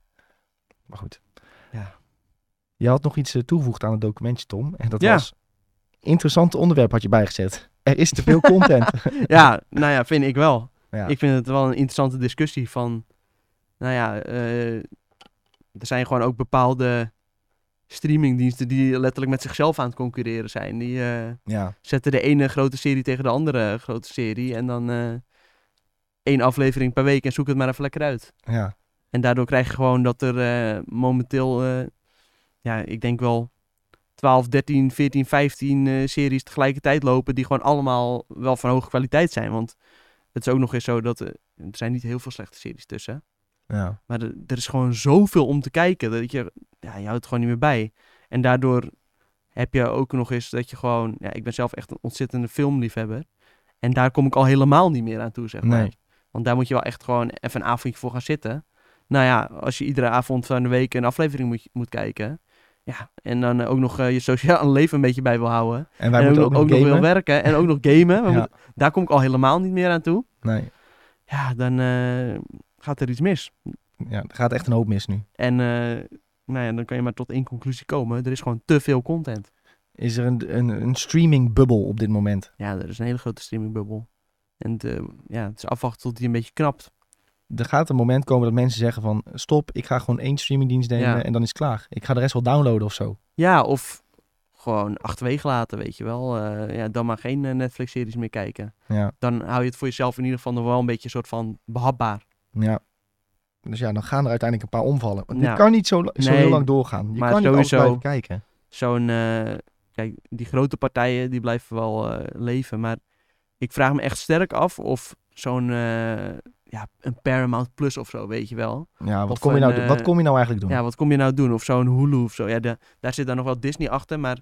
S1: Maar goed.
S2: Ja.
S1: Je had nog iets eh, toegevoegd aan het documentje, Tom. En dat
S2: Ja.
S1: was, interessant onderwerp had je bijgezet. Er is te veel content.
S2: Ja, nou ja, vind ik wel.
S1: Ja.
S2: Ik vind het wel een interessante discussie van... Nou ja, eh, er zijn gewoon ook bepaalde streamingdiensten die letterlijk met zichzelf aan het concurreren zijn. Die... eh,
S1: ja.
S2: zetten de ene grote serie tegen de andere grote serie. En dan eh, één aflevering per week en zoek het maar even lekker uit.
S1: Ja.
S2: En daardoor krijg je gewoon dat er eh, momenteel, eh, ja, ik denk wel 12, 13, 14, 15 eh, series tegelijkertijd lopen. Die gewoon allemaal wel van hoge kwaliteit zijn. Want het is ook nog eens zo dat eh, er zijn niet heel veel slechte series tussen.
S1: Ja.
S2: Maar er, er is gewoon zoveel om te kijken dat je, ja, je houdt het gewoon niet meer bij. En daardoor heb je ook nog eens dat je gewoon, ja, ik ben zelf echt een ontzettende filmliefhebber. En daar kom ik al helemaal niet meer aan toe, zeg maar.
S1: Nee.
S2: Want daar moet je wel echt gewoon even een avondje voor gaan zitten. Nou ja, als je iedere avond van de week een aflevering moet, moet kijken. Ja, en dan eh, ook nog eh, je sociale leven een beetje bij wil houden.
S1: En wij
S2: en
S1: moeten
S2: ook,
S1: ook,
S2: nog- ook
S1: nog
S2: nog wil
S1: gamen.
S2: werken en ook nog gamen. We
S1: Ja.
S2: moeten- daar kom ik al helemaal niet meer aan toe.
S1: Nee.
S2: Ja, dan eh, gaat er iets mis.
S1: Ja, er gaat echt een hoop mis nu.
S2: En eh, nou ja, dan kan je maar tot één conclusie komen. Er is gewoon te veel content.
S1: is er een, een, een streamingbubbel op dit moment.
S2: Ja, er is een hele grote streamingbubbel. En het, eh, ja, het is afwachten tot die een beetje knapt.
S1: Er gaat een moment komen dat mensen zeggen van... stop, ik ga gewoon één streamingdienst nemen
S2: Ja.
S1: en dan is het klaar. Ik ga de rest wel downloaden of zo.
S2: Ja, of gewoon achterwege laten, weet je wel. Eh, ja, dan maar geen eh, Netflix-series meer kijken.
S1: Ja,
S2: Dan hou je het voor jezelf in ieder geval nog wel een beetje een soort van behapbaar.
S1: ja. Dus ja, dan gaan er uiteindelijk een paar omvallen. Want
S2: Ja.
S1: dit kan niet zo, la- zo
S2: Nee,
S1: heel lang doorgaan. Je
S2: maar
S1: kan niet alles
S2: sowieso-
S1: blijven kijken.
S2: Zo'n, eh, kijk, die grote partijen, die blijven wel eh, leven. Maar ik vraag me echt sterk af of zo'n, eh, ja, een Paramount Plus of zo, weet je wel.
S1: Ja, wat
S2: Of
S1: kom, je nou,
S2: een,
S1: do- wat
S2: eh,
S1: kom je nou eigenlijk doen?
S2: Ja, wat kom je nou doen? Of zo'n Hulu of zo. Ja, de- daar zit dan nog wel Disney achter, maar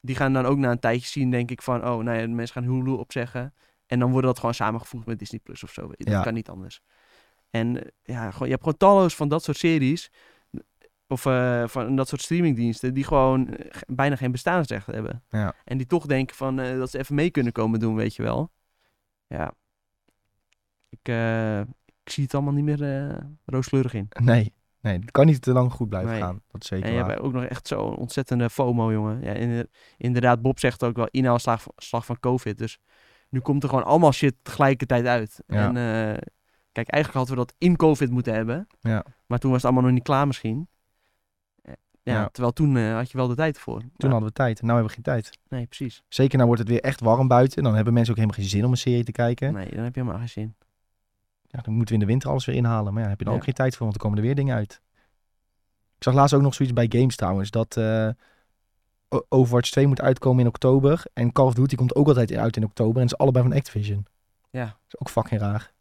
S2: die gaan dan ook na een tijdje zien, denk ik, van, oh, nou ja, de mensen gaan Hulu opzeggen. En dan wordt dat gewoon samengevoegd met Disney Plus of zo. Dat
S1: Ja.
S2: kan niet anders. En eh, ja, gewoon, je hebt gewoon talloos van dat soort series, of eh, van dat soort streamingdiensten, die gewoon eh, ge- bijna geen bestaansrecht hebben.
S1: Ja.
S2: En die toch denken van, eh, dat ze even mee kunnen komen doen, weet je wel. Ja. Ik, eh, ik zie het allemaal niet meer eh, rooskleurig in.
S1: Nee, nee, het kan niet te lang goed blijven
S2: Nee.
S1: gaan. Dat is
S2: En
S1: zeker
S2: je
S1: waar.
S2: hebt ook nog echt zo'n ontzettende FOMO, jongen. Ja, inder- inderdaad, Bob zegt ook wel inhaalslag slag van COVID. Dus nu komt er gewoon allemaal shit tegelijkertijd uit.
S1: Ja.
S2: En eh, kijk, eigenlijk hadden we dat in COVID moeten hebben.
S1: Ja.
S2: Maar toen was het allemaal nog niet klaar misschien. Eh, Ja,
S1: Ja.
S2: Terwijl toen eh, had je wel de tijd voor.
S1: Toen hadden we tijd, nou hebben we geen tijd.
S2: Nee, precies.
S1: Zeker nou wordt het weer echt warm buiten. Dan hebben mensen ook helemaal geen zin om een serie te kijken.
S2: Nee, dan heb je helemaal geen zin.
S1: Ja, dan moeten we in de winter alles weer inhalen. Maar ja, heb je dan
S2: Ja.
S1: ook geen tijd voor, want er komen er weer dingen uit. Ik zag laatst ook nog zoiets bij games trouwens. Dat eh, O- Overwatch 2 moet uitkomen in oktober. En Call of Duty komt ook altijd uit in oktober. En het is allebei van Activision.
S2: Ja.
S1: Dat is ook fucking raar.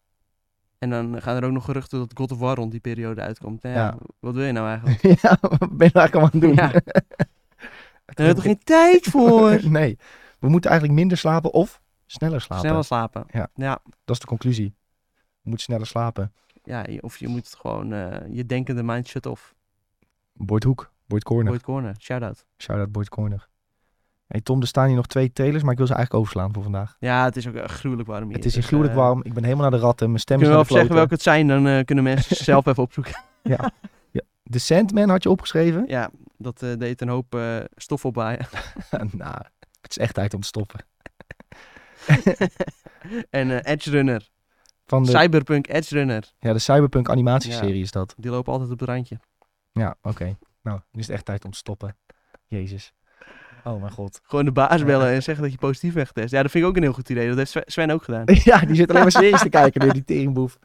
S2: En dan gaan er ook nog geruchten dat God of War rond die periode uitkomt. Nou ja,
S1: Ja.
S2: Wat wil je nou eigenlijk?
S1: ja, wat ben je nou eigenlijk allemaal aan het doen?
S2: Ja. Daar hebben we toch geen tijd voor?
S1: nee, we moeten eigenlijk minder slapen of sneller slapen.
S2: Sneller slapen.
S1: Ja.
S2: ja.
S1: Dat is de conclusie. We moeten sneller slapen.
S2: Ja, je- of je moet gewoon eh, je denkende mind shut off.
S1: Boyd Hoek, Boyd Corner.
S2: Boyd Corner, shout-out.
S1: Shout-out Boyd Corner. Hey Tom, er staan hier nog twee telers, maar ik wil ze eigenlijk overslaan voor vandaag.
S2: Ja, het is ook echt gruwelijk warm hier.
S1: Het is hier
S2: dus,
S1: gruwelijk
S2: eh,
S1: warm. Ik ben helemaal naar de ratten. Mijn stem is
S2: Kunnen we
S1: naar
S2: wel
S1: de
S2: even zeggen
S1: kloten.
S2: welke het zijn, dan eh, kunnen mensen zelf even opzoeken.
S1: De Sandman had je opgeschreven?
S2: Ja, dat eh, deed een hoop eh, stof opwaaien.
S1: nou, het is echt tijd om te stoppen.
S2: en eh, Edge Runner,
S1: Van de,
S2: Cyberpunk Edge Runner,
S1: ja, de Cyberpunk animatieserie is dat.
S2: die lopen altijd op het randje.
S1: Ja, oké. Nou, nu is het echt tijd om te stoppen. Jezus. Oh mijn god.
S2: Gewoon de baas bellen en zeggen dat je positief wegtest. Ja, dat vind ik ook een heel goed idee. Dat heeft Sven- Sven ook gedaan.
S1: ja, die zit alleen maar series te kijken, weer, die teringboef.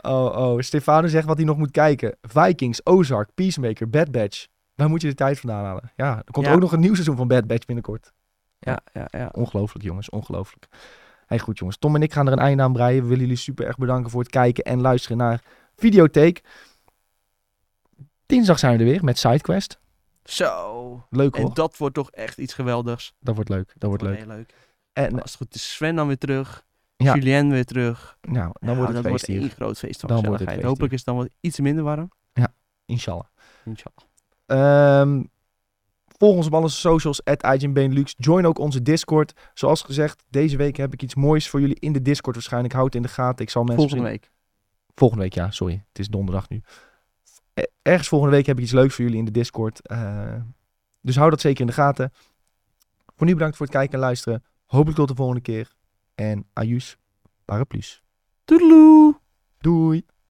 S1: Oh, oh. Stefano zegt wat hij nog moet kijken. Vikings, Ozark, Peacemaker, Bad Batch. Daar moet je de tijd vandaan halen. Ja, er komt
S2: Ja.
S1: ook nog een nieuw seizoen van Bad Batch binnenkort.
S2: Ja, ja, ja.
S1: Ongelooflijk, jongens. Ongelooflijk. Hey, goed, jongens. Tom en ik gaan er een einde aan breien. We willen jullie super erg bedanken voor het kijken en luisteren naar Videotheek. Dinsdag zijn we er weer met SideQuest.
S2: Zo.
S1: Leuk hoor.
S2: En
S1: Dat...
S2: dat wordt toch echt iets geweldigs.
S1: wordt leuk. Dat wordt leuk.
S2: heel leuk.
S1: En
S2: Als het goed is, Sven dan weer terug.
S1: Ja.
S2: Julien weer terug.
S1: nou, dan
S2: Ja,
S1: wordt het
S2: dat
S1: feest hier.
S2: één groot feest van
S1: Dan wordt het
S2: gezelligheid.
S1: feest
S2: Hopelijk is het dan wat iets minder warm.
S1: Inshallah.
S2: Inshallah.
S1: Ehm, volg ons op alle socials, at Join ook onze Discord. Zoals gezegd, deze week heb ik iets moois voor jullie in de Discord waarschijnlijk. Houd het in de gaten. Ik zal mensen...
S2: Volgende week.
S1: Volgende week, ja, sorry. Het is donderdag nu. Eh, Ergens volgende week heb ik iets leuks voor jullie in de Discord. Eh, dus hou dat zeker in de gaten. Voor nu bedankt voor het kijken en luisteren. Hopelijk tot de volgende keer. En ajus, paraplu's.
S2: Toedeloe!
S1: Doei!